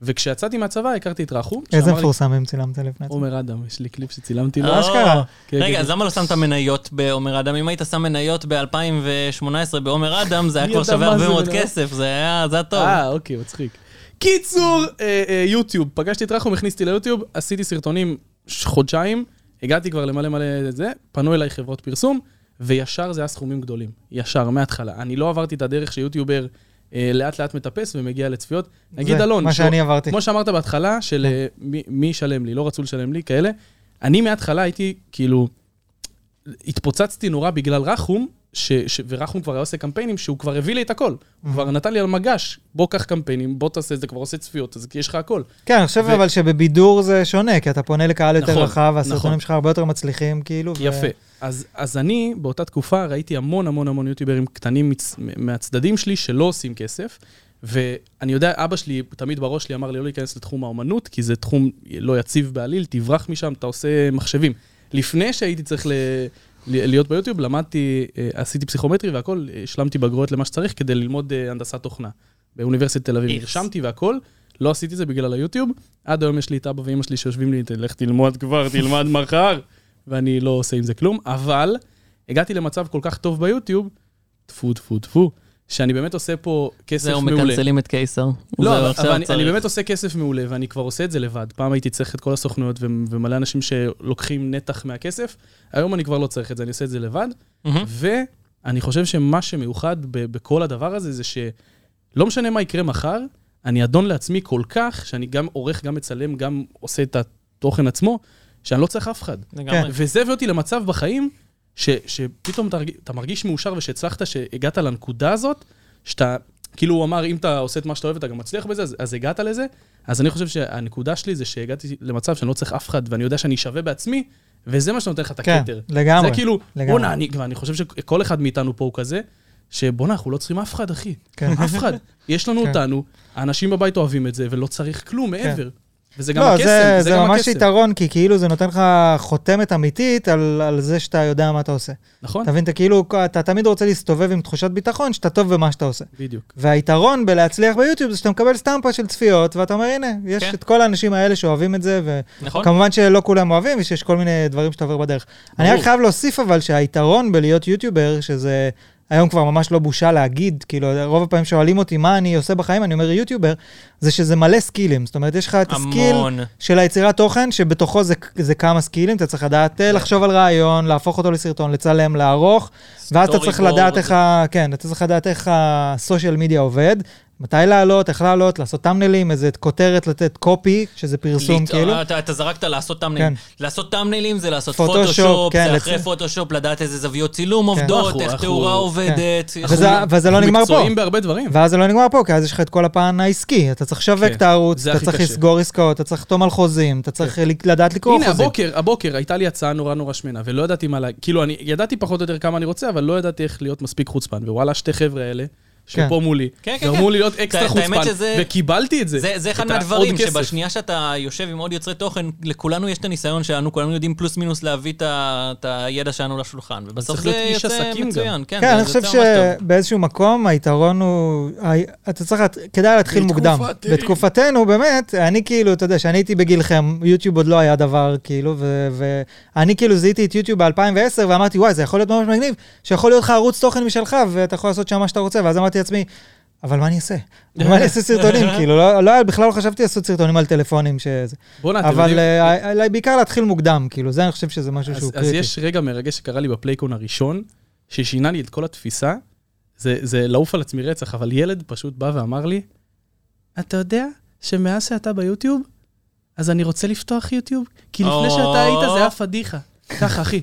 [SPEAKER 2] וכשיצאתי מהצבא, הכרתי את רחום.
[SPEAKER 3] איזה
[SPEAKER 2] שאמר לי,
[SPEAKER 3] מפורסמים צילמת לפני זה.
[SPEAKER 2] עומר אדם, יש לי קליפ שצילמתי לו.
[SPEAKER 1] אה,
[SPEAKER 3] אשכרה.
[SPEAKER 2] כן,
[SPEAKER 1] רגע,
[SPEAKER 2] כן,
[SPEAKER 1] אז למה לא שמת מניות בעומר אדם? אם היית שם מניות ב-2018 בעומר אדם, זה היה
[SPEAKER 2] מי
[SPEAKER 1] כבר
[SPEAKER 2] ידע
[SPEAKER 1] שווה
[SPEAKER 2] מה
[SPEAKER 1] הרבה
[SPEAKER 2] זה
[SPEAKER 1] מאוד
[SPEAKER 2] מניות?
[SPEAKER 1] כסף, זה היה, זה היה טוב.
[SPEAKER 2] אה, אוקיי, מצחיק. קיצור, אה, אה, יוטיוב, פגשתי את רחום, הכניסתי ליוטיוב, עשיתי סרטונים ש- חודשיים, הגעתי כבר למלא מלא את זה, פנו אליי חברות פרסום, וישר זה היה סכומים גדולים. ישר, מההתחלה. אני לא עברתי את הדרך שיוטיובר אה, לאט לאט מטפס ומגיע לצפיות. נגיד
[SPEAKER 3] זה
[SPEAKER 2] אלון,
[SPEAKER 3] מה
[SPEAKER 2] שהוא-
[SPEAKER 3] שאני עברתי.
[SPEAKER 2] כמו שאמרת בהתחלה, של אה, מי- מי ישלם לי, לא רצו לשלם לי, כאלה. אני מההתחלה הייתי, כאילו, התפוצצתי נורא בגלל רחום, ש, ש, ורחום כבר היה עושה קמפיינים שהוא כבר הביא לי את הכל. הוא כבר נתן לי על מגש, בוא קח קמפיינים, בוא תעשה את זה, כבר עושה צפיות, אז כי יש לך הכל.
[SPEAKER 3] כן, אני חושב
[SPEAKER 2] ו-
[SPEAKER 3] אבל שבבידור זה שונה, כי אתה פונה לקהל יותר
[SPEAKER 2] נכון,
[SPEAKER 3] רחב,
[SPEAKER 2] נכון.
[SPEAKER 3] והסרטונים שלך הרבה יותר מצליחים, כאילו. ו-
[SPEAKER 2] יפה. אז, אז אני, באותה תקופה, ראיתי המון המון המון יוטיוברים קטנים מצ, מהצדדים שלי שלא עושים כסף, ואני יודע, אבא שלי תמיד בראש שלי אמר לי לא להיכנס לתחום האומנות, כי זה תחום לא יציב בעליל, תברח משם, אתה עושה מחשבים. לפני שהייתי צריך ל... ל- להיות ביוטיוב, למדתי, אה, עשיתי פסיכומטרי והכל, אה, השלמתי בגרויות למה שצריך כדי ללמוד אה, הנדסת תוכנה באוניברסיטת תל אביב.
[SPEAKER 1] איכס.
[SPEAKER 2] נרשמתי והכל, לא עשיתי זה בגלל היוטיוב. עד היום יש לי את אבא ואמא שלי שיושבים לי, תלך תלמוד כבר, תלמד מחר, ואני לא עושה עם זה כלום, אבל הגעתי למצב כל כך טוב ביוטיוב, טפו, טפו, טפו, שאני באמת עושה פה כסף
[SPEAKER 1] זהו,
[SPEAKER 2] מעולה.
[SPEAKER 1] מקלצלים את קיסר. זהו,
[SPEAKER 2] לא, אבל,
[SPEAKER 1] עכשיו
[SPEAKER 2] אבל אני, אני
[SPEAKER 1] צריך.
[SPEAKER 2] באמת עושה כסף מעולה, ואני כבר עושה את זה לבד. פעם הייתי צריך את כל הסוכנויות ו- ומלא אנשים שלוקחים נתח מהכסף, היום אני כבר לא צריך את זה, אני עושה את זה לבד.
[SPEAKER 1] מהמם.
[SPEAKER 2] ואני חושב שמה שמיוחד ב- בכל הדבר הזה, זה שלא משנה מה יקרה מחר, אני אדון לעצמי כל כך, שאני גם עורך, גם מצלם, גם עושה את התוכן עצמו, שאני לא צריך אף אחד.
[SPEAKER 1] לגמרי.
[SPEAKER 2] וזה הביא אותי למצב בחיים, ש, שפתאום אתה, הרג- אתה מרגיש מאושר ושהצלחת, שהגעת לנקודה הזאת, שאתה, כאילו הוא אמר, אם אתה עושה את מה שאתה אוהב, אתה גם מצליח בזה, אז, אז הגעת לזה. אז אני חושב שהנקודה שלי זה שהגעתי למצב שאני לא צריך אף אחד, ואני יודע שאני שווה בעצמי, וזה מה שנותן לך את
[SPEAKER 3] כן,
[SPEAKER 2] הכתר.
[SPEAKER 3] לגמרי.
[SPEAKER 2] זה כאילו,
[SPEAKER 3] לגמרי.
[SPEAKER 2] בואנה, אני, אני חושב שכל אחד מאיתנו פה הוא כזה, שבואנה, אנחנו לא צריכים אף אחד, אחי.
[SPEAKER 3] כן.
[SPEAKER 2] אף אחד. יש לנו
[SPEAKER 3] כן.
[SPEAKER 2] אותנו, האנשים בבית אוהבים את זה, ולא צריך כלום מעבר. וזה גם
[SPEAKER 3] לא,
[SPEAKER 2] הקסם,
[SPEAKER 3] זה,
[SPEAKER 2] זה
[SPEAKER 3] זה
[SPEAKER 2] גם
[SPEAKER 3] ממש
[SPEAKER 2] הקסם.
[SPEAKER 3] יתרון, כי כאילו זה נותן לך חותמת אמיתית על, על זה שאתה יודע מה אתה עושה.
[SPEAKER 2] נכון?
[SPEAKER 3] אתה מבין, אתה כאילו, אתה תמיד רוצה להסתובב עם תחושת ביטחון שאתה טוב במה שאתה עושה.
[SPEAKER 2] בדיוק.
[SPEAKER 3] והיתרון בלהצליח ביוטיוב זה שאתה מקבל סטמפה של צפיות, ואתה אומר, הנה, יש
[SPEAKER 1] כן.
[SPEAKER 3] את כל האנשים האלה שאוהבים את זה, ו...
[SPEAKER 1] נכון?
[SPEAKER 3] כמובן שלא כולם אוהבים, ושיש כל מיני דברים שאתה עובר בדרך. אני רק חייב להוסיף אבל שהיתרון בלהיות יוטיובר, שזה היום כבר ממש לא בושה להגיד, כאילו, רוב הפעמים שואלים אותי מה אני עושה בחיים, אני אומר יוטיובר, זה שזה מלא סקילים. זאת אומרת, יש לך את הסקיל
[SPEAKER 1] המון.
[SPEAKER 3] של היצירת תוכן, שבתוכו זה, זה כמה סקילים, אתה צריך לדעת
[SPEAKER 2] כן.
[SPEAKER 3] אה, לחשוב על רעיון, להפוך אותו לסרטון, לצלם, לערוך, ואז אתה צריך
[SPEAKER 1] סטורי
[SPEAKER 3] לדעת
[SPEAKER 1] בורד.
[SPEAKER 3] איך, ה- כן, אתה צריך לדעת איך הסושיאל מדיה עובד. מתי לעלות, איך לעלות, לעשות טאמנלים, איזה כותרת לתת קופי, שזה פרסום
[SPEAKER 1] לת-
[SPEAKER 3] כאילו.
[SPEAKER 1] אתה, אתה זרקת לעשות טאמנלים. לעשות טאמנלים זה לעשות
[SPEAKER 3] פוטושופ,
[SPEAKER 1] פוטושופ,
[SPEAKER 3] כן,
[SPEAKER 1] זה
[SPEAKER 3] לצ- כן.
[SPEAKER 1] אחרי פוטושופ, לדעת איזה זוויות צילום עובדות,
[SPEAKER 2] אנחנו-
[SPEAKER 1] איך
[SPEAKER 2] אנחנו-
[SPEAKER 1] תאורה עובדת. יש-
[SPEAKER 3] וזה- וזה לא
[SPEAKER 2] אנחנו
[SPEAKER 3] נגמר פה.
[SPEAKER 2] מקצועיים בהרבה דברים.
[SPEAKER 3] ואז זה לא נגמר פה, כי אז יש לך את כל הפן העסקי. אתה צריך לשווק
[SPEAKER 2] כן,
[SPEAKER 3] את הערוץ,
[SPEAKER 2] זה
[SPEAKER 3] אתה
[SPEAKER 2] הכי
[SPEAKER 3] צריך
[SPEAKER 2] קשה. כן.
[SPEAKER 3] לסגור עסקאות, אתה צריך לחתום על חוזים, אתה צריך ל- לדעת לקרוא
[SPEAKER 2] הנה,
[SPEAKER 3] חוזים.
[SPEAKER 2] הבוקר, הבוקר הייתה לי הצעה נורא נורא שמנה, ולא ידעתי מה לה... כאילו, אני ידעתי פחות או יותר כמה אני רוצה, אבל לא ידעתי איך להיות מספיק חוצפן. ווואלה, שתי חבר'ה האלה, שפה מולי,
[SPEAKER 1] כן, כן,
[SPEAKER 2] גרמו
[SPEAKER 1] כן.
[SPEAKER 2] לי להיות
[SPEAKER 1] את
[SPEAKER 2] אקסטרה
[SPEAKER 1] האמת
[SPEAKER 2] חוצפן,
[SPEAKER 1] שזה-
[SPEAKER 2] וקיבלתי את זה.
[SPEAKER 1] זה, זה אחד
[SPEAKER 2] את העוד
[SPEAKER 1] מהדברים,
[SPEAKER 2] כסף.
[SPEAKER 1] שבשנייה שאתה יושב עם עוד יוצרי תוכן, לכולנו יש את הניסיון שלנו, כולנו יודעים פלוס מינוס להביא את ה- את הידע שלנו לשולחן, ובסוף
[SPEAKER 2] צריך
[SPEAKER 1] זה
[SPEAKER 2] להיות איש
[SPEAKER 1] יוצא
[SPEAKER 2] עסקים גם.
[SPEAKER 1] מצוין. כן,
[SPEAKER 3] כן,
[SPEAKER 1] זה-
[SPEAKER 3] אני
[SPEAKER 1] זה
[SPEAKER 3] חושב
[SPEAKER 1] יוצא ממש טוב.
[SPEAKER 3] שבאיזשהו מקום היתרון הוא... ה- אתה צריך... לת- כדאי להתחיל מוקדם.
[SPEAKER 2] בתקופתי.
[SPEAKER 3] בתקופתנו, באמת, אני כאילו, אתה יודע, כשאני הייתי בגילכם, יוטיוב עוד לא היה דבר, כאילו, ו- ואני כאילו זיהיתי את יוטיוב ב-2010, ואמרתי, וואי, זה יכול להיות ממש מגניב, שיכול להיות לך ערוץ תוכן משלך, ואתה יכול לעשות שם מה שאתה רוצה, ואז אמרתי לעצמי, אבל מה אני אעשה? מה אני אעשה סרטונים? כאילו, לא, לא, בכלל לא חשבתי לעשות סרטונים על טלפונים שזה.
[SPEAKER 2] בואנה, אתם
[SPEAKER 3] אבל
[SPEAKER 2] יודעים...
[SPEAKER 3] אה, אה, בעיקר להתחיל מוקדם, כאילו, זה אני חושב שזה משהו
[SPEAKER 2] אז,
[SPEAKER 3] שהוא
[SPEAKER 2] אז
[SPEAKER 3] קריטי.
[SPEAKER 2] יש רגע מרגש שקרה לי בפלייקון הראשון, ששינה לי את כל התפיסה. זה, זה לעוף על עצמי רצח, אבל ילד פשוט בא ואמר לי, אתה יודע שמאז שאתה ביוטיוב, אז אני רוצה לפתוח יוטיוב, כי לפני
[SPEAKER 1] או.
[SPEAKER 2] שאתה היית זה היה פדיחה. ככה, אחי.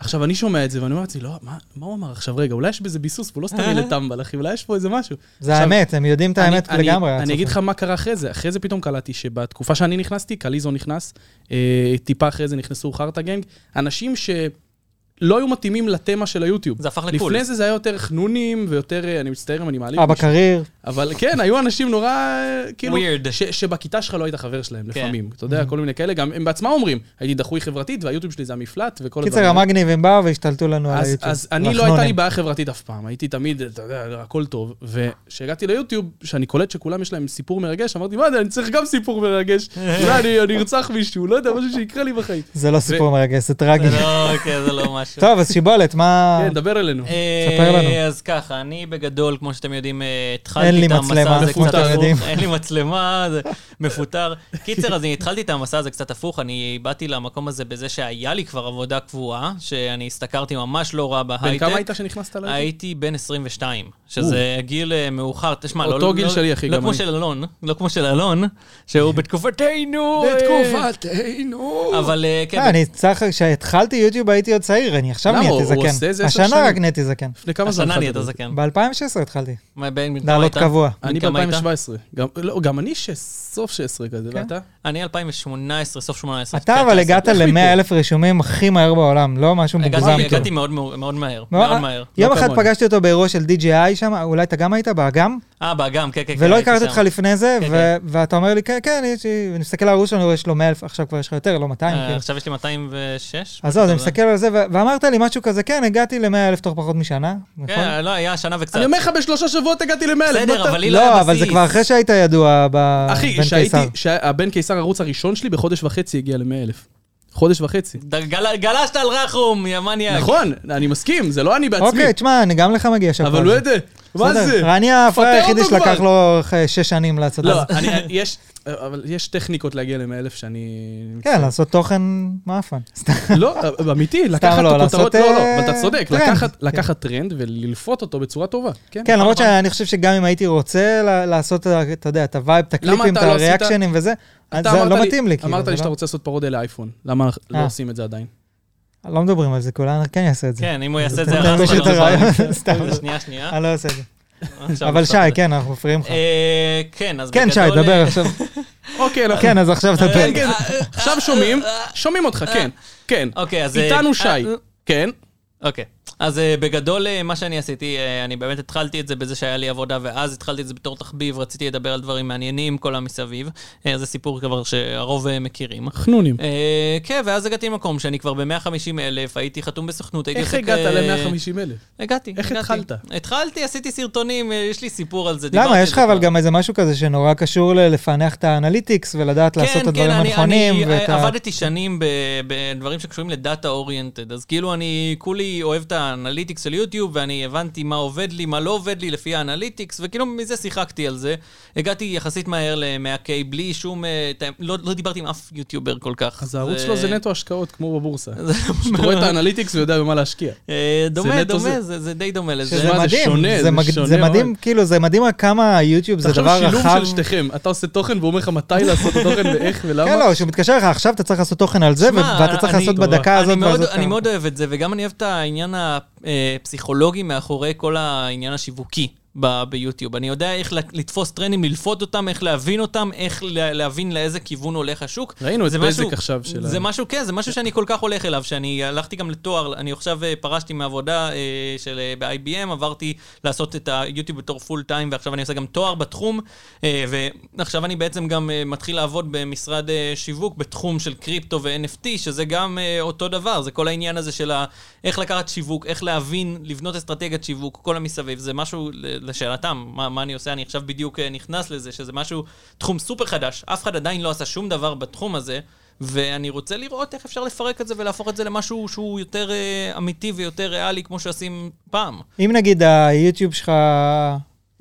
[SPEAKER 2] עכשיו, אני שומע את זה, ואני אומר לעצמי, לא, מה, מה הוא אמר עכשיו? רגע, אולי יש בזה ביסוס, והוא לא סתם ילד טמבל, אחי, אולי יש פה איזה משהו.
[SPEAKER 3] זה
[SPEAKER 2] עכשיו,
[SPEAKER 3] האמת, הם יודעים את האמת
[SPEAKER 2] אני,
[SPEAKER 3] לגמרי.
[SPEAKER 2] אני, אני
[SPEAKER 3] הצופים.
[SPEAKER 2] אגיד לך מה קרה אחרי זה. אחרי זה פתאום קלטתי שבתקופה שאני נכנסתי, קליזו נכנס, אה, טיפה אחרי זה נכנסו חרטה גנג, אנשים שלא היו מתאימים לתמה של היוטיוב.
[SPEAKER 1] זה הפך לקול.
[SPEAKER 2] לפני זה זה היה יותר חנונים ויותר, אה, אני מצטער אם אני מעליב
[SPEAKER 3] אבא
[SPEAKER 2] מישהו,
[SPEAKER 3] קריר.
[SPEAKER 2] אבל כן, היו אנשים נורא, אה, כאילו,
[SPEAKER 1] Weird.
[SPEAKER 2] ש, שבכיתה שלך לא היית חבר שלהם
[SPEAKER 1] כן.
[SPEAKER 2] לפעמים. אתה
[SPEAKER 3] Mhm.
[SPEAKER 2] יודע, כל מיני כאלה, גם הם בעצמם אומרים, הייתי דחוי חברתית והיוטיוב שלי זה המפלט וכל הדברים.
[SPEAKER 3] קיצר,
[SPEAKER 2] האלה.
[SPEAKER 3] המגניבים באו והשתלטו לנו על
[SPEAKER 2] אז,
[SPEAKER 3] היוטיוב.
[SPEAKER 2] אז אני לא
[SPEAKER 3] לחנונים.
[SPEAKER 2] הייתה לי בעיה חברתית אף פעם, הייתי תמיד, אתה יודע, הכל טוב. וכשהגעתי ליוטיוב, שאני קולט שכולם יש להם סיפור מרגש, אמרתי, מה זה, אני צריך גם סיפור מרגש. אולי אני אני ארצח מישהו, לא יודע, משהו שיקרה לי בחיים.
[SPEAKER 3] זה לא סיפור מרגש, זה
[SPEAKER 1] זה
[SPEAKER 3] טרגי.
[SPEAKER 1] לא, כן, זה לא משהו.
[SPEAKER 3] טוב, אז שיבולת, מה...
[SPEAKER 2] כן, דבר אלינו.
[SPEAKER 1] אה,
[SPEAKER 3] ספר לנו.
[SPEAKER 1] אז ככה, אני בגדול, כמו שאתם יודעים, אה,
[SPEAKER 3] אין לי
[SPEAKER 1] התחלתי את המסע
[SPEAKER 3] מצלמה,
[SPEAKER 1] הזה קצת
[SPEAKER 3] מפוטר, יודעים.
[SPEAKER 1] הפוך. אין לי מצלמה, זה מפוטר. קיצר, אז אני התחלתי את המסע הזה קצת הפוך. אני באתי למקום הזה בזה שהיה לי כבר עבודה קבועה, שאני השתכרתי ממש לא רע בהייטק.
[SPEAKER 2] בן כמה היית שנכנסת אליי?
[SPEAKER 1] הייתי בן 22, שזה גיל אה, מאוחר. תשמע, לא...
[SPEAKER 2] אותו
[SPEAKER 1] לא-
[SPEAKER 2] גיל
[SPEAKER 1] לא-
[SPEAKER 2] שלי, אחי,
[SPEAKER 1] לא
[SPEAKER 2] גם
[SPEAKER 1] כמו
[SPEAKER 2] אני.
[SPEAKER 1] של אלון, לא כמו של אלון, שהוא בתקופתנו... אה,
[SPEAKER 2] בתקופתנו.
[SPEAKER 1] אבל אה, כן,
[SPEAKER 3] אה, אני צריך, כשהתחלתי יוטיוב הייתי עוד צעיר, אני עכשיו
[SPEAKER 2] למה?
[SPEAKER 3] נהייתי
[SPEAKER 2] הוא- הוא
[SPEAKER 3] זקן.
[SPEAKER 2] עושה איזה עשר
[SPEAKER 3] השנה
[SPEAKER 2] שנים?
[SPEAKER 3] רק נהייתי זקן.
[SPEAKER 2] לפני כמה זמן?
[SPEAKER 1] השנה
[SPEAKER 2] התחלת
[SPEAKER 1] נהיית
[SPEAKER 2] לדבר?
[SPEAKER 1] זקן.
[SPEAKER 3] ב-2016 התחלתי,
[SPEAKER 1] מה, בן בן כמה
[SPEAKER 3] לעלות
[SPEAKER 1] כן. היית?
[SPEAKER 3] קבוע.
[SPEAKER 2] אני
[SPEAKER 1] כמה היית?
[SPEAKER 2] ב-2017. גם אני שסוף 16 כזה,
[SPEAKER 3] כן.
[SPEAKER 2] ואתה?
[SPEAKER 1] אני 2018, סוף 18.
[SPEAKER 3] אתה אבל
[SPEAKER 1] 19.
[SPEAKER 3] הגעת
[SPEAKER 2] כן. איך
[SPEAKER 3] ל-100
[SPEAKER 2] מפה?
[SPEAKER 3] אלף רישומים הכי מהר בעולם, לא משהו
[SPEAKER 1] כן, הגעתי-
[SPEAKER 3] מוגזם. כאילו.
[SPEAKER 1] הגעתי מאוד מאור- מאוד מהר,
[SPEAKER 3] לא,
[SPEAKER 1] מאוד
[SPEAKER 3] אה,
[SPEAKER 1] מהר.
[SPEAKER 3] יום
[SPEAKER 2] לא
[SPEAKER 3] אחד
[SPEAKER 2] כמוני.
[SPEAKER 3] פגשתי אותו באירוע של DJI שם, אולי אתה גם היית באגם?
[SPEAKER 1] אה, באגם, כן, כן, כן.
[SPEAKER 3] ולא
[SPEAKER 1] הייתי
[SPEAKER 3] הכרתי
[SPEAKER 1] שם.
[SPEAKER 3] אותך לפני זה,
[SPEAKER 1] כן,
[SPEAKER 3] ו- ואתה אומר לי, כן, כן, יש לי- אני מסתכל על הערוץ שלנו, יש לו 100 אלף, עכשיו כבר יש לך יותר, לא 200.
[SPEAKER 1] אה,
[SPEAKER 3] כאילו.
[SPEAKER 1] עכשיו יש לי 206.
[SPEAKER 3] אז זהו, אז אני
[SPEAKER 1] זה-
[SPEAKER 3] מסתכל על זה, ו- ואמרת לי משהו כזה, כן, הגעתי ל-100 אלף תוך פחות משנה, נכון?
[SPEAKER 1] כן, לא, היה שנה וקצת.
[SPEAKER 2] אני אומר לך, בשלושה שבועות הגעתי למאה אלף.
[SPEAKER 1] בסדר,
[SPEAKER 2] מה אתה-
[SPEAKER 1] אבל לי לא היה
[SPEAKER 3] לא,
[SPEAKER 1] בסיס.
[SPEAKER 3] אבל זה כבר אחרי שהיית ידוע ב-
[SPEAKER 2] אחי,
[SPEAKER 3] בן
[SPEAKER 2] שהייתי,
[SPEAKER 3] קיסר.
[SPEAKER 2] שהבן קיסר ערוץ הראשון שלי בחודש וחצי הגיע למאה אלף. חודש וחצי.
[SPEAKER 1] ד- גל- גלשת על רחום, יא מניאק.
[SPEAKER 2] נכון, אני מסכים, זה לא אני בעצמי.
[SPEAKER 3] אוקיי, תשמע, אני גם לך מגיע שבוע.
[SPEAKER 2] אבל הוא יודע, מה זה?
[SPEAKER 3] אני הפראייר
[SPEAKER 2] פטר
[SPEAKER 3] היחידי
[SPEAKER 2] אותו
[SPEAKER 3] שלקח
[SPEAKER 2] כבר.
[SPEAKER 3] לו אה, שש שנים לעשות את
[SPEAKER 2] לא,
[SPEAKER 3] זה.
[SPEAKER 2] אני- יש, אבל יש טכניקות להגיע למאה אלף שאני...
[SPEAKER 3] כן, לעשות תוכן מאפן. סתם.
[SPEAKER 2] לא, אמיתי, לקחת
[SPEAKER 3] לא,
[SPEAKER 2] את הכותרות,
[SPEAKER 3] לעשות,
[SPEAKER 2] לא, לא,
[SPEAKER 3] אה,
[SPEAKER 2] אבל אתה צודק,
[SPEAKER 3] טרנד.
[SPEAKER 2] לקחת-
[SPEAKER 3] כן.
[SPEAKER 2] לקחת טרנד וללפות אותו בצורה טובה. כן.
[SPEAKER 3] כן, למרות
[SPEAKER 1] נכון.
[SPEAKER 3] שאני חושב שגם אם הייתי רוצה ל- לעשות, אתה יודע, את הווייב, את הקליפים, את
[SPEAKER 2] אתה לא עשית-
[SPEAKER 3] הריאקשנים וזה, אז
[SPEAKER 2] אתה
[SPEAKER 3] זה
[SPEAKER 2] אמרת
[SPEAKER 3] לא מתאים לי. כאילו,
[SPEAKER 2] אמרת
[SPEAKER 3] זה
[SPEAKER 2] לי
[SPEAKER 3] לא-
[SPEAKER 2] שאתה רוצה לעשות פרודיה לאייפון, למה לא
[SPEAKER 3] אה.
[SPEAKER 2] עושים את זה עדיין?
[SPEAKER 3] לא מדברים על זה, כולנו כן יעשה את זה.
[SPEAKER 1] כן, אם הוא יעשה את זה,
[SPEAKER 3] זה
[SPEAKER 1] הרסנו
[SPEAKER 3] פשוט
[SPEAKER 1] לו את
[SPEAKER 3] הרעיון,
[SPEAKER 1] הבית.
[SPEAKER 3] סתם.
[SPEAKER 1] שנייה,
[SPEAKER 2] אה?
[SPEAKER 1] שנייה.
[SPEAKER 3] אני לא עושה את זה.
[SPEAKER 1] עכשיו
[SPEAKER 3] אבל
[SPEAKER 1] נפתח
[SPEAKER 3] שי,
[SPEAKER 1] את זה.
[SPEAKER 3] כן, אנחנו מפריעים לך.
[SPEAKER 1] אה, כן, אז
[SPEAKER 3] כן, שי,
[SPEAKER 1] בגדול,
[SPEAKER 3] דבר
[SPEAKER 1] אה,
[SPEAKER 3] עכשיו.
[SPEAKER 2] אוקיי, אנחנו-
[SPEAKER 3] כן, אז עכשיו
[SPEAKER 1] אה,
[SPEAKER 3] תדבר.
[SPEAKER 1] כן,
[SPEAKER 2] כן,
[SPEAKER 1] אה,
[SPEAKER 2] עכשיו שומעים, שומעים אותך, כן, כן.
[SPEAKER 1] אוקיי, אז... אה,
[SPEAKER 2] איתנו
[SPEAKER 1] אה,
[SPEAKER 2] שי, כן.
[SPEAKER 1] אוקיי. אז אה, בגדול, אה, מה שאני עשיתי, אה, אני באמת התחלתי את זה בזה שהיה לי עבודה, ואז התחלתי את זה בתור תחביב, רציתי לדבר על דברים מעניינים, כל המסביב. אה, זה סיפור כבר שהרוב אה, מכירים.
[SPEAKER 2] חנונים.
[SPEAKER 1] אה, כן, ואז הגעתי למקום שאני כבר ב-150 אלף, הייתי חתום בסוכנות, הייתי
[SPEAKER 2] איך
[SPEAKER 1] עוסק,
[SPEAKER 2] הגעת
[SPEAKER 1] אה,
[SPEAKER 2] ל-150 אלף?
[SPEAKER 1] הגעתי,
[SPEAKER 2] איך
[SPEAKER 1] הגעתי.
[SPEAKER 2] התחלת?
[SPEAKER 1] התחלתי, עשיתי סרטונים, אה, יש לי סיפור על זה. דיברתי
[SPEAKER 3] למה?
[SPEAKER 1] על
[SPEAKER 3] יש
[SPEAKER 1] זה
[SPEAKER 3] לך אבל
[SPEAKER 1] כבר.
[SPEAKER 3] גם איזה משהו כזה שנורא קשור ל- לפענח את האנליטיקס ולדעת לעשות את הדברים
[SPEAKER 1] כן, אני-
[SPEAKER 3] הנכונים.
[SPEAKER 1] אני אה,
[SPEAKER 3] ואת ה-
[SPEAKER 1] עבדתי שנים ב- בדברים שקשורים לדאטה אוריינטד, אז כאילו אני כולי אוהב את האנליטיקס של יוטיוב, ואני הבנתי מה עובד לי, מה לא עובד לי לפי האנליטיקס, וכאילו מזה שיחקתי על זה. הגעתי יחסית מהר ל-100K, בלי שום... אה, ת- לא לא דיברתי עם אף יוטיובר כל כך.
[SPEAKER 2] אז הערוץ שלו זה נטו השקעות, כמו בבורסה.
[SPEAKER 1] זה לא
[SPEAKER 2] שאתה רואה את האנליטיקס ויודע במה להשקיע.
[SPEAKER 1] אה, דומה,
[SPEAKER 2] נטו
[SPEAKER 1] דומה,
[SPEAKER 2] זה.
[SPEAKER 1] זה זה די דומה לזה.
[SPEAKER 3] שזה
[SPEAKER 2] מה, זה
[SPEAKER 3] מדהים,
[SPEAKER 2] שונה,
[SPEAKER 3] זה
[SPEAKER 2] זה
[SPEAKER 3] מג-
[SPEAKER 2] שונה
[SPEAKER 3] זה מדהים,
[SPEAKER 2] מאוד.
[SPEAKER 3] כאילו, זה מדהים רק כמה יוטיוב זה
[SPEAKER 2] תחשוב
[SPEAKER 3] דבר
[SPEAKER 2] שילוב
[SPEAKER 3] רחב.
[SPEAKER 2] של שתיכם, אתה עושה תוכן והוא אומר לך מתי לעשות את התוכן ואיך ולמה.
[SPEAKER 3] כן, לא, שהוא מתקשר לך, עכשיו אתה צריך לעשות תוכן על זה, ו-
[SPEAKER 1] שמע,
[SPEAKER 3] ואתה צריך
[SPEAKER 1] אני-
[SPEAKER 3] לעשות בדקה
[SPEAKER 1] אני
[SPEAKER 3] הזאת.
[SPEAKER 1] מאוד-
[SPEAKER 3] ועשות
[SPEAKER 1] אני
[SPEAKER 3] כמה.
[SPEAKER 1] מאוד אוהב את זה, וגם אני אוהב את העניין אה, הפסיכולוגי מאחורי כל העניין השיווקי. ב- ביוטיוב. אני יודע איך לת- לתפוס טרנדים, ללפות אותם, איך להבין אותם, איך לה- להבין לאיזה כיוון הולך השוק.
[SPEAKER 2] ראינו את
[SPEAKER 1] זה
[SPEAKER 2] בזק
[SPEAKER 1] משהו-
[SPEAKER 2] עכשיו של
[SPEAKER 1] זה
[SPEAKER 2] ה-
[SPEAKER 1] משהו, כן, זה משהו שאני כל כך הולך אליו, שאני הלכתי גם לתואר, אני עכשיו אה, פרשתי מעבודה אה, של אה, ב-IBM, עברתי לעשות את היוטיוב בתור פול טיים, ועכשיו אני עושה גם תואר בתחום, אה, ועכשיו אני בעצם גם אה, מתחיל לעבוד במשרד אה, שיווק בתחום של קריפטו ו-NFT, שזה גם אה, אותו דבר, זה כל העניין הזה של ה- איך לקחת שיווק, איך להבין, לבנות אסטרטגיית שיווק, כל המסביב, זה משהו ל- לשאלתם, מה, מה אני עושה, אני עכשיו בדיוק אה, נכנס לזה, שזה משהו, תחום סופר חדש, אף אחד עדיין לא עשה שום דבר בתחום הזה. ואני רוצה לראות איך אפשר לפרק את זה ולהפוך את זה למשהו שהוא יותר אה, אמיתי ויותר ריאלי, כמו שעושים פעם.
[SPEAKER 3] אם נגיד היוטיוב שלך,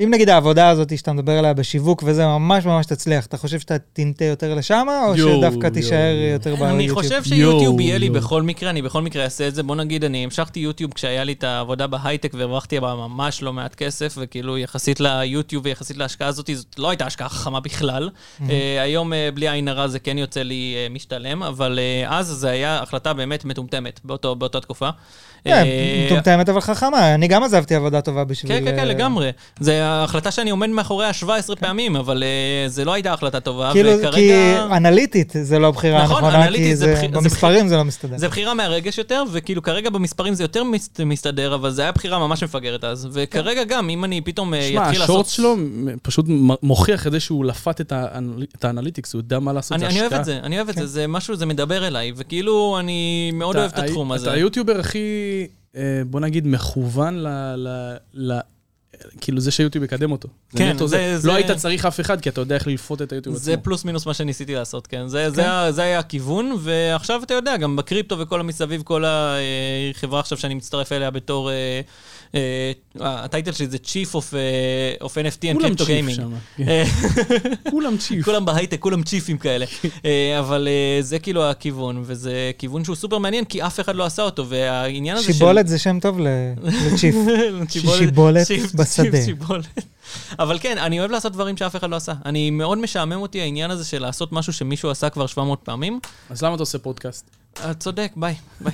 [SPEAKER 3] אם נגיד העבודה הזאת שאתה מדבר עליה בשיווק וזה ממש ממש תצליח, אתה חושב שאתה תנטה יותר לשם, או
[SPEAKER 2] יואו,
[SPEAKER 3] שדווקא
[SPEAKER 2] יואו.
[SPEAKER 3] תישאר יותר ביוטיוב?
[SPEAKER 1] אני חושב שיוטיוב
[SPEAKER 2] יואו,
[SPEAKER 1] יהיה לי
[SPEAKER 2] יואו.
[SPEAKER 1] בכל מקרה, אני בכל מקרה אעשה את זה. בוא נגיד, אני המשכתי יוטיוב כשהיה לי את העבודה בהייטק והרווחתי בה ממש לא מעט כסף, וכאילו יחסית ליוטיוב ויחסית להשקעה הזאת, זאת לא הייתה השקעה חכמה בכלל. אה, היום אה, בלי עין הרע זה כן יוצא לי אה, משתלם, אבל אה, אז זה היה החלטה באמת מטומטמת באותו- באותה תקופה.
[SPEAKER 3] כן,
[SPEAKER 1] אה,
[SPEAKER 3] מטומטמת אבל חכמה, אני גם עזבתי עבודה טובה בשביל...
[SPEAKER 1] כן, כן,
[SPEAKER 3] אה,
[SPEAKER 1] כן, לגמרי. זו החלטה שאני עומד מאחוריה 17
[SPEAKER 2] כן.
[SPEAKER 1] פעמים, אבל אה, זה לא הייתה החלטה טובה,
[SPEAKER 3] כאילו, כי
[SPEAKER 1] וכרגע...
[SPEAKER 3] אנליטית זה לא הבחירה
[SPEAKER 1] נכון,
[SPEAKER 3] הנכונה,
[SPEAKER 1] אנליטית
[SPEAKER 3] כי
[SPEAKER 1] זה
[SPEAKER 3] זה-
[SPEAKER 1] בחיר- זה
[SPEAKER 3] במספרים זה לא מסתדר.
[SPEAKER 1] זה בחירה מהרגש יותר, וכאילו כרגע במספרים זה יותר מס- מסתדר, אבל זה היה בחירה ממש מפגרת אז. וכרגע גם, אם אני פתאום אה,
[SPEAKER 2] כן. שמע,
[SPEAKER 1] אתחיל לעשות...
[SPEAKER 2] השורט שלו מ- פשוט מ- מוכיח את זה שהוא לפת את האנל- את האנליטיקס, הוא יודע מה לעשות,
[SPEAKER 1] אני,
[SPEAKER 2] זה
[SPEAKER 1] אני
[SPEAKER 2] השקעה. כן.
[SPEAKER 1] אוהב את זה, אני אוהב את זה, זה משהו, זה מדבר אליי, וכאילו, אני מאוד
[SPEAKER 2] אתה
[SPEAKER 1] אוהב את
[SPEAKER 2] ה-
[SPEAKER 1] התחום הזה.
[SPEAKER 2] אתה היוטיובר הכי, אה, בוא נגיד, מכוון ל... ל- ל- כאילו זה שיוטיוב יקדם אותו. זה
[SPEAKER 1] כן,
[SPEAKER 2] נטו
[SPEAKER 1] זה- זה-
[SPEAKER 2] לא היית צריך אף אחד, כי אתה יודע איך ללפות את היוטיוב
[SPEAKER 1] זה
[SPEAKER 2] עצמו.
[SPEAKER 1] פלוס מינוס מה שניסיתי לעשות, כן. זה, זה, ה- זה היה הכיוון, ועכשיו אתה יודע, גם בקריפטו וכל המסביב, כל החברה עכשיו שאני מצטרף אליה בתור... אה, אה, הטייטל שלי זה Chief of, אה, of NFT and
[SPEAKER 2] כולם
[SPEAKER 1] Crypto
[SPEAKER 2] צ'יף
[SPEAKER 1] Gaming.
[SPEAKER 2] שם. כן.
[SPEAKER 1] אה,
[SPEAKER 2] כולם צ'יף.
[SPEAKER 1] כולם בהייטק, כולם צ'יפים כאלה. אה, אבל אה, זה כאילו הכיוון, וזה כיוון שהוא סופר מעניין, כי אף אחד לא עשה אותו, והעניין הזה של...
[SPEAKER 3] שיבולת זה שם טוב ל- לצ'יפ.
[SPEAKER 1] שיבולת-
[SPEAKER 3] שיבולת
[SPEAKER 1] שיב-
[SPEAKER 3] בשדה.
[SPEAKER 1] שיב- שיבולת. אבל כן, אני אוהב לעשות דברים שאף אחד לא עשה. אני מאוד משעמם אותי העניין הזה של לעשות משהו שמישהו עשה כבר 700 פעמים.
[SPEAKER 2] אז למה אתה עושה פודקאסט?
[SPEAKER 1] אה, צודק, ביי. ביי.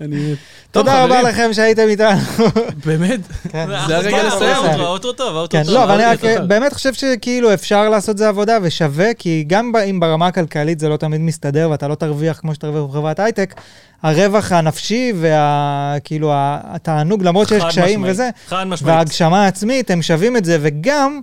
[SPEAKER 2] אני...
[SPEAKER 3] תודה
[SPEAKER 2] טוב,
[SPEAKER 3] רבה
[SPEAKER 2] חברים,
[SPEAKER 3] לכם שהייתם איתנו.
[SPEAKER 2] באמת?
[SPEAKER 3] כן.
[SPEAKER 2] זה הרגע
[SPEAKER 1] אחלה,
[SPEAKER 2] לסיים.
[SPEAKER 1] האוטרו, האוטרו טוב, האוטרו
[SPEAKER 3] כן,
[SPEAKER 1] טוב.
[SPEAKER 3] לא, אבל אני
[SPEAKER 2] אוקיי,
[SPEAKER 3] רק
[SPEAKER 2] תודה.
[SPEAKER 3] באמת חושב שכאילו אפשר לעשות זה עבודה ושווה, כי גם ב- אם ברמה הכלכלית זה לא תמיד מסתדר ואתה לא תרוויח כמו שתרוויח בחברת הייטק, הרווח הנפשי והכאילו התענוג, למרות שיש
[SPEAKER 1] חד
[SPEAKER 3] קשיים
[SPEAKER 1] משמעית,
[SPEAKER 3] וזה,
[SPEAKER 1] חד משמעית.
[SPEAKER 3] וההגשמה העצמית, הם שווים את זה, וגם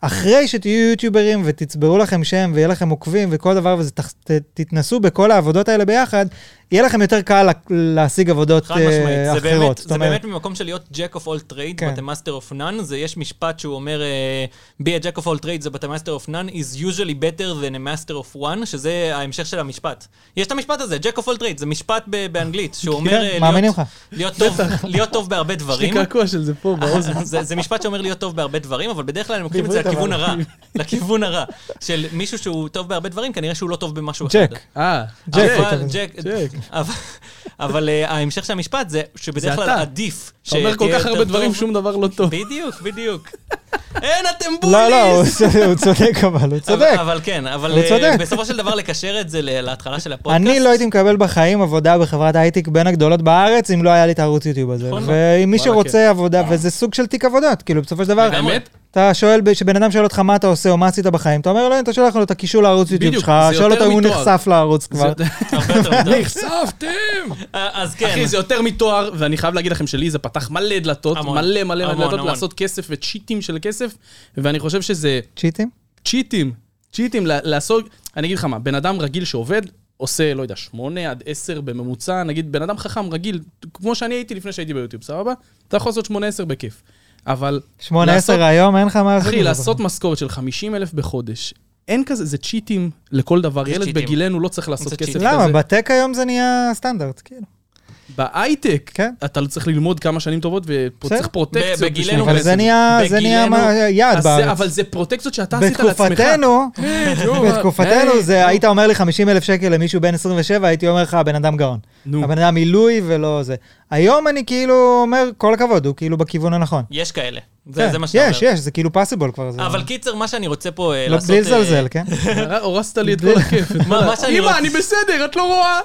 [SPEAKER 3] אחרי שתהיו יוטיוברים ותצברו לכם שם ויהיה לכם עוקבים וכל דבר וזה, תח- ת- תתנסו בכל העבודות האלה ביחד, יהיה לכם יותר קל לה- להשיג עבודות
[SPEAKER 1] חד
[SPEAKER 3] אה,
[SPEAKER 1] משמעית, זה באמת,
[SPEAKER 3] אחרות. זאת
[SPEAKER 1] זה באמת
[SPEAKER 3] אומרת,
[SPEAKER 1] ממקום של להיות Jack of all trade,
[SPEAKER 3] כן.
[SPEAKER 1] but a master of none, זה יש משפט שהוא אומר, אה, be a Jack of all trades, but a master of none is usually better than a master of one, שזה ההמשך של המשפט. יש את המשפט הזה, Jack of all trades, זה משפט ב- באנגלית, שהוא אומר
[SPEAKER 3] כן,
[SPEAKER 1] אה, להיות-
[SPEAKER 3] מאמינים לך.
[SPEAKER 1] להיות טוב- להיות טוב בהרבה
[SPEAKER 2] יש לי
[SPEAKER 1] דברים.
[SPEAKER 2] קעקוע של זה פה באוזן.
[SPEAKER 1] זה, זה משפט שאומר להיות טוב בהרבה דברים, אבל בדרך כלל הם לוקחים את זה
[SPEAKER 3] בעברית,
[SPEAKER 1] לכיוון
[SPEAKER 3] אבל.
[SPEAKER 1] הרע. לכיוון הרע. של מישהו שהוא טוב בהרבה דברים, כנראה שהוא לא טוב במשהו אחד.
[SPEAKER 3] ג'ק.
[SPEAKER 2] אה,
[SPEAKER 3] ג'ק,
[SPEAKER 1] אבל-
[SPEAKER 3] אתה-
[SPEAKER 1] ג'ק,
[SPEAKER 2] ג'ק.
[SPEAKER 1] אבל- אבל אה, ההמשך של המשפט זה שבדרך
[SPEAKER 2] זה
[SPEAKER 1] כלל
[SPEAKER 2] אתה.
[SPEAKER 1] עדיף
[SPEAKER 2] אתה אומר כל
[SPEAKER 1] שתהיה
[SPEAKER 2] כך הרבה
[SPEAKER 1] יותר
[SPEAKER 2] דברים,
[SPEAKER 1] אה, טוב.
[SPEAKER 2] שום דבר לא טוב.
[SPEAKER 1] בדיוק, בדיוק. אין, אתם בוליס!
[SPEAKER 3] לא, לא, הוא צודק- הוא צודק אבל, הוא צודק.
[SPEAKER 1] אבל- אבל כן, אבל
[SPEAKER 3] הוא
[SPEAKER 1] אה,
[SPEAKER 3] צודק.
[SPEAKER 1] בסופו של דבר לקשר את זה ל- להתחלה של הפודקאסט.
[SPEAKER 3] אני לא הייתי מקבל בחיים עבודה בחברת הייטק בין הגדולות בארץ, אם לא היה לי את הערוץ יוטיוב הזה.
[SPEAKER 1] נכון.
[SPEAKER 3] ואם מי
[SPEAKER 2] וואלה, כן.
[SPEAKER 3] שרוצה עבודה, וזה סוג של תיק עבודות, כאילו, בסופו של דבר,
[SPEAKER 1] לגמרי.
[SPEAKER 2] האמת?
[SPEAKER 3] אתה שואל, ב- כשבן אדם שואל אותך מה אתה עושה או מה עשית בחיים, אתה אומר לו, "אין", אתה שולח לו את הקישור לערוץ יוטיוב
[SPEAKER 2] בדיוק,
[SPEAKER 3] שלך,
[SPEAKER 2] זה
[SPEAKER 3] שואל
[SPEAKER 2] יותר
[SPEAKER 3] אותו אם הוא
[SPEAKER 2] מתואר.
[SPEAKER 3] נחשף לערוץ כבר.
[SPEAKER 2] זה-
[SPEAKER 1] הרבה יותר טוב.
[SPEAKER 2] נחשפתם!
[SPEAKER 1] אה, אז כן.
[SPEAKER 2] אחי, זה יותר מתואר, ואני חייב להגיד לכם שלי זה פתח מלא דלתות,
[SPEAKER 1] המון.
[SPEAKER 2] מלא מלא
[SPEAKER 1] המון,
[SPEAKER 2] מלא דלתות
[SPEAKER 1] המון.
[SPEAKER 2] לעשות כסף וצ'יטים של כסף, ואני חושב שזה
[SPEAKER 3] צ'יטים?
[SPEAKER 2] צ'יטים, צ'יטים ל- לעשות, אני אגיד לך מה, בן אדם רגיל שעובד, עושה, לא יודע, שמונה עד עשר בממוצע, נגיד בן אדם חכם רגיל, כמו שאני הייתי לפני שהייתי ביוטיוב, סבבה? אתה יכול לעשות שמונה עשר בכיף. אבל...
[SPEAKER 3] 8-10
[SPEAKER 2] לעשות-
[SPEAKER 3] היום, אין לך מה לעשות.
[SPEAKER 2] אחי,
[SPEAKER 3] עם זה
[SPEAKER 2] לעשות משכורת של 50 אלף בחודש, אין כזה, זה צ'יטים לכל דבר.
[SPEAKER 1] זה
[SPEAKER 2] ילד
[SPEAKER 1] צ'יטים.
[SPEAKER 2] בגילנו לא צריך
[SPEAKER 1] זה
[SPEAKER 2] לעשות כסף
[SPEAKER 1] צ'יטים.
[SPEAKER 2] כזה.
[SPEAKER 3] בחיים. למה? בטק היום זה נהיה סטנדרט, כאילו.
[SPEAKER 2] בהייטק,
[SPEAKER 3] כן.
[SPEAKER 2] אתה לא צריך ללמוד כמה שנים טובות, ופה
[SPEAKER 3] בסדר.
[SPEAKER 2] צריך פרוטקציות.
[SPEAKER 1] ב-
[SPEAKER 2] בשביל-
[SPEAKER 1] בגילנו-
[SPEAKER 3] אבל זה
[SPEAKER 1] בעצם,
[SPEAKER 3] נהיה זה נהיה
[SPEAKER 1] בגילנו-
[SPEAKER 3] מה- יעד
[SPEAKER 2] אז זה-
[SPEAKER 3] בארץ.
[SPEAKER 2] אבל זה פרוטקציות שאתה עשית על עצמך.
[SPEAKER 3] בתקופתנו,
[SPEAKER 2] נו,
[SPEAKER 3] בתקופתנו
[SPEAKER 2] היי,
[SPEAKER 3] זה,
[SPEAKER 2] נו.
[SPEAKER 3] היית אומר לי 50 אלף שקל למישהו בן 27, הייתי אומר לך, הבן אדם גאון.
[SPEAKER 2] נו.
[SPEAKER 3] הבן אדם עילוי ולא זה. היום אני כאילו אומר, כל הכבוד, הוא כאילו בכיוון הנכון.
[SPEAKER 1] יש כאלה. זה
[SPEAKER 3] כן,
[SPEAKER 1] זה מה שאתה אומר.
[SPEAKER 3] יש, יש, זה כאילו פאסיבול כבר. זה-
[SPEAKER 1] אבל קיצר, מה שאני רוצה פה אה,
[SPEAKER 3] לא,
[SPEAKER 1] לעשות...
[SPEAKER 3] בלי
[SPEAKER 1] אה,
[SPEAKER 3] לזלזל, כן?
[SPEAKER 2] הורסת לי את כל הכיף. את
[SPEAKER 1] מה-
[SPEAKER 2] כל ה-
[SPEAKER 1] מה שאני
[SPEAKER 2] אמא,
[SPEAKER 1] רוצה-
[SPEAKER 2] אני בסדר, את לא רואה.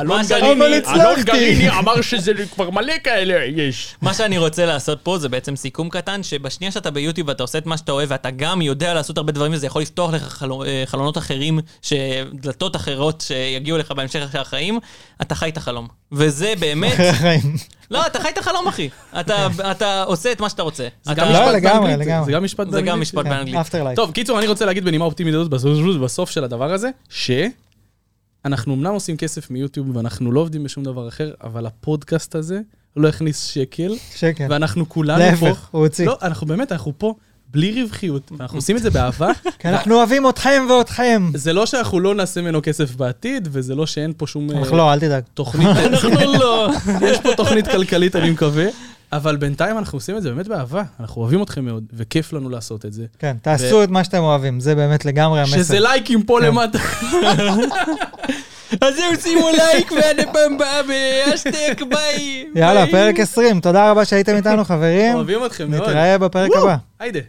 [SPEAKER 2] אלון
[SPEAKER 1] שאני- אבל
[SPEAKER 2] גריני, אלון
[SPEAKER 3] הצלחתי.
[SPEAKER 2] גריני אמר שזה כבר מלא כאלה יש.
[SPEAKER 1] מה שאני רוצה לעשות פה זה בעצם סיכום קטן, שבשנייה שאתה ביוטיוב ואתה עושה את מה שאתה אוהב, ואתה גם יודע לעשות הרבה דברים, וזה יכול לפתוח לך חלו- אה, חלונות אחרים, ש- דלתות אחרות שיגיעו לך בהמשך של החיים, אתה חי את החלום. וזה באמת...
[SPEAKER 3] אחרי החיים.
[SPEAKER 1] לא, אתה חי את החלום, אחי. אתה- אתה עושה את מה שאתה רוצה. אתה-
[SPEAKER 3] גם משפט- לא, לגמרי,
[SPEAKER 2] באנגלית,
[SPEAKER 3] לגמרי.
[SPEAKER 2] זה גם משפט
[SPEAKER 1] זה גם
[SPEAKER 2] באנגלית.
[SPEAKER 3] כן,
[SPEAKER 1] משפט באנגלית.
[SPEAKER 3] אפטר לייק.
[SPEAKER 2] טוב, קיצור, אני רוצה להגיד בנימה אופטימית הזאת בסוף- בסוף של הדבר הזה, שאנחנו אמנם עושים כסף מיוטיוב ואנחנו לא עובדים בשום דבר אחר, אבל הפודקאסט הזה לא הכניס שקל,
[SPEAKER 3] שקל.
[SPEAKER 2] ואנחנו כולנו פה...
[SPEAKER 3] כן. להפך, הוא הוציא.
[SPEAKER 2] לא, אנחנו באמת, אנחנו פה בלי רווחיות, ואנחנו עושים את זה באהבה.
[SPEAKER 3] כי כן, אנחנו אוהבים אתכם ואתכם.
[SPEAKER 2] זה לא שאנחנו לא נעשה ממנו כסף בעתיד, וזה לא שאין פה שום... אה,
[SPEAKER 3] אך לא, אל תדאג.
[SPEAKER 2] תוכנית, אנחנו לא, יש פה תוכנית כלכלית, אני מקווה, אבל בינתיים אנחנו עושים את זה באמת באהבה. אנחנו אוהבים אתכם מאוד, וכיף לנו לעשות את זה.
[SPEAKER 3] כן, תעשו את מה שאתם אוהבים, זה באמת לגמרי המסר.
[SPEAKER 2] שזה לייקים פה
[SPEAKER 3] כן.
[SPEAKER 2] למטה.
[SPEAKER 1] אז זהו, שימו לייק, ועד הפעם הבאה, והשטק, ביי.
[SPEAKER 3] יאללה,
[SPEAKER 1] ביי.
[SPEAKER 3] פרק 20, תודה רבה שהייתם איתנו חברים.
[SPEAKER 2] אוהבים אתכם מאוד.
[SPEAKER 3] נתראה בפרק הבא.
[SPEAKER 2] היידה.